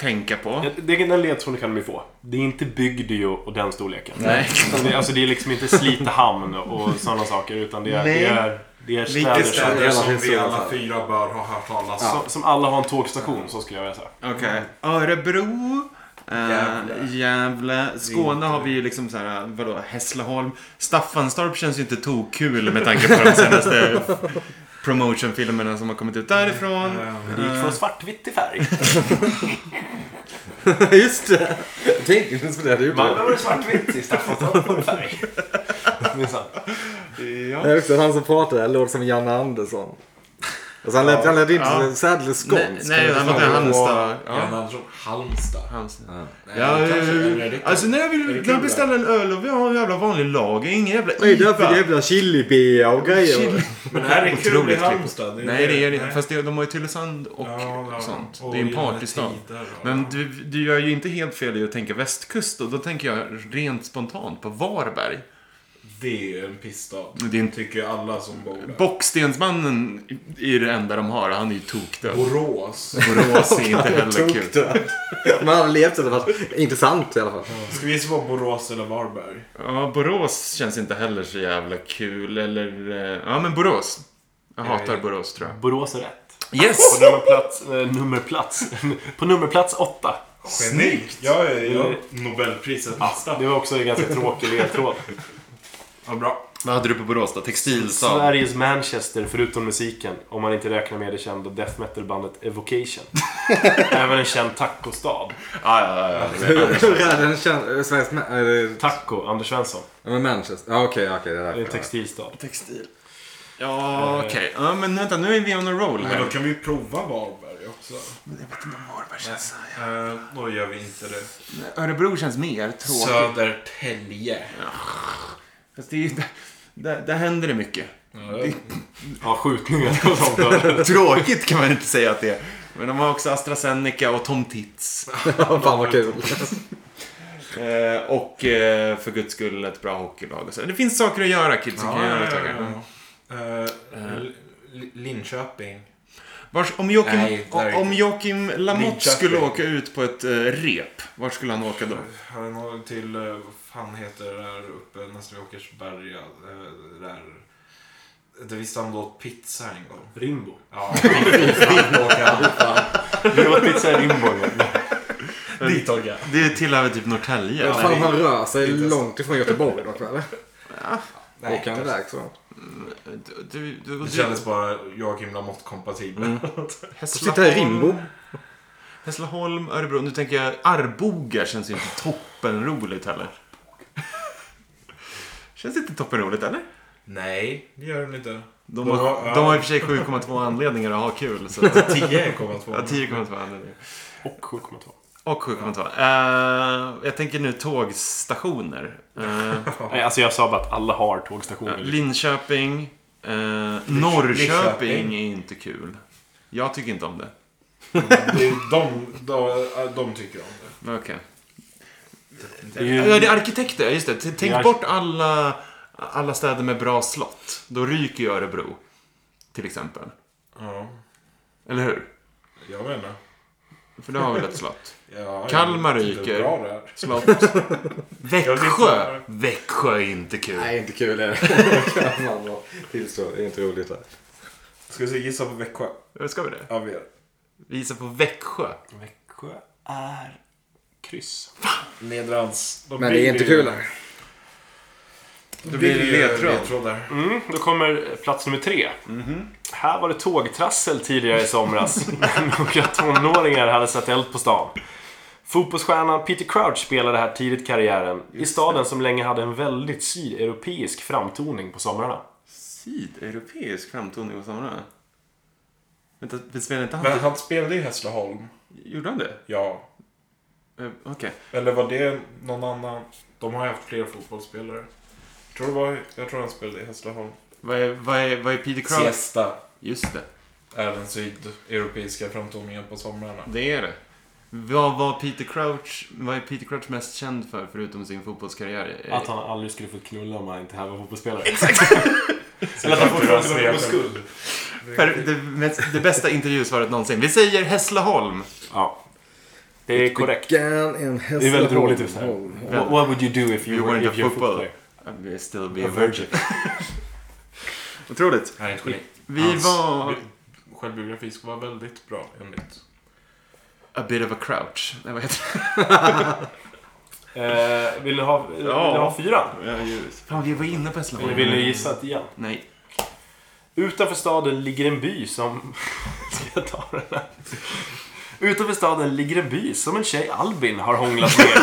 S1: tänka på.
S3: Ja, Det, den ledtråden kan de ju få. Det är inte Bygdeå och den storleken.
S1: Nej.
S3: Det, alltså det är liksom inte Slitehamn och sådana saker. Utan det är,
S1: Nej.
S3: det är, det är
S1: Vilka
S3: städer som,
S5: Städer som
S4: Relativt
S5: vi
S4: stora
S5: alla
S4: städer.
S5: fyra bör ha hört talas om.
S3: som, som alla har en tågstation, så skulle jag vilja säga.
S1: Okej. Örebro. eh,
S5: Gävle.
S1: Gävle. Skåne har vi ju liksom så här, vadå, Hässleholm. Staffanstorp känns ju inte tokkul med tanke på de senaste promotionfilmerna som har kommit ut därifrån.
S3: Det gick
S1: Ah.
S3: från svartvitt till färg.
S4: Just det! Jag tänkte inte ens på det. det är ju
S3: Man
S4: bra.
S3: var det svartvitt i Staffanstorp var det färg. Minsann.
S4: Det är också han som pratade låter som Janne Andersson. Alltså han lät, han lät inte
S1: Ja.
S4: så särdeles
S1: Nej,
S4: skånsk.
S1: nej, han var
S4: Ja.
S1: Halmstad.
S5: Jan
S1: Ja.
S5: Andersson, Halmstad.
S1: Halmstad.
S5: Nej,
S1: Ja,
S5: kanske
S1: eh,
S5: är det
S1: alltså när jag
S5: Är det
S1: vill
S5: kul,
S1: jag beställer en öl och vi har en jävla vanlig lager, ingen jävla IPA.
S4: Vad är det för jävla chilibea och grejer?
S5: Men här är kul i
S1: Otroligt
S5: Halmstad.
S1: Nej, det är det
S5: Nej.
S1: Fast det, de har ju Tylösand och
S5: Ja, ja.
S1: sånt.
S5: Och
S1: det är ju en
S5: i de här
S1: partystad.
S5: tiderna.
S1: Men du, du gör ju inte helt fel i att tänka västkust och då tänker jag rent spontant på Varberg.
S5: Det är ju en pissstad.
S1: Det är inte...
S5: Tycker ju alla som bor där.
S1: Bockstensmannen är det enda de har. Han är ju tokdöd.
S5: Borås.
S1: Borås är inte heller kul.
S4: Men han levt i alla fall. Intressant i alla fall.
S5: Ska vi gissa på Borås eller Varberg?
S1: Ja, Borås känns inte heller så jävla kul. Eller... eh, Ja, men Borås. Jag
S5: Eh,
S1: hatar Borås tror jag.
S3: Borås är rätt.
S1: Yes!
S3: På nummerplats... Eh, nummerplats. På nummerplats åtta.
S5: Snyggt! Mm. Jag är jag är Nobelpriset nästa.
S3: Det var också en ganska tråkig ledtråd.
S5: Vad bra.
S1: Vad hade du på Borås då? Textilstad?
S3: Sveriges Manchester, förutom musiken. Om man inte räknar med det kända death metal-bandet Evocation. Även en känd tacostad.
S1: Ja, ja, ja. ja.
S4: Hur är den känd... Svensk... ma- Är Äh, det...
S3: Taco, Anders Svensson.
S4: Ja, men Manchester. Ja, okej, okej. Det är
S3: Det är en
S4: därför.
S3: textilstad.
S1: Textil. Ja, okej. Ja, men vänta, nu är vi on a roll
S5: Men då
S1: här.
S5: kan vi prova Varberg också.
S1: Jag vet inte om Varberg känns
S5: Eh, då gör vi inte det.
S1: Örebro känns mer tråkigt.
S5: Södertälje.
S1: Fast det, är ju- där, där, där händer det mycket.
S3: Ja, skjutningar och sånt. där.
S1: Tråkigt kan man inte säga att det är. Men de har också AstraZeneca och Tom Tits.
S4: Fan vad kul.
S1: Eh, och eh, för guds skull ett bra hockeylag. och Så. Det finns saker att göra, kidsen kan göra. saker.
S5: Eh,
S1: Mm.
S5: L- L- Linköping.
S1: Vars, om Joakim,
S5: Nej, där är
S1: om
S5: inte.
S1: Joakim Lamotte
S5: Linköping.
S1: skulle åka ut på ett eh, rep, vart skulle han åka då?
S5: Han är nog till, eh, vad fan heter det där uppe, nästan vid Åkersberga. eh, Där. Där vi stannade åt pizza en gång.
S3: Rimbo.
S5: Ja, dit åker han.
S3: Det var pizza i Rimbo. men-
S5: Dit åker han.
S1: Det tillhör väl typ Norrtälje?
S4: Ja,
S1: eller?
S4: fan, han rör sig
S5: inte ens-
S4: långt ifrån Göteborg dock, eller?
S5: Nej,
S4: Åker han iväg så?
S1: Du- du- du-
S5: Det kändes bara Joakim Lamotte kompatibel.
S2: Mm.
S1: Hässleholm-
S4: Sitta i Rimbo.
S1: Hässleholm, Örebro. Nu tänker jag Arboga känns ju inte toppenroligt heller. Känns inte toppenroligt eller?
S5: Nej, det gör den inte.
S1: De har, de har i och för sig
S5: Alltså,
S1: 7,2 anledningar att ha kul. Så att,
S5: 10,2.
S1: ja, 10,2 anledningar.
S3: Och 7,2.
S1: Och sju kommentarer. Eh, jag tänker nu tågstationer. Eh,
S3: Nej, alltså jag sa bara att alla har tågstationer.
S1: Linköping. Eh, Norrköping är inte kul. Jag tycker inte om det.
S5: Det är de, de, de tycker om det.
S1: Okej.
S3: Det är ju-
S1: Ja, det är arkitekter. ja, Just det. T- Tänk
S3: Det är ark-
S1: bort alla, alla städer med bra slott. Då ryker ju Örebro. Till exempel.
S5: Ja,
S1: Eller hur?
S5: jag vet inte.
S1: För då har vi ett slott.
S5: Ja, jag
S1: Kalmar
S5: vet inte hur
S1: ryker.
S5: bra det är.
S1: Slott.
S5: Jag vet
S1: Växjö.
S5: inte.
S1: Växjö är inte kul.
S2: Nej, inte kul är det. Kan man bara Tillstå, det är inte roligt där.
S5: Ska vi gissa på Växjö?
S1: Eller Ska vi det?
S5: Ja, vi gör.
S1: Vi gissar på Växjö.
S3: Växjö är kryss.
S5: Nedrans. De
S2: Men det är
S5: vill
S2: inte
S5: ju-
S2: kul där.
S1: Då blir det
S5: vill ju
S1: ledtråd.
S5: ledtrådar.
S3: Mm, då kommer plats nummer tre. Här var det tågtrassel tidigare i somras. när Några tonåringar hade satt eld på stan. Fotbollsstjärnan Peter Crouch spelade här tidigt i karriären. I staden som länge hade en väldigt sydeuropeisk framtoning på somrarna.
S1: Sydeuropeisk framtoning och sådana. Vänta, vi spelar inte han?
S5: Men han spelade ju Hässleholm.
S1: Gjorde han det?
S5: Ja.
S1: Eh, Okej.
S5: Eller var det någon annan? De har ju haft fler fotbollsspelare. Jag tror, det var, jag tror han spelade i Hässleholm.
S1: Vad är, vad, är, vad är Peter Crouch?
S5: Siesta
S1: Just det.
S5: är den sydeuropeiska framtoningen på somrarna.
S1: Det är det. Vad var Peter Crouch, vad är Peter Crouch mest känd för förutom sin fotbollskarriär? Eh,
S3: Att han aldrig skulle få knulla om han inte här var fotbollsspelare. Exakt! Eller att han fortfarande var på skuld.
S1: för det, mest, det bästa intervjusvaret någonsin. Vi säger Hässleholm.
S3: Ja. Det är korrekt.
S2: Vilken en
S3: Det är väldigt roligt just här.
S2: Hässleholm.
S3: What, what would you do if
S1: You
S3: you were
S1: weren't a
S3: if you're a
S1: football.
S3: footballer?
S1: Uh, We'll still be a virgin. Otroligt.
S5: Nej, inte
S1: Vi
S5: Hans-
S1: var
S5: Självbiografi ska vara väldigt bra, enligt...
S1: a bit of a crouch. Nej, vad heter
S3: Eh, vill ni ha, vill ni
S1: Ja.
S3: ha fyran?
S1: det? Ja, just. Fan, vi var inne på
S3: Eller
S1: Hässleholm.
S3: vill ni gissa att igen?
S1: Nej.
S3: Utanför staden ligger en by som... Ska jag ta den här? Utanför staden ligger en by som en tjej Albin har hånglat med.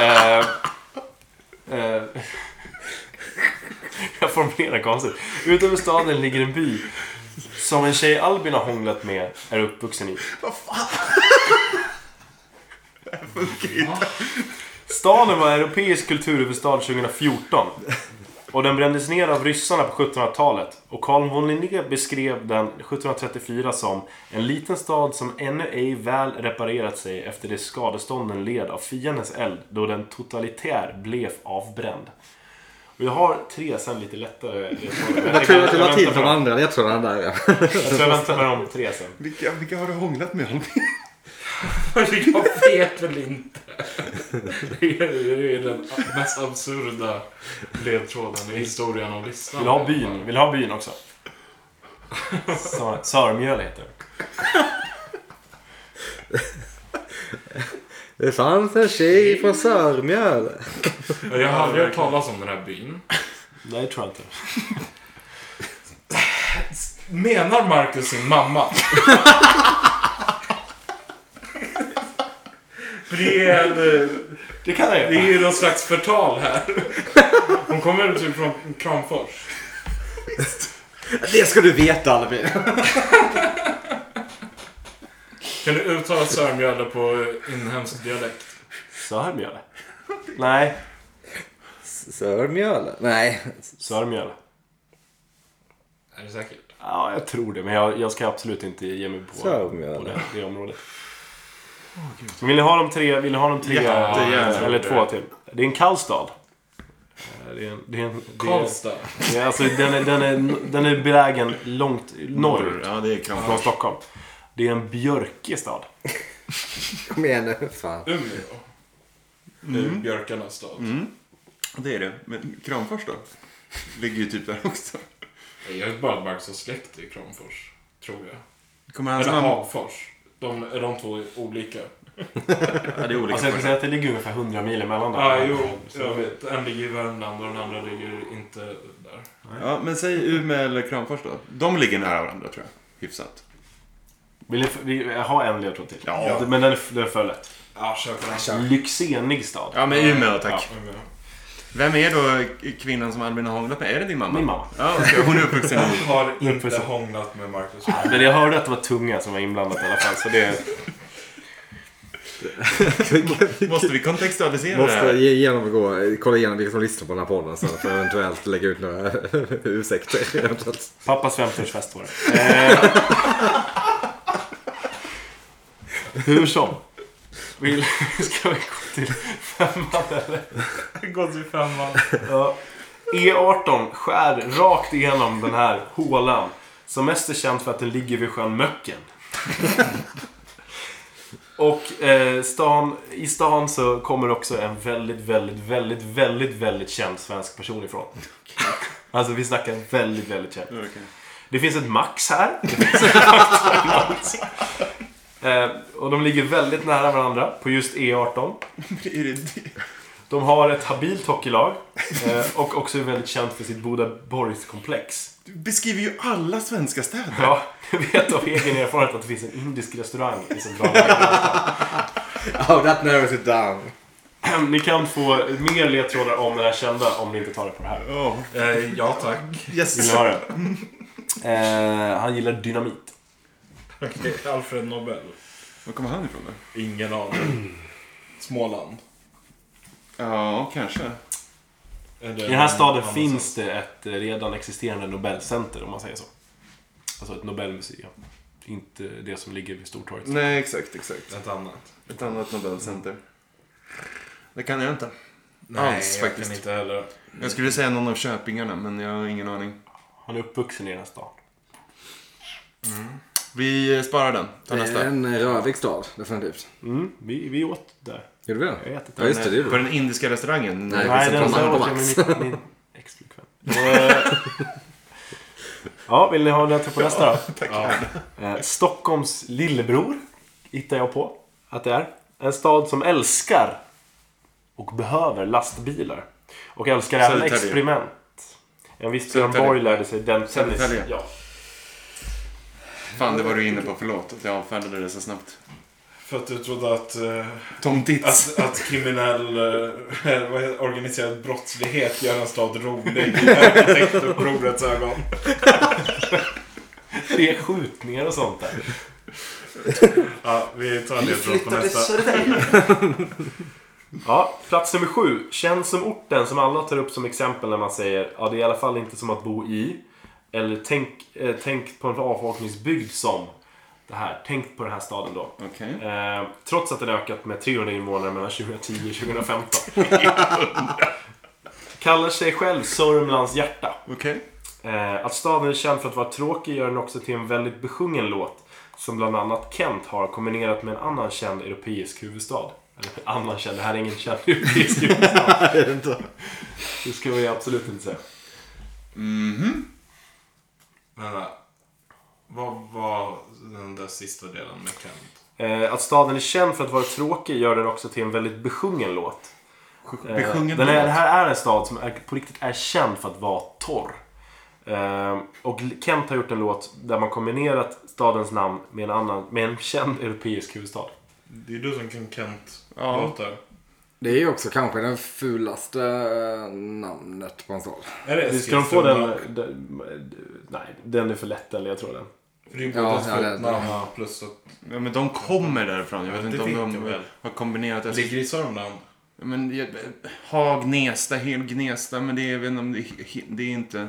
S3: eh, eh, jag formulerar konstigt. Utanför staden ligger en by som en tjej Albin har hånglat med är uppvuxen i. Staden var europeisk kulturhuvudstad 2014. Och den brändes ner av ryssarna på 1700-talet. Och Carl von Linné beskrev den 1734 som en liten stad som ännu ej väl reparerat sig efter det skadestånd den led av fiendens eld då den totalitär blev avbränd. Och jag har tre sen lite lättare. ledtrådar.
S2: Jag tror att du
S3: jag
S2: la
S3: väntar
S2: till
S3: med
S2: de
S3: dem.
S2: andra ledtrådarna där ja.
S3: Jag tror jag väntar med de tre sen.
S1: Vilka, vilka har du hånglat med?
S5: Jag vet väl inte. Det är, det är den mest absurda ledtråden i historien av listan.
S3: Vill du ha byn? Vill du ha byn också? Sör- Sörmjöl heter det.
S2: Det fanns en tjej från Sörmjöl.
S5: Jag har aldrig hört talas om den här byn.
S3: Nej, tror jag inte.
S5: Menar Marcus sin mamma? Det är, en-
S3: Det kan jag
S5: det
S3: göra.
S5: är någon slags förtal här. Hon kommer typ från Kramfors.
S2: Det ska du veta Albin.
S5: Kan du uttala Sörmjöle på inhemsk dialekt?
S3: Sörmjöl? Nej,
S2: Sörmjöl? Nej.
S3: Sörmjöl.
S5: Är du säkert?
S3: Ja, jag tror det. Men jag, jag ska absolut inte ge mig på,
S2: Sörmjöl.
S3: på det, det området. vill ni ha de tre? Vill ni ha de tre?
S1: Jättegärna.
S3: Eller två till. Det är en kall stad. Eh, Det är en... Det är en det är,
S5: Karlstad.
S3: det är, alltså, den, är, den, är, den är belägen långt norrut
S1: Ja, det är
S3: från
S1: Kramfors.
S3: Stockholm. Det är en björkig stad.
S2: Kom igen nu. Fan.
S5: Umeå. Mm. Björkarnas stad.
S3: Mm.
S1: Det är det. Men Kramfors då? Ligger ju typ där också.
S5: Nej, Jag är bara att Marcus har släkt i Kramfors. Tror jag.
S1: Kommer hans
S5: Eller
S1: mamma...
S5: Hagfors. De, är de två olika?
S1: Ja, det är olika.
S3: Alltså, jag skulle säga att det ligger ungefär 100 mil emellan
S5: Ja,
S3: där.
S5: ah, jo. Jag vet. En ligger i Värmland och den andra ligger inte där.
S1: Ja, men säg Umeå eller Kramfors då. De ligger nära varandra tror jag. Hyfsat.
S3: Vill ni, vi, jag har en ledtråd till.
S1: Ja.
S3: Men den är, den är för lätt.
S5: Ja, kör på den.
S3: Lyxenig stad.
S1: Ja, men Umeå tack.
S3: Ja.
S5: Umeå.
S1: Vem är då kvinnan som Albin har hånglat med? Är det din mamma?
S3: Min mamma.
S1: Ja, okej. hon är uppvuxen i...
S5: Jag har inte
S3: precis.
S5: hånglat med Marcus.
S3: Men jag hörde att det var tunga som var inblandat i alla fall, så det...
S1: Måste vi kontextualisera det
S4: Måste
S1: här?
S4: ge- genomgå, kolla igenom vilka som lyssnar på den här podden sen för att eventuellt lägga ut några ursäkter. Eventuellt.
S3: Pappas 50-årsfest var det. Eh, hur som. Vill, ska vi gå till femman eller?
S9: Gå till femman.
S3: Ja. E18 skär rakt igenom den här hålan. Som mest är känd för att den ligger vid sjön Möcken. Och eh, stan, i stan så kommer också en väldigt, väldigt, väldigt, väldigt, väldigt känd svensk person ifrån. Alltså vi snackar väldigt, väldigt känd. Det finns ett Max här. Det finns ett McDonalds. Eh, och de ligger väldigt nära varandra på just E18.
S1: Är det-
S3: De har ett habilt hockeylag eh, och också är väldigt känt för sitt Bodaborgskomplex.
S1: Du beskriver ju alla svenska städer.
S3: Ja, jag vet av egen erfarenhet att det finns en indisk restaurang i centrala
S4: Oh, that narrows it down.
S3: Ni kan få mer ledtrådar om den här kända om ni inte tar det på det här.
S5: Eh, ja, tack.
S3: Vill
S1: Yes.
S3: ni ha det? Eh, han gillar dynamit.
S9: Okej, Alfred Nobel.
S1: Var kommer han ifrån då?
S9: Ingen aning. Småland.
S1: Ja, kanske.
S9: Eller
S3: I den här staden
S9: annanstans.
S3: finns det ett eh, redan existerande Nobelcenter om man säger så. Alltså ett Nobelmuseum. Inte det som ligger vid Stortorget.
S1: Nej, exakt, exakt.
S5: Ett annat.
S1: Ett annat Nobelcenter. Det kan jag inte.
S5: Nej,
S1: Alls,
S5: jag
S1: faktiskt.
S5: kan inte heller.
S1: Jag skulle säga någon av köpingarna, men jag har ingen aning.
S3: Han är uppvuxen i den här staden.
S1: Vi sparar den. Ta
S4: Det är
S1: nästa.
S4: en rödvig stad, definitivt.
S3: Mm, vi, vi åt där.
S4: Gjorde vi det?
S3: Jag vet inte.
S4: Ja, just det. det
S1: På
S4: gjorde vi.
S1: den indiska restaurangen.
S4: Nej.
S3: Nej,
S4: finns
S3: den
S4: en
S3: där
S4: promenad
S3: åt
S4: på
S3: jag med min, min ex-flickvän. Eh, ja, vill ni ha en på nästa då? Eh, Stockholms lillebror hittar jag på att det är. En stad som älskar och behöver lastbilar. Och älskar även
S1: Södertälje.
S3: experiment. En viss Björn
S1: Södertälje.
S3: Borg lärde sig den tennis.
S1: Södertälje.
S3: Ja.
S1: Fan, det var du inne på. Förlåt att jag avfärdade det så snabbt.
S5: För att du trodde att, eh,
S1: Tom Tits.
S5: att, att kriminell eh, vad heter- organiserad brottslighet gör en stad rolig. Upprorets ögon.
S3: Det är skjutningar och sånt där.
S5: Ja, vi tar en ledtråd på nästa.
S3: Ja, plats nummer sju. Känns som orten som alla tar upp som exempel när man säger ja, det är i alla fall inte som att bo i. Eller tänk, eh, tänk på en avfolkningsbygd som det här. Tänk på den här staden då.
S1: Okej.
S3: Eh, trots att den ökat med 300 invånare mellan 2010 och 2015. Kallar sig själv Sörmlands hjärta.
S1: Okej.
S3: Eh, att staden är känd för att vara tråkig gör den också till en väldigt besjungen låt. Som bland annat Kent har kombinerat med en annan känd europeisk huvudstad. Eller en annan känd, det här är ingen känd europeisk huvudstad. det ska vi absolut inte säga.
S5: Vänta. eh, Vad var den där sista delen med Kent?
S3: Eh, att staden är känd för att vara tråkig gör den också till en väldigt besjungen låt. Eh,
S1: Besjungen
S3: den är,
S1: låt.
S3: det här är en stad som är, på riktigt är känd för att vara torr. Eh, och Kent har gjort en låt där man kombinerat stadens namn med en, annan, med en känd europeisk huvudstad.
S5: Det är du som kan Kent-låtar.
S1: Ja.
S4: Det är ju också kanske den fulaste eh, namnet på en stad.
S5: Är det
S3: Ska de få
S5: Eskilstuna?
S3: den, den... Nej, den är för lätt eller jag tror den.
S5: För det är ju
S4: Ja,
S5: både ett
S4: ja, det-
S5: fult namn plus att
S1: Ja, men de kommer därifrån. Jag vet
S5: Ja,
S1: inte
S5: det
S1: om
S5: vet jag
S1: de
S5: väl.
S1: har kombinerat.
S5: det
S1: Jag
S5: ligger i Sörmland.
S1: Men jag- Haag, Gnesta, Hel, Gnesta. Men det är, jag vet inte om det, är- det är inte...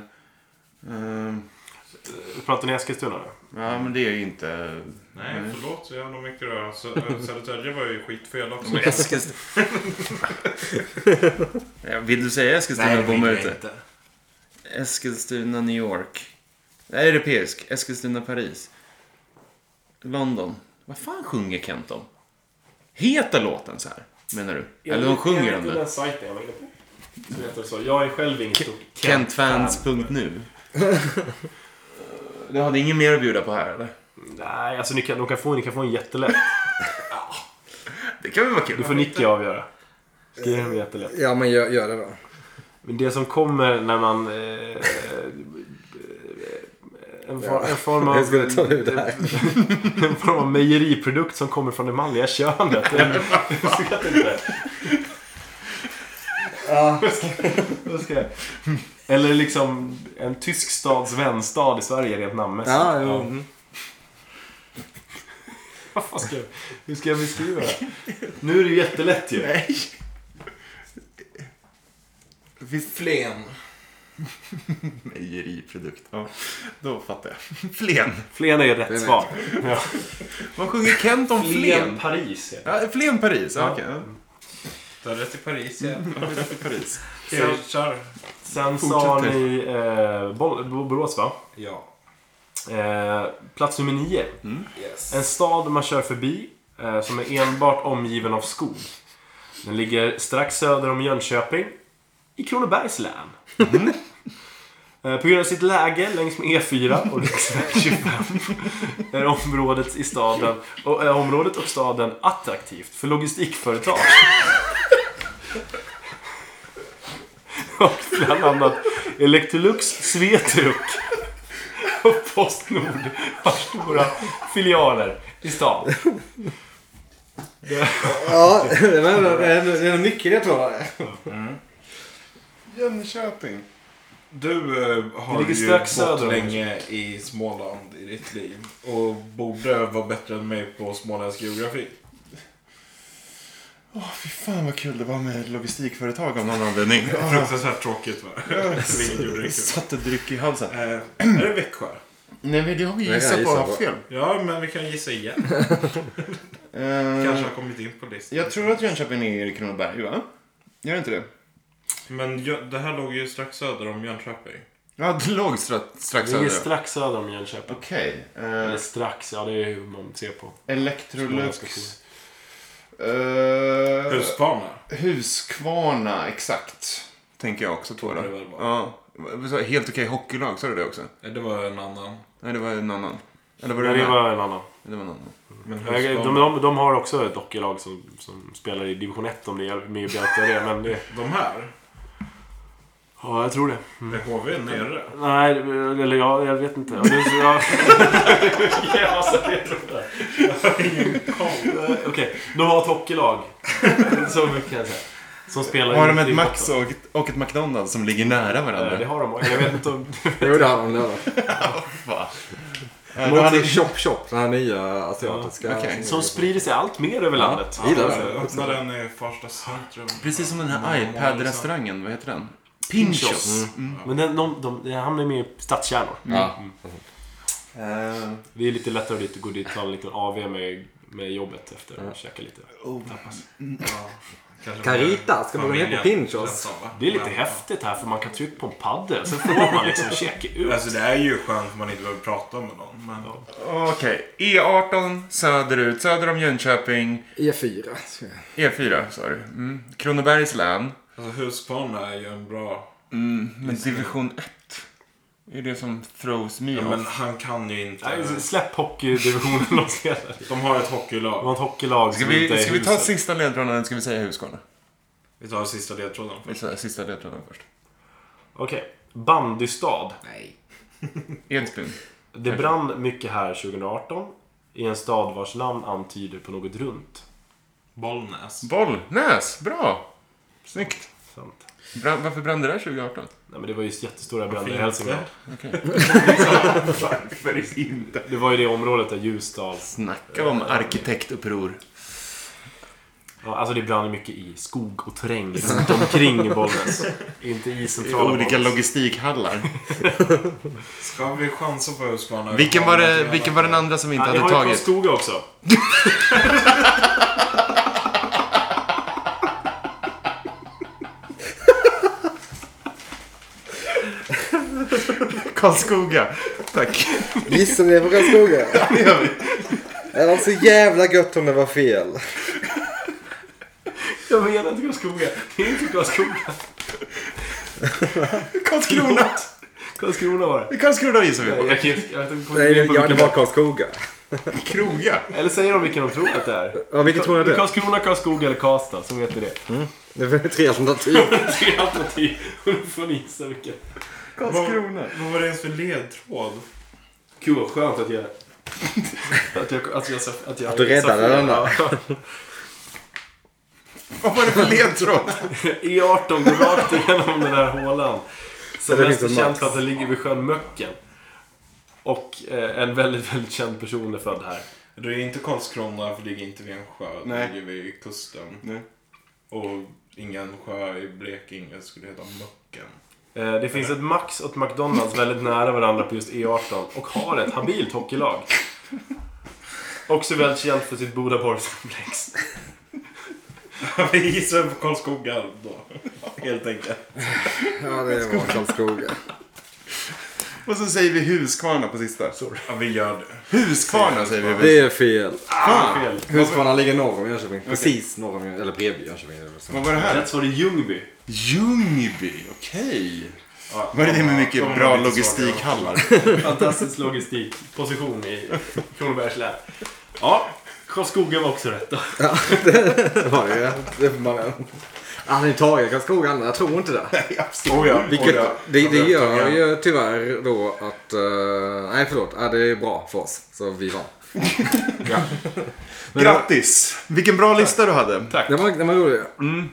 S1: eh,
S3: Pratar ni Eskilstuna nu?
S1: ja, men det är ju inte...
S5: Nej, förlåt så jävla mycket då. Sö- eh, Södertälje var ju skitfel också.
S1: Eskilstuna. Vill du säga Eskilstuna eller bommar jag ute? Eskilstuna, New York. Nej, europeisk. Eskilstuna, Paris. London. Vad fan sjunger Kent om? Heter låten så här? Menar du? Eller de sjunger den
S3: den
S1: det?
S3: sajten jag var inne på. Så heter det så. Jag är själv ingen stor
S1: Kentfans.nu. Du hade ingen mer att bjuda på här eller?
S3: Nej, alltså ni kan, de kan få, ni kan få en jättelätt.
S1: Det kan väl vara
S3: Du
S1: kul?
S3: får Nicky avgöra. Skriv en jättelätt.
S4: Ja, men gör, gör det då.
S3: Men det som kommer när man... Eh, eh, en, for, en form av...
S4: Jag skulle ta ut det här.
S3: En form av mejeriprodukt som kommer från det manliga könet. Jag vet inte. Vad ska- vad ska jag- Eller liksom en tysk stads vänstad i Sverige rent namnmässigt.
S4: Ja, jo.
S3: Vad fan ska jag, hur ska jag beskriva det? Nu är det ju jättelätt ju.
S1: Nej.
S5: Flen.
S1: Mejeriprodukt. Ja, då fattar jag. Flen.
S3: Flen är rätt svar. Ja.
S1: Vad sjunger Kent om Flen?
S3: Paris heter
S1: Ja, Flen Paris, ja, okej.
S5: Du har rätt i Paris, ja.
S1: ja. Paris.
S5: Okej, Kör.
S3: Sen sa
S1: Fortsätter.
S3: ni eh, Boll- Bo- Borås va?
S5: Ja.
S3: Eh, plats nummer nio.
S5: Yes.
S3: En stad man kör förbi eh, som är enbart omgiven av skog. Den ligger strax söder om Jönköping i Kronobergs län.
S5: Mm.
S3: Eh, På grund av sitt läge längs med E4 och riksväg 25 är området, i staden, och, är området och staden attraktivt för logistikföretag. Och bland annat Electrolux, Svetruk och Postnord har stora filialer i stan.
S4: Ja, det var ändå- det är ändå- det är ändå mycket det tror jag.
S1: Jönköping.
S5: Du eh, har
S3: Det ligger
S5: ju
S3: strax
S5: bott
S3: söder om
S5: länge i Småland i ditt liv och borde vara bättre än mig på småländsk geografi.
S1: Åh, fy fan vad kul det var med logistikföretag av någon anledning.
S5: Fruktansvärt tråkigt va? Vilket gjorde det
S1: Jag
S5: kul.
S1: satte dryck i halsen.
S5: Eh, Är det Växjö?
S1: Nej, men det har vi
S4: kan
S1: gissat på
S4: gissa
S1: och haft
S4: på.
S1: fel.
S5: Ja, men vi kan gissa igen. Kanske
S1: Eh,
S5: har kommit in på listan.
S1: jag tror att Jönköping är i Kronoberg, va? Gör det inte det?
S5: Men Jö- det här låg ju strax söder om Jönköping.
S1: Ja, det låg stra- strax
S3: Ligger
S1: över.
S3: strax söder om Jönköping.
S1: Okej. eh,
S3: Eller strax, ja det är hur man ser på.
S1: Electrolux. eh,
S5: Huskvarna.
S1: Huskvarna, exakt. Tänker jag också på. Då.
S5: Det väl var.
S1: Ja. Vad sa- Helt okej hockeylag, sa du det också?
S5: Eh, Det var en annan.
S1: Nej, det var en annan. Eller var det,
S3: Men det
S1: den här?
S3: var en annan.
S1: det var en annan.
S5: Men
S3: De,
S5: Huskvarna.
S3: de, de har också ett hockeylag som, som spelar i division 1 om det hjälper mig att berätta det. Men det,
S5: De här?
S3: ja, jag tror det.
S1: Mm.
S5: Är HV nere?
S3: Nej, eller ja, jag vet inte. Ja, det, ja. ja, alltså, det tror jag. Okej, de har ett hockeylag. Så mycket kan jag säga. Som spelar
S1: Har de
S3: i- i
S1: ett Max
S3: botten.
S1: och ett, och ett McDonalds som ligger nära
S3: Eh, Det
S1: varandra?
S3: har de. Jag vet inte om...
S4: Jo, det hade de där.
S1: Va?
S4: De
S1: Eh, då
S4: har också
S1: hade-
S4: Chop Chop, den här nya asiatiska.
S1: Ja, okej.
S3: Som sprider sig allt mer över landet.
S4: Jag gillar
S5: Alltså,
S4: det.
S5: Öppna den i Farsta centrum.
S1: Precis som den här
S5: Mm.
S1: iPad-restaurangen, vad heter den? Pinchos.
S3: Men den, de, de, den hamnar ju med i stadskärnor.
S4: Ja.
S1: Eh,
S3: Det är lite lättare dit att gå dit och ta en liten AV med, med jobbet efter och käka lite.
S5: Kanske
S4: Carita, ska man gå ner på
S5: familjen
S4: Pinchos?
S5: ensam, va?
S3: Det är lite
S5: Men-
S3: häftigt här för man kan trycka på en paddel så får man liksom checka ut.
S5: Alltså det är ju skönt om man inte behöver prata med någon. Men
S1: Okej, E18 söderut, söder om Jönköping.
S4: E E4.
S1: E4 sa du. Mm. Kronobergs län.
S5: alltså, Huskvarna är ju en bra...
S1: Men division 1 är det som throws me
S5: Ja,
S1: off.
S5: men han kan ju inte.
S3: Nej, Släpp hockeydivisionen och se.
S5: De har ett
S3: De
S5: hockeylag.
S3: har ett hockeylag
S1: Ska
S3: som inte
S1: vi,
S3: är
S1: ska vi ta
S3: huset.
S1: sista ledtråden eller ska vi säga Husqvarna?
S5: Vi tar sista ledtråden.
S1: Vi tar Sista ledtråden först.
S3: Okej. Bandystad.
S1: Edsbyn.
S3: Det brann mycket här 2018 i en stad vars namn antyder på något runt.
S5: Bollnäs.
S1: Bollnäs, bra! Snyggt.
S3: Sant.
S1: Bra, varför brann det där 2018?
S3: Nej, men det var ju jättestora bränder i
S5: inte?
S3: Hälsingland.
S1: Varför inte?
S3: Det var ju det området där Ljusdal
S1: Snacka om arkitektuppror.
S3: Ja, alltså det brann ju mycket i skog och terräng runt omkring Bollnäs. Inte i
S1: I
S3: centrala
S1: olika
S3: Bollnäs.
S1: logistikhallar.
S5: Ska vi chansa på Huskvarna?
S1: Vilken var, det, vilken var den andra som vi inte
S3: Ja, jag
S1: hade
S3: har ju
S1: tagit?
S3: Karlskoga också.
S1: Karlskoga. Tack.
S4: Gissar ni på Karlskoga? Det var så jävla gött om det var fel.
S3: Jag menar inte Karlskoga. Det är inte Karlskoga.
S1: Karlskrona.
S3: Karlskrona var det.
S1: Karlskrona gissar vi på.
S3: Jag, kan- jag, vet inte på
S4: Nej,
S3: vilken-
S4: ja, det var Karlskoga.
S1: Kroga.
S3: Eller säger de vilken de tror att det är?
S4: Ja, vilket tror ni det är?
S3: Karlskrona, Karlskoga eller Karlstad, så vet ni det.
S4: Det var tre alternativ.
S3: Tre alternativ. Och då får ni gissa vilken.
S1: Karlskrona.
S5: Vad var det ens för ledtråd?
S3: Gud vad skönt att jag... Att jag... Att, jag, att, jag, att, jag,
S4: Att du räddade den där.
S1: Vad var det för ledtråd?
S3: E18 går rakt igenom den här hålan. Som
S4: det
S3: mest är
S4: finns en
S3: känd
S4: max.
S3: för att den ligger vid sjön Möcken. Och eh, en väldigt, väldigt känd person är född här.
S5: Det är inte Karlskrona, för det ligger inte vid en sjö.
S1: Nej.
S5: Det ligger vid kusten.
S1: Nej.
S5: Och ingen sjö i Blekinge skulle heta Möcken.
S3: Eh, Det finns ett Max och ett McDonalds väldigt nära varandra på just E18 och har ett habilt hockeylag. Också väl känt för sitt Bodaborgskomplex.
S5: Vi gissar på Karlskoga då, helt enkelt.
S4: Ja, det var Karlskoga.
S1: Och så säger vi Huskvarna på sista.
S5: Ja, vi gör det.
S1: Huskvarna säger vi. väl?
S4: Det är fel.
S3: Fel.
S10: Huskvarna ligger norr om Jönköping. Precis norr om Jönköping. Eller bredvid Jönköping. eller så.
S1: Vad var det här?
S3: Rätt svar är Ljungby.
S1: Ljungby, okej.
S5: Ja,
S1: Var är det med mycket
S5: de var
S1: bra
S5: lite
S1: logistikhallar?
S3: Fantastisk logistikposition i Kronobergs län. Ja, Karlskoga var också rätt då.
S4: Det var det ju. Det får man...
S10: Ah,
S4: Han är tagen Karlskoga, andra. jag tror inte det.
S5: Oh ja,
S4: Vilket,
S5: oh ja.
S4: det, det
S5: tog
S4: gör
S5: jag.
S4: ju tyvärr då att... eh, nej, förlåt. Ja, det är bra för oss. Så vi vann.
S1: Grattis! Vilken bra lista du hade. Mm. Tack.
S4: Det var, det var roligt.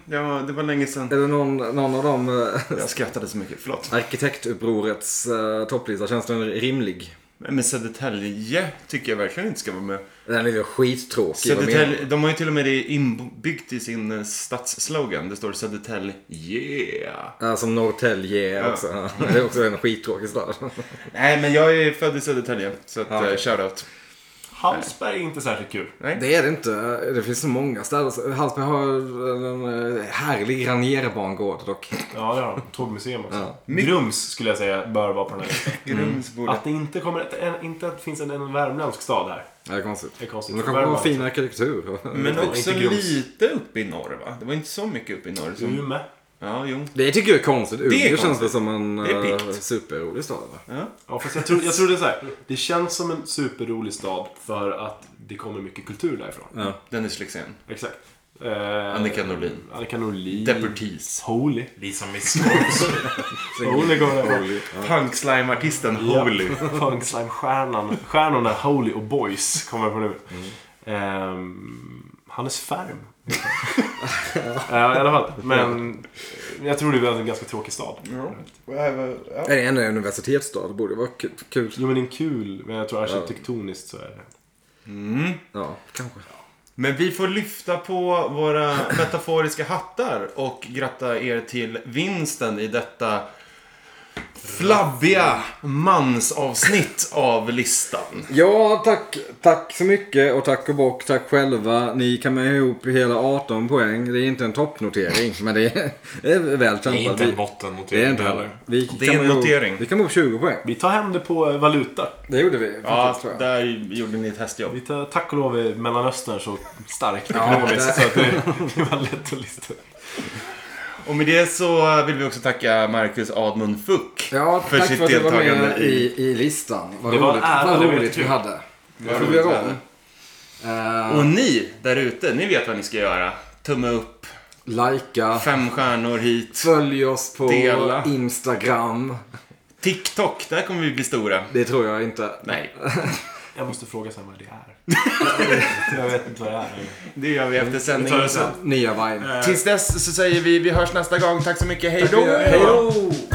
S1: Ja, det var länge sedan.
S4: Är det någon, någon av dem... eh,
S1: Jag skrattade så mycket, förlåt.
S4: Arkitektupprorets eh, topplista, känns den rimlig?
S1: Men Södertälje tycker jag verkligen inte ska vara med.
S4: Den är ju skittråkig. vad menar
S1: Södertälje, de har ju till och med det inbyggt i sin eh, stadsslogan. Det står Södertälje. Yeah.
S4: du? Ja, som Norrtälje är också. Ja. Det är också en skittråkig stad.
S1: Nej, men jag är född i Södertälje. Så att,
S4: okej.
S1: eh, shoutout.
S3: Hallsberg är inte särskilt kul.
S4: Det är det inte. Det finns så många städer. Hallsberg har en eh, härlig rangerbangård dock.
S3: Ja, det har de. Tågmuseum också. Grums skulle jag säga bör vara på den här listan.
S1: Grums borde...
S3: Att det inte, kommer, att en, inte att det finns en, en värmländsk stad här.
S4: Ja, Det är konstigt.
S3: Det är konstigt.
S4: Men det
S3: För
S4: kommer vara
S3: Värmland-
S4: fin arkitektur.
S1: Men
S3: inte
S1: också
S3: Grums.
S1: lite upp i norr, va? Det var inte så mycket upp i norr. Som...
S3: Umeå.
S1: Ja, jo.
S4: Det tycker jag är konstigt. Umeå
S1: är
S4: känns väl
S1: konstigt.
S4: som en
S1: Det är
S4: eh,
S1: pikt.
S4: superrolig stad? Va?
S3: Ja, fast jag tror, jag tror det är så här. Det känns som en superrolig stad för att det kommer mycket kultur därifrån.
S1: Dennis Lyxzén.
S3: Exakt. Eh,
S1: Annika Norlin.
S3: Annika Norlin.
S1: Deportees.
S3: Holy.
S5: Lisa Misskås.
S3: Holy går det.
S1: Punkslimeartisten
S3: Ja.
S1: Holy.
S3: Funkslime-stjärnan. Stjärnorna Holy och Boys kommer på nu. Ehm, Hannes Färm. uh, I alla fall. Men jag tror det är en ganska tråkig stad.
S4: Är det ändå en universitetsstad? Det borde vara ku- kul.
S3: Jo men den är kul, men jag tror arkitektoniskt så är det.
S4: Ja, kanske.
S1: Men vi får lyfta på våra metaforiska hattar och gratta er till vinsten i detta flabbiga mansavsnitt av listan.
S4: Ja, tack, tack så mycket och tack och bock, tack själva. Ni kan med ihop hela 18 poäng. Det är inte en toppnotering, men det är, det är väl
S5: Det är
S4: kämpat.
S5: inte en
S4: Vi- Det är
S5: bottennotering
S4: inte
S5: heller.
S4: Vi
S1: Det är
S4: kammar
S1: en
S4: ihop-
S1: notering.
S4: Vi kan ihop 20 poäng.
S3: Vi tar hem det på eh, valuta.
S4: Det gjorde vi.
S1: Ja,
S4: faktiskt, tror jag.
S1: där gjorde ni ett hästjobb.
S3: Vi tar tack och lov är Mellanöstern så starkt ekonomiskt så att det, det var lätt att lista.
S1: Och med det så vill vi också tacka Marcus Admund Fuck
S4: Ja,
S1: för
S4: tack
S1: sitt
S4: för att du var med
S1: deltagande
S4: i,
S1: i...
S4: i listan. Vad
S3: Det var en
S4: roligt,
S3: ära, det
S4: vad
S3: var
S4: roligt vi
S3: jättekul.
S4: hade.
S1: var
S4: Jag får vi göra
S1: roligt
S4: om. Eh,
S1: Och ni där ute, ni vet vad ni ska göra. Tumme upp,
S4: Lajka,
S1: fem stjärnor hit.
S4: följ oss på
S1: Dela.
S4: Instagram.
S1: TikTok, där kommer vi bli stora.
S4: Det tror jag inte.
S1: Nej,
S3: Jag måste fråga sen vad det är. Jag vet inte vad det är.
S1: det gör vi efter sändningen.
S5: det sen.
S4: Nya Vine.
S1: Eh, Tills dess så säger vi vi hörs nästa gång. Tack så mycket. Hej då!
S4: Hej då!